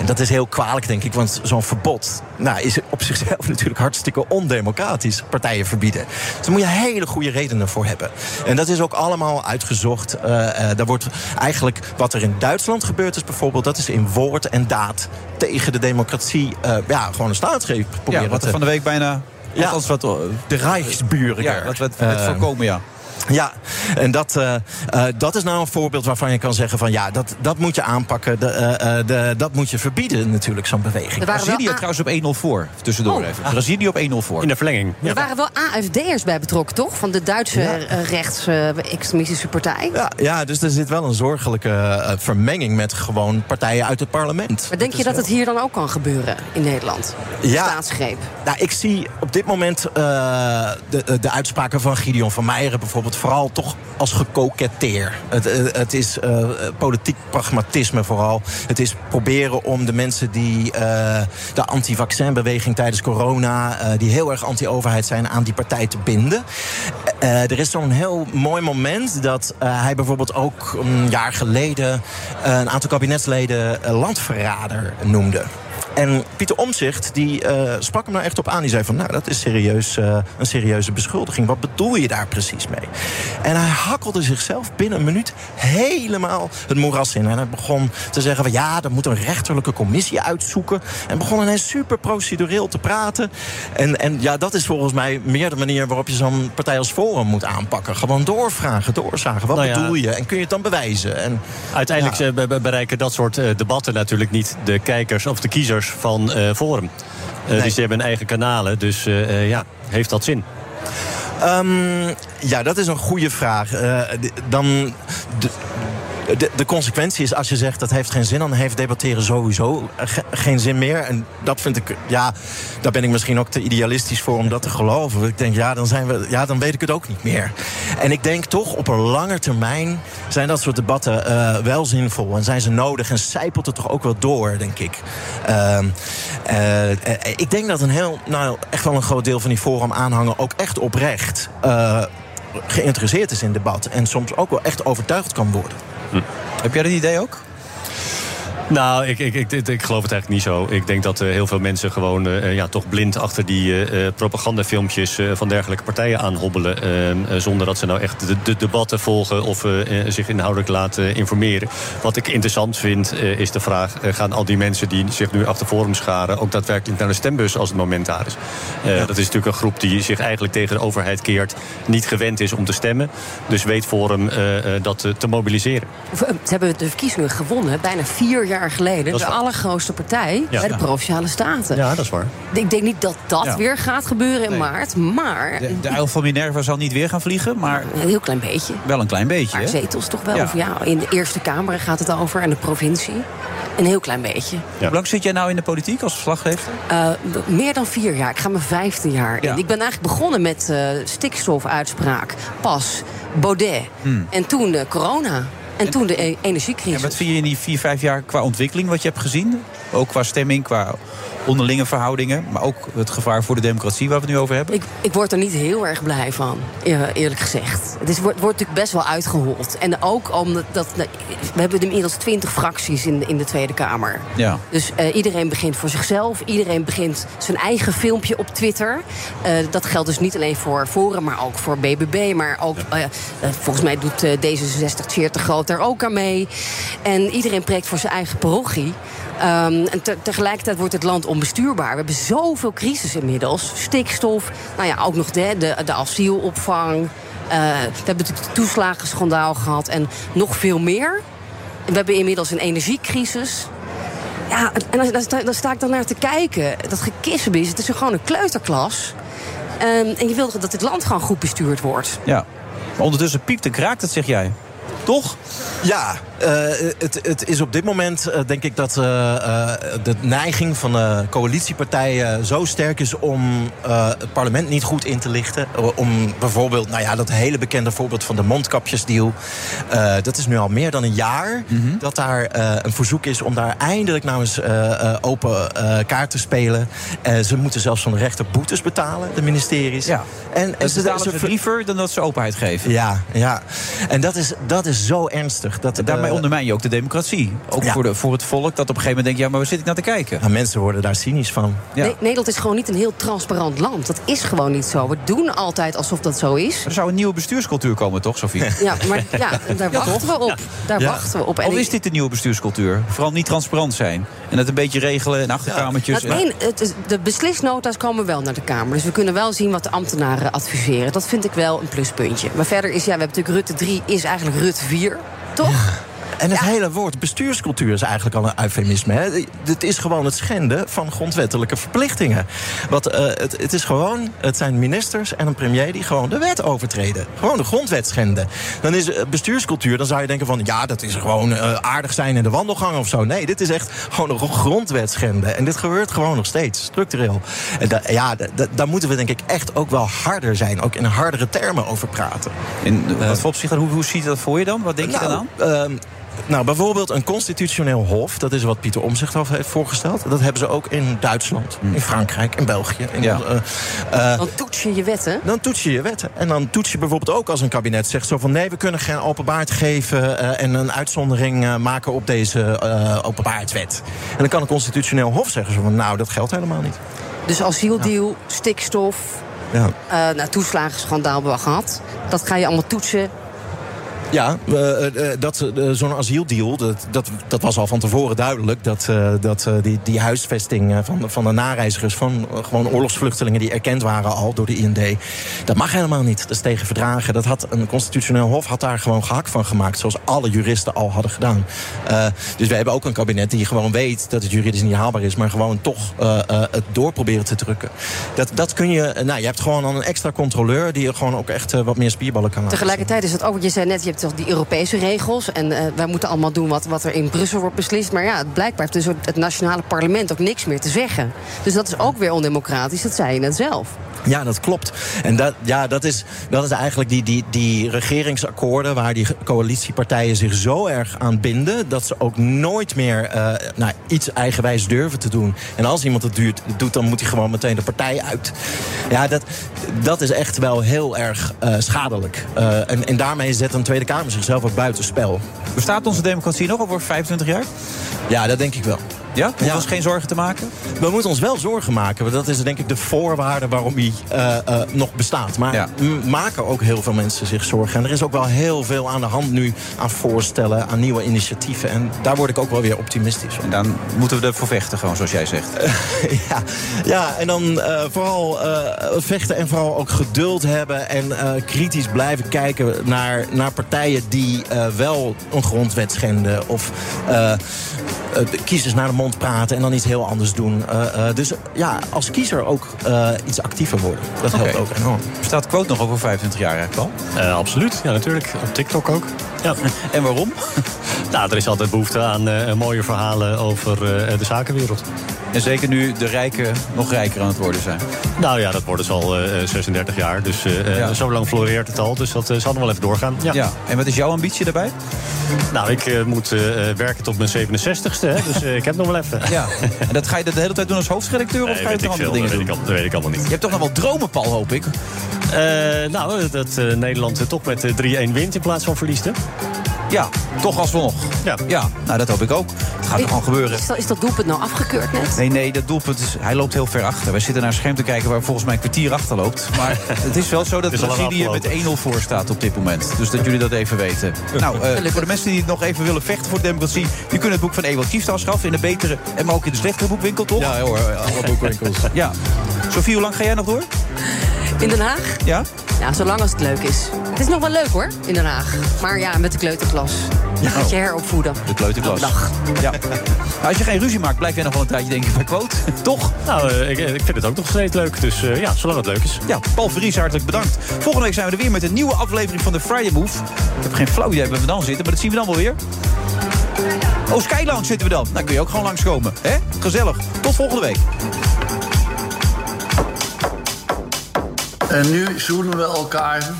en dat is heel kwalijk, denk ik, want zo'n verbod nou, is op zichzelf [LAUGHS] natuurlijk hartstikke ondemocratisch. Partijen verbieden. Dus daar moet je hele goede redenen voor hebben. En dat is ook allemaal uitgezocht. Eh, eh, daar wordt eigenlijk wat er in Duitsland gebeurd is, bijvoorbeeld, dat is in woord en daad tegen de democratie. eh, ja, gewoon een staatsgreep proberen.
Ja, wat er
te-
van de week bijna...
Ja.
althans wat, eh,
de Rijksburen.
Ja, wat, wat, het
Eh,
voorkomen, ja.
Ja, en dat, eh, eh, dat is nou een voorbeeld waarvan je kan zeggen: van ja, dat, dat moet je aanpakken, de, eh, eh, de, dat moet je verbieden, natuurlijk, zo'n beweging.
Er waren Brazilië wel a- trouwens op 1-0 voor, tussendoor
Oh.
even. Brazilië op 1-0 voor.
In de verlenging.
Er waren wel AFD'ers bij betrokken, toch? Van de Duitse eh, rechts-extremistische partij.
Ja, ja, dus er zit wel een zorgelijke eh, vermenging met gewoon partijen uit het parlement.
Maar denk je dat het hier dan ook kan gebeuren in Nederland?
Ja.
Staatsgreep.
Nou, ik zie op dit moment eh, de, eh, de uitspraken van Gideon van Meijeren bijvoorbeeld vooral toch als gekoketteer. Het, eh, het is eh, politiek pragmatisme vooral. Het is proberen om de mensen die eh, de anti-vaccinbeweging tijdens corona, eh, die heel erg anti-overheid zijn, aan die partij te binden. Eh, er is zo'n heel mooi moment dat eh, hij bijvoorbeeld ook een jaar geleden eh, een aantal kabinetsleden eh, landverrader noemde. En Pieter Omzicht die uh, sprak hem nou echt op aan. Die zei van, nou, dat is serieus, uh, een serieuze beschuldiging. Wat bedoel je daar precies mee? En hij hakkelde zichzelf binnen een minuut helemaal het moeras in. En hij begon te zeggen van, ja, er moet een rechterlijke commissie uitzoeken. En begon ineens super procedureel te praten. En, en ja, dat is volgens mij meer de manier waarop je zo'n partij als Forum moet aanpakken. Gewoon doorvragen, doorzagen. Wat nou ja, bedoel je? En kun je het dan bewijzen? En,
Uiteindelijk ja. bereiken dat soort uh, debatten natuurlijk niet de kijkers of de kiezers van uh, Forum. Uh, nee. Dus die hebben eigen kanalen. Dus ja, heeft dat zin?
Um, ja, dat is een goede vraag. Eh, dan. De, de, consequentie is als je zegt dat heeft geen zin, dan heeft debatteren sowieso ge, geen zin meer. En dat vind ik, ja, daar ben ik misschien ook te idealistisch voor om dat te geloven. Ik denk, ja, dan, zijn we, ja, dan weet ik het ook niet meer. En ik denk toch, op een lange termijn zijn dat soort debatten uh, wel zinvol en zijn ze nodig en zijpelt het toch ook wel door, denk ik. Uh, uh, ik denk dat een heel, nou, echt wel een groot deel van die forum aanhangen ook echt oprecht. eh, geïnteresseerd is in debat en soms ook wel echt overtuigd kan worden.
Hm. Heb jij dat idee ook?
Nou, ik, ik, ik, ik, geloof het eigenlijk niet zo. Ik denk dat uh, heel veel mensen gewoon uh, ja, toch blind achter die uh, propagandafilmpjes eh, van dergelijke partijen aanhobbelen. zonder dat ze nou echt de, de debatten volgen of eh, zich inhoudelijk laten informeren. Wat ik interessant vind, eh, is de vraag: gaan al die mensen die zich nu achter Forum scharen ook daadwerkelijk naar de stembus als het moment daar is? Ja. Dat is natuurlijk een groep die zich eigenlijk tegen de overheid keert, niet gewend is om te stemmen. Dus weet Forum eh, dat te mobiliseren.
eh, Ze hebben de verkiezingen gewonnen, bijna vier jaar geleden de waar. allergrootste partij ja. bij de Provinciale Staten.
Ja, dat is waar.
Ik denk niet dat dat ja. weer gaat gebeuren in nee. maart, maar...
De, de uil van Minerva zal niet weer gaan vliegen, maar...
Een heel klein beetje.
Wel een klein beetje,
Maar zetels toch wel. Ja. Of ja, in de Eerste Kamer gaat het over en de provincie. Een heel klein beetje.
Hoe lang zit jij nou in de politiek als verslaggever?
Uh, meer dan vier jaar. Ik ga mijn vijfde jaar in. Ik ben eigenlijk begonnen met uh, stikstofuitspraak, pas, Baudet hmm. en toen uh, corona. En toen de e- energiecrisis. En
wat vind je in die vier, vijf jaar qua ontwikkeling wat je hebt gezien? Ook qua stemming, qua onderlinge verhoudingen. Maar ook het gevaar voor de democratie waar we het nu over hebben.
Ik, ik word er niet heel erg blij van, eerlijk gezegd. Het, is, wordt, wordt natuurlijk best wel uitgehold. En ook omdat dat, we hebben inmiddels twintig fracties in, in de Tweede Kamer.
Ja.
Dus uh, iedereen begint voor zichzelf. Iedereen begint zijn eigen filmpje op Twitter. Uh, dat geldt dus niet alleen voor Forum, maar ook voor BBB. Maar ook, uh, volgens mij doet eh, D66 40 groot er ook aan mee. En iedereen preekt voor zijn eigen parochie. Um, en te, tegelijkertijd wordt het land onbestuurbaar. We hebben zoveel crisis inmiddels. Stikstof, nou ja, ook nog de, de, de asielopvang. Uh, we hebben natuurlijk het toeslagenschandaal gehad en nog veel meer. En we hebben inmiddels een energiecrisis. Ja, en dan, dan sta ik dan naar te kijken. Dat gekissenbis, het is gewoon een kleuterklas. Um, en je wil dat dit land gewoon goed bestuurd wordt.
Ja, maar ondertussen piept en kraakt het, zeg jij toch?
Ja, uh, het, het, is op dit moment uh, denk ik dat uh, de neiging van de coalitiepartijen zo sterk is om eh, het parlement niet goed in te lichten. om bijvoorbeeld, nou ja, dat hele bekende voorbeeld van de mondkapjesdeal. Eh, dat is nu al meer dan een jaar mm
Mhm.
-hmm. dat daar een verzoek is om daar eindelijk nou eens open eh, kaart te spelen. Eh, ze moeten zelfs van de rechter boetes betalen, de ministeries.
Ja. En, en ze betalen ze liever dan dat ze openheid geven.
Ja, ja. En dat is, dat is zo ernstig. Dat,
de... Daarmee ondermijn je ook de democratie. Ook ja. voor, de, voor het volk dat op een gegeven moment denkt... ja, maar waar zit ik naar nou te kijken?
Ja, mensen worden daar cynisch van.
Ja. Nee, Nederland is gewoon niet een heel transparant land. Dat is gewoon niet zo. We doen altijd alsof dat zo is.
Er zou een nieuwe bestuurscultuur komen, toch, Sofie?
Ja, maar
[LAUGHS]
ja, daar wachten we op. Daar wachten we op.
En Of is dit de nieuwe bestuurscultuur? Vooral niet transparant zijn. En het een beetje regelen en achterkamertjes.
Nou, en... het, de beslisnota's komen wel naar de Kamer. Dus we kunnen wel zien wat de ambtenaren adviseren. Dat vind ik wel een pluspuntje. Maar verder is, ja, we hebben natuurlijk Rutte 3 is eigenlijk Rutte 4 toch?
En het ja. hele woord bestuurscultuur is eigenlijk al een eufemisme. Hè? Het is gewoon het schenden van grondwettelijke verplichtingen. Want uh, het, het, is gewoon, het zijn ministers en een premier die gewoon de wet overtreden. Gewoon de grondwet schenden. Dan is eh, bestuurscultuur, dan zou je denken van... ja, dat is gewoon uh, aardig zijn in de wandelgang of zo. Nee, dit is echt gewoon een grondwet schenden. En dit gebeurt gewoon nog steeds, structureel. En da, ja, da, daar moeten we denk ik echt ook wel harder zijn. Ook in hardere termen over praten. Eh,
In, wat voor opzicht, hoe, hoe ziet dat voor je dan? Wat denk je nou, dan aan?
Uh, Nou, bijvoorbeeld een constitutioneel hof, dat is wat Pieter Omzichthoff heeft voorgesteld. Dat hebben ze ook in Duitsland, in Frankrijk, in België. In
Ja.
eh, eh,
Dan toets je je wetten.
dan toets je je wetten. En dan toets je bijvoorbeeld ook als een kabinet zegt zo van... nee, we kunnen geen openbaard geven eh, en een uitzondering eh, maken op deze eh openbaardwet. En dan kan een constitutioneel hof zeggen zo van... nou, dat geldt helemaal niet.
Dus asieldeal, stikstof,
Ja.
eh nou, toeslagenschandaal hebben we al gehad. Dat ga je allemaal toetsen.
Ja, eh, eh, dat, eh, zo'n asieldeal, dat, dat, dat was al van tevoren duidelijk... dat, eh, dat eh, die, die huisvesting eh, van, van de nareizigers, van eh, gewoon oorlogsvluchtelingen... die erkend waren al door de IND, dat mag helemaal niet. Dat is tegen verdragen. Dat had een constitutioneel hof had daar gewoon gehakt van gemaakt... zoals alle juristen al hadden gedaan. Eh, dus we hebben ook een kabinet die gewoon weet dat het juridisch niet haalbaar is... maar gewoon toch eh, eh, het door proberen te drukken. Dat, dat kun je... eh, nou, je hebt gewoon dan een extra controleur... die er gewoon ook echt eh, wat meer spierballen kan laten zien.
Tegelijkertijd is het ook, want je zei net, je hebt toch die Europese regels. En eh, wij moeten allemaal doen wat, wat er in Brussel wordt beslist. Maar ja, het- blijkbaar heeft dus het het nationale parlement ook niks meer te zeggen. Dus dat is ook weer ondemocratisch, dat zei je net zelf.
Ja, dat klopt. En dat, ja, dat, is, dat is eigenlijk die, die, die regeringsakkoorden waar die coalitiepartijen zich zo erg aan binden. dat ze ook nooit meer eh, nou, iets eigenwijs durven te doen. En als iemand het duurt, doet, dan moet hij gewoon meteen de partij uit. Ja, dat, dat is echt wel heel erg eh, schadelijk. Eh, en, en daarmee zet een Tweede Kamer zichzelf ook buitenspel.
Bestaat onze democratie nog over 25 jaar?
Ja, dat denk ik wel.
Ja? Hoeven we ons geen zorgen te maken?
We moeten ons wel zorgen maken. Want dat is denk ik de voorwaarde waarom hij eh, eh, nog bestaat. Maar m- maken ook heel veel mensen zich zorgen. En er is ook wel heel veel aan de hand nu aan voorstellen, aan nieuwe initiatieven. En daar word ik ook wel weer optimistisch op.
En dan moeten we ervoor vechten, gewoon zoals jij zegt.
Eh. ja. ja, en dan eh, vooral eh, vechten en vooral ook geduld hebben. En eh, kritisch blijven kijken naar, naar partijen die eh, wel een grondwet schenden. Of eh, eh, kiezers naar de mond praten en dan iets heel anders doen. Eh, eh, dus ja, als kiezer ook eh, iets actiever worden. Dat helpt ook enorm.
Staat quote nog over 25 jaar eigenlijk al?
Eh, absoluut, ja natuurlijk. Op TikTok ook. Ja.
[LAUGHS] En waarom?
[LAUGHS] nou, er is altijd behoefte aan eh, mooie verhalen over eh, de zakenwereld.
En zeker nu de rijken nog rijker aan het worden zijn.
Nou ja, dat worden ze al eh, 36 jaar. Dus eh, eh, zo lang floreert het al. Dus dat eh, zal nog wel even doorgaan. Ja.
En wat is jouw ambitie daarbij?
Nou, ik eh, moet eh, eh, werken tot mijn 67ste. Hè, dus eh, ik heb nog wel even.
Ja. En dat ga je dat de hele tijd doen als hoofdredacteur? [LAUGHS] of
Nee,
ga je
weet
het
ik
andere
veel, dat,
dingen
weet
doen?
ik, al- dat weet ik allemaal niet.
Je hebt toch nog wel dromen, Paul, hoop ik?
Eh, nou, dat eh, Nederland eh, toch met eh, 3-1 wint in plaats van verliest, hè?
Ja, toch alsnog.
Ja.
ja, nou dat hoop ik ook. Het gaat gewoon gebeuren.
Is dat, is dat doelpunt nou afgekeurd net?
Nee, nee, dat doelpunt, is, hij loopt heel ver achter. Wij zitten naar een scherm te kijken waar volgens mij een kwartier achter loopt.
[LAUGHS]
Maar het is wel zo dat
Het is al lang
Brazilië met 1-0 voor staat op dit moment. Dus dat jullie dat even weten. [LAUGHS] Nou,
[LAUGHS]
eh, voor de mensen die het nog even willen vechten voor democratie... die kunnen het boek van Ewald Kieft afschaffen in de betere... en maar ook in de slechtere boekwinkel, toch? Ja
hoor, alle boekwinkels.
[LAUGHS] ja. Sofie, hoe lang ga jij nog door?
In Den Haag?
Ja?
Ja, zolang als het leuk is. Het is nog wel leuk hoor, in Den Haag. Maar ja, met de kleuterklas. Je gaat je heropvoeden.
De kleuterklas.
Dag.
Ja. Nou, als je geen ruzie maakt, blijf jij nog wel een tijdje denken bij Quote. [LAUGHS] Toch?
Nou, eh, ik, ik vind het ook nog steeds leuk. Dus eh, ja, zolang het leuk is.
Ja, Paul Vries, hartelijk bedankt. Volgende week zijn we er weer met een nieuwe aflevering van de Friday Move. Ik heb geen flauw idee waar we dan zitten, maar dat zien we dan wel weer. Oh, Skylounge zitten we dan. Nou, kun je ook gewoon langskomen. Hè? Gezellig. Tot volgende week.
En nu zoenen we elkaar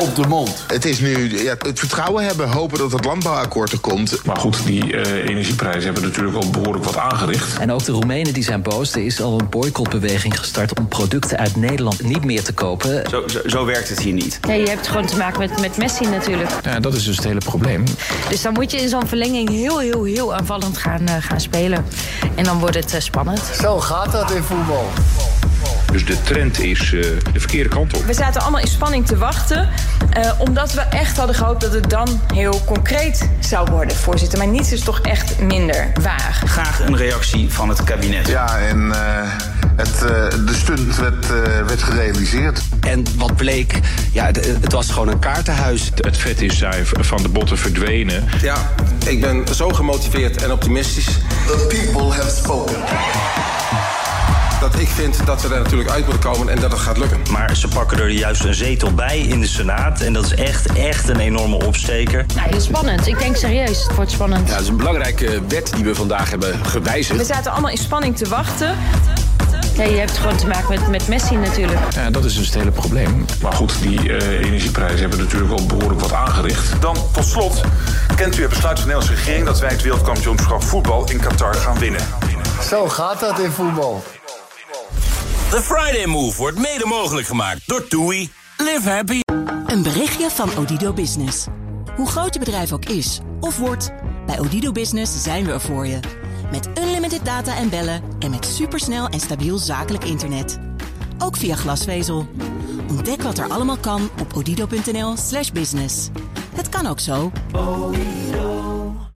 op de mond. Het is nu ja, het vertrouwen hebben, hopen dat het landbouwakkoord er komt.
Maar goed, die eh, energieprijzen hebben natuurlijk al behoorlijk wat aangericht.
En ook de Roemenen die zijn boos. Er is al een boycottbeweging gestart om producten uit Nederland niet meer te kopen.
Zo, zo, zo werkt het hier niet.
Ja, je hebt gewoon te maken met, met Messi natuurlijk.
Ja, dat is dus het hele probleem.
Dus dan moet je in zo'n verlenging heel, heel, heel aanvallend gaan, eh, gaan spelen. En dan wordt het eh, spannend. Zo gaat dat in voetbal.
Dus de trend is eh, de verkeerde kant op.
We zaten allemaal in spanning te wachten. eh, omdat we echt hadden gehoopt dat het dan heel concreet zou worden, voorzitter. Maar niets is toch echt minder waar.
Graag een reactie van het kabinet.
Ja, en eh, het, eh, de stunt werd, eh, werd gerealiseerd.
En wat bleek, ja, het, het was gewoon een kaartenhuis.
Het vet is zij van de botten verdwenen.
Ja, ik ben zo gemotiveerd en optimistisch. The people have spoken. Dat ik vind dat we daar natuurlijk uit moeten komen en dat het gaat lukken.
Maar ze pakken er juist een zetel bij in de Senaat. En dat is echt, echt een enorme opsteker.
Nou, heel spannend. Ik denk serieus, het wordt spannend.
is een belangrijke wet die we vandaag hebben gewijzigd.
We zaten allemaal in spanning te wachten.
Ja, je hebt gewoon te maken met, met Messi natuurlijk.
Ja, dat is dus het hele probleem. Maar goed, die eh, energieprijzen hebben natuurlijk al behoorlijk wat aangericht. Dan tot slot, kent u het besluit van de Nederlandse regering dat wij het wereldkampioenschap voetbal in Qatar gaan winnen?
Zo gaat dat in voetbal.
De Friday Move wordt mede mogelijk gemaakt door TUI. Live happy.
Een berichtje van Odido Business. Hoe groot je bedrijf ook is of wordt, bij Odido Business zijn we er voor je. Met unlimited data en bellen en met supersnel en stabiel zakelijk internet. Ook via glasvezel. Ontdek wat er allemaal kan op odido.nl/business. Het kan ook zo.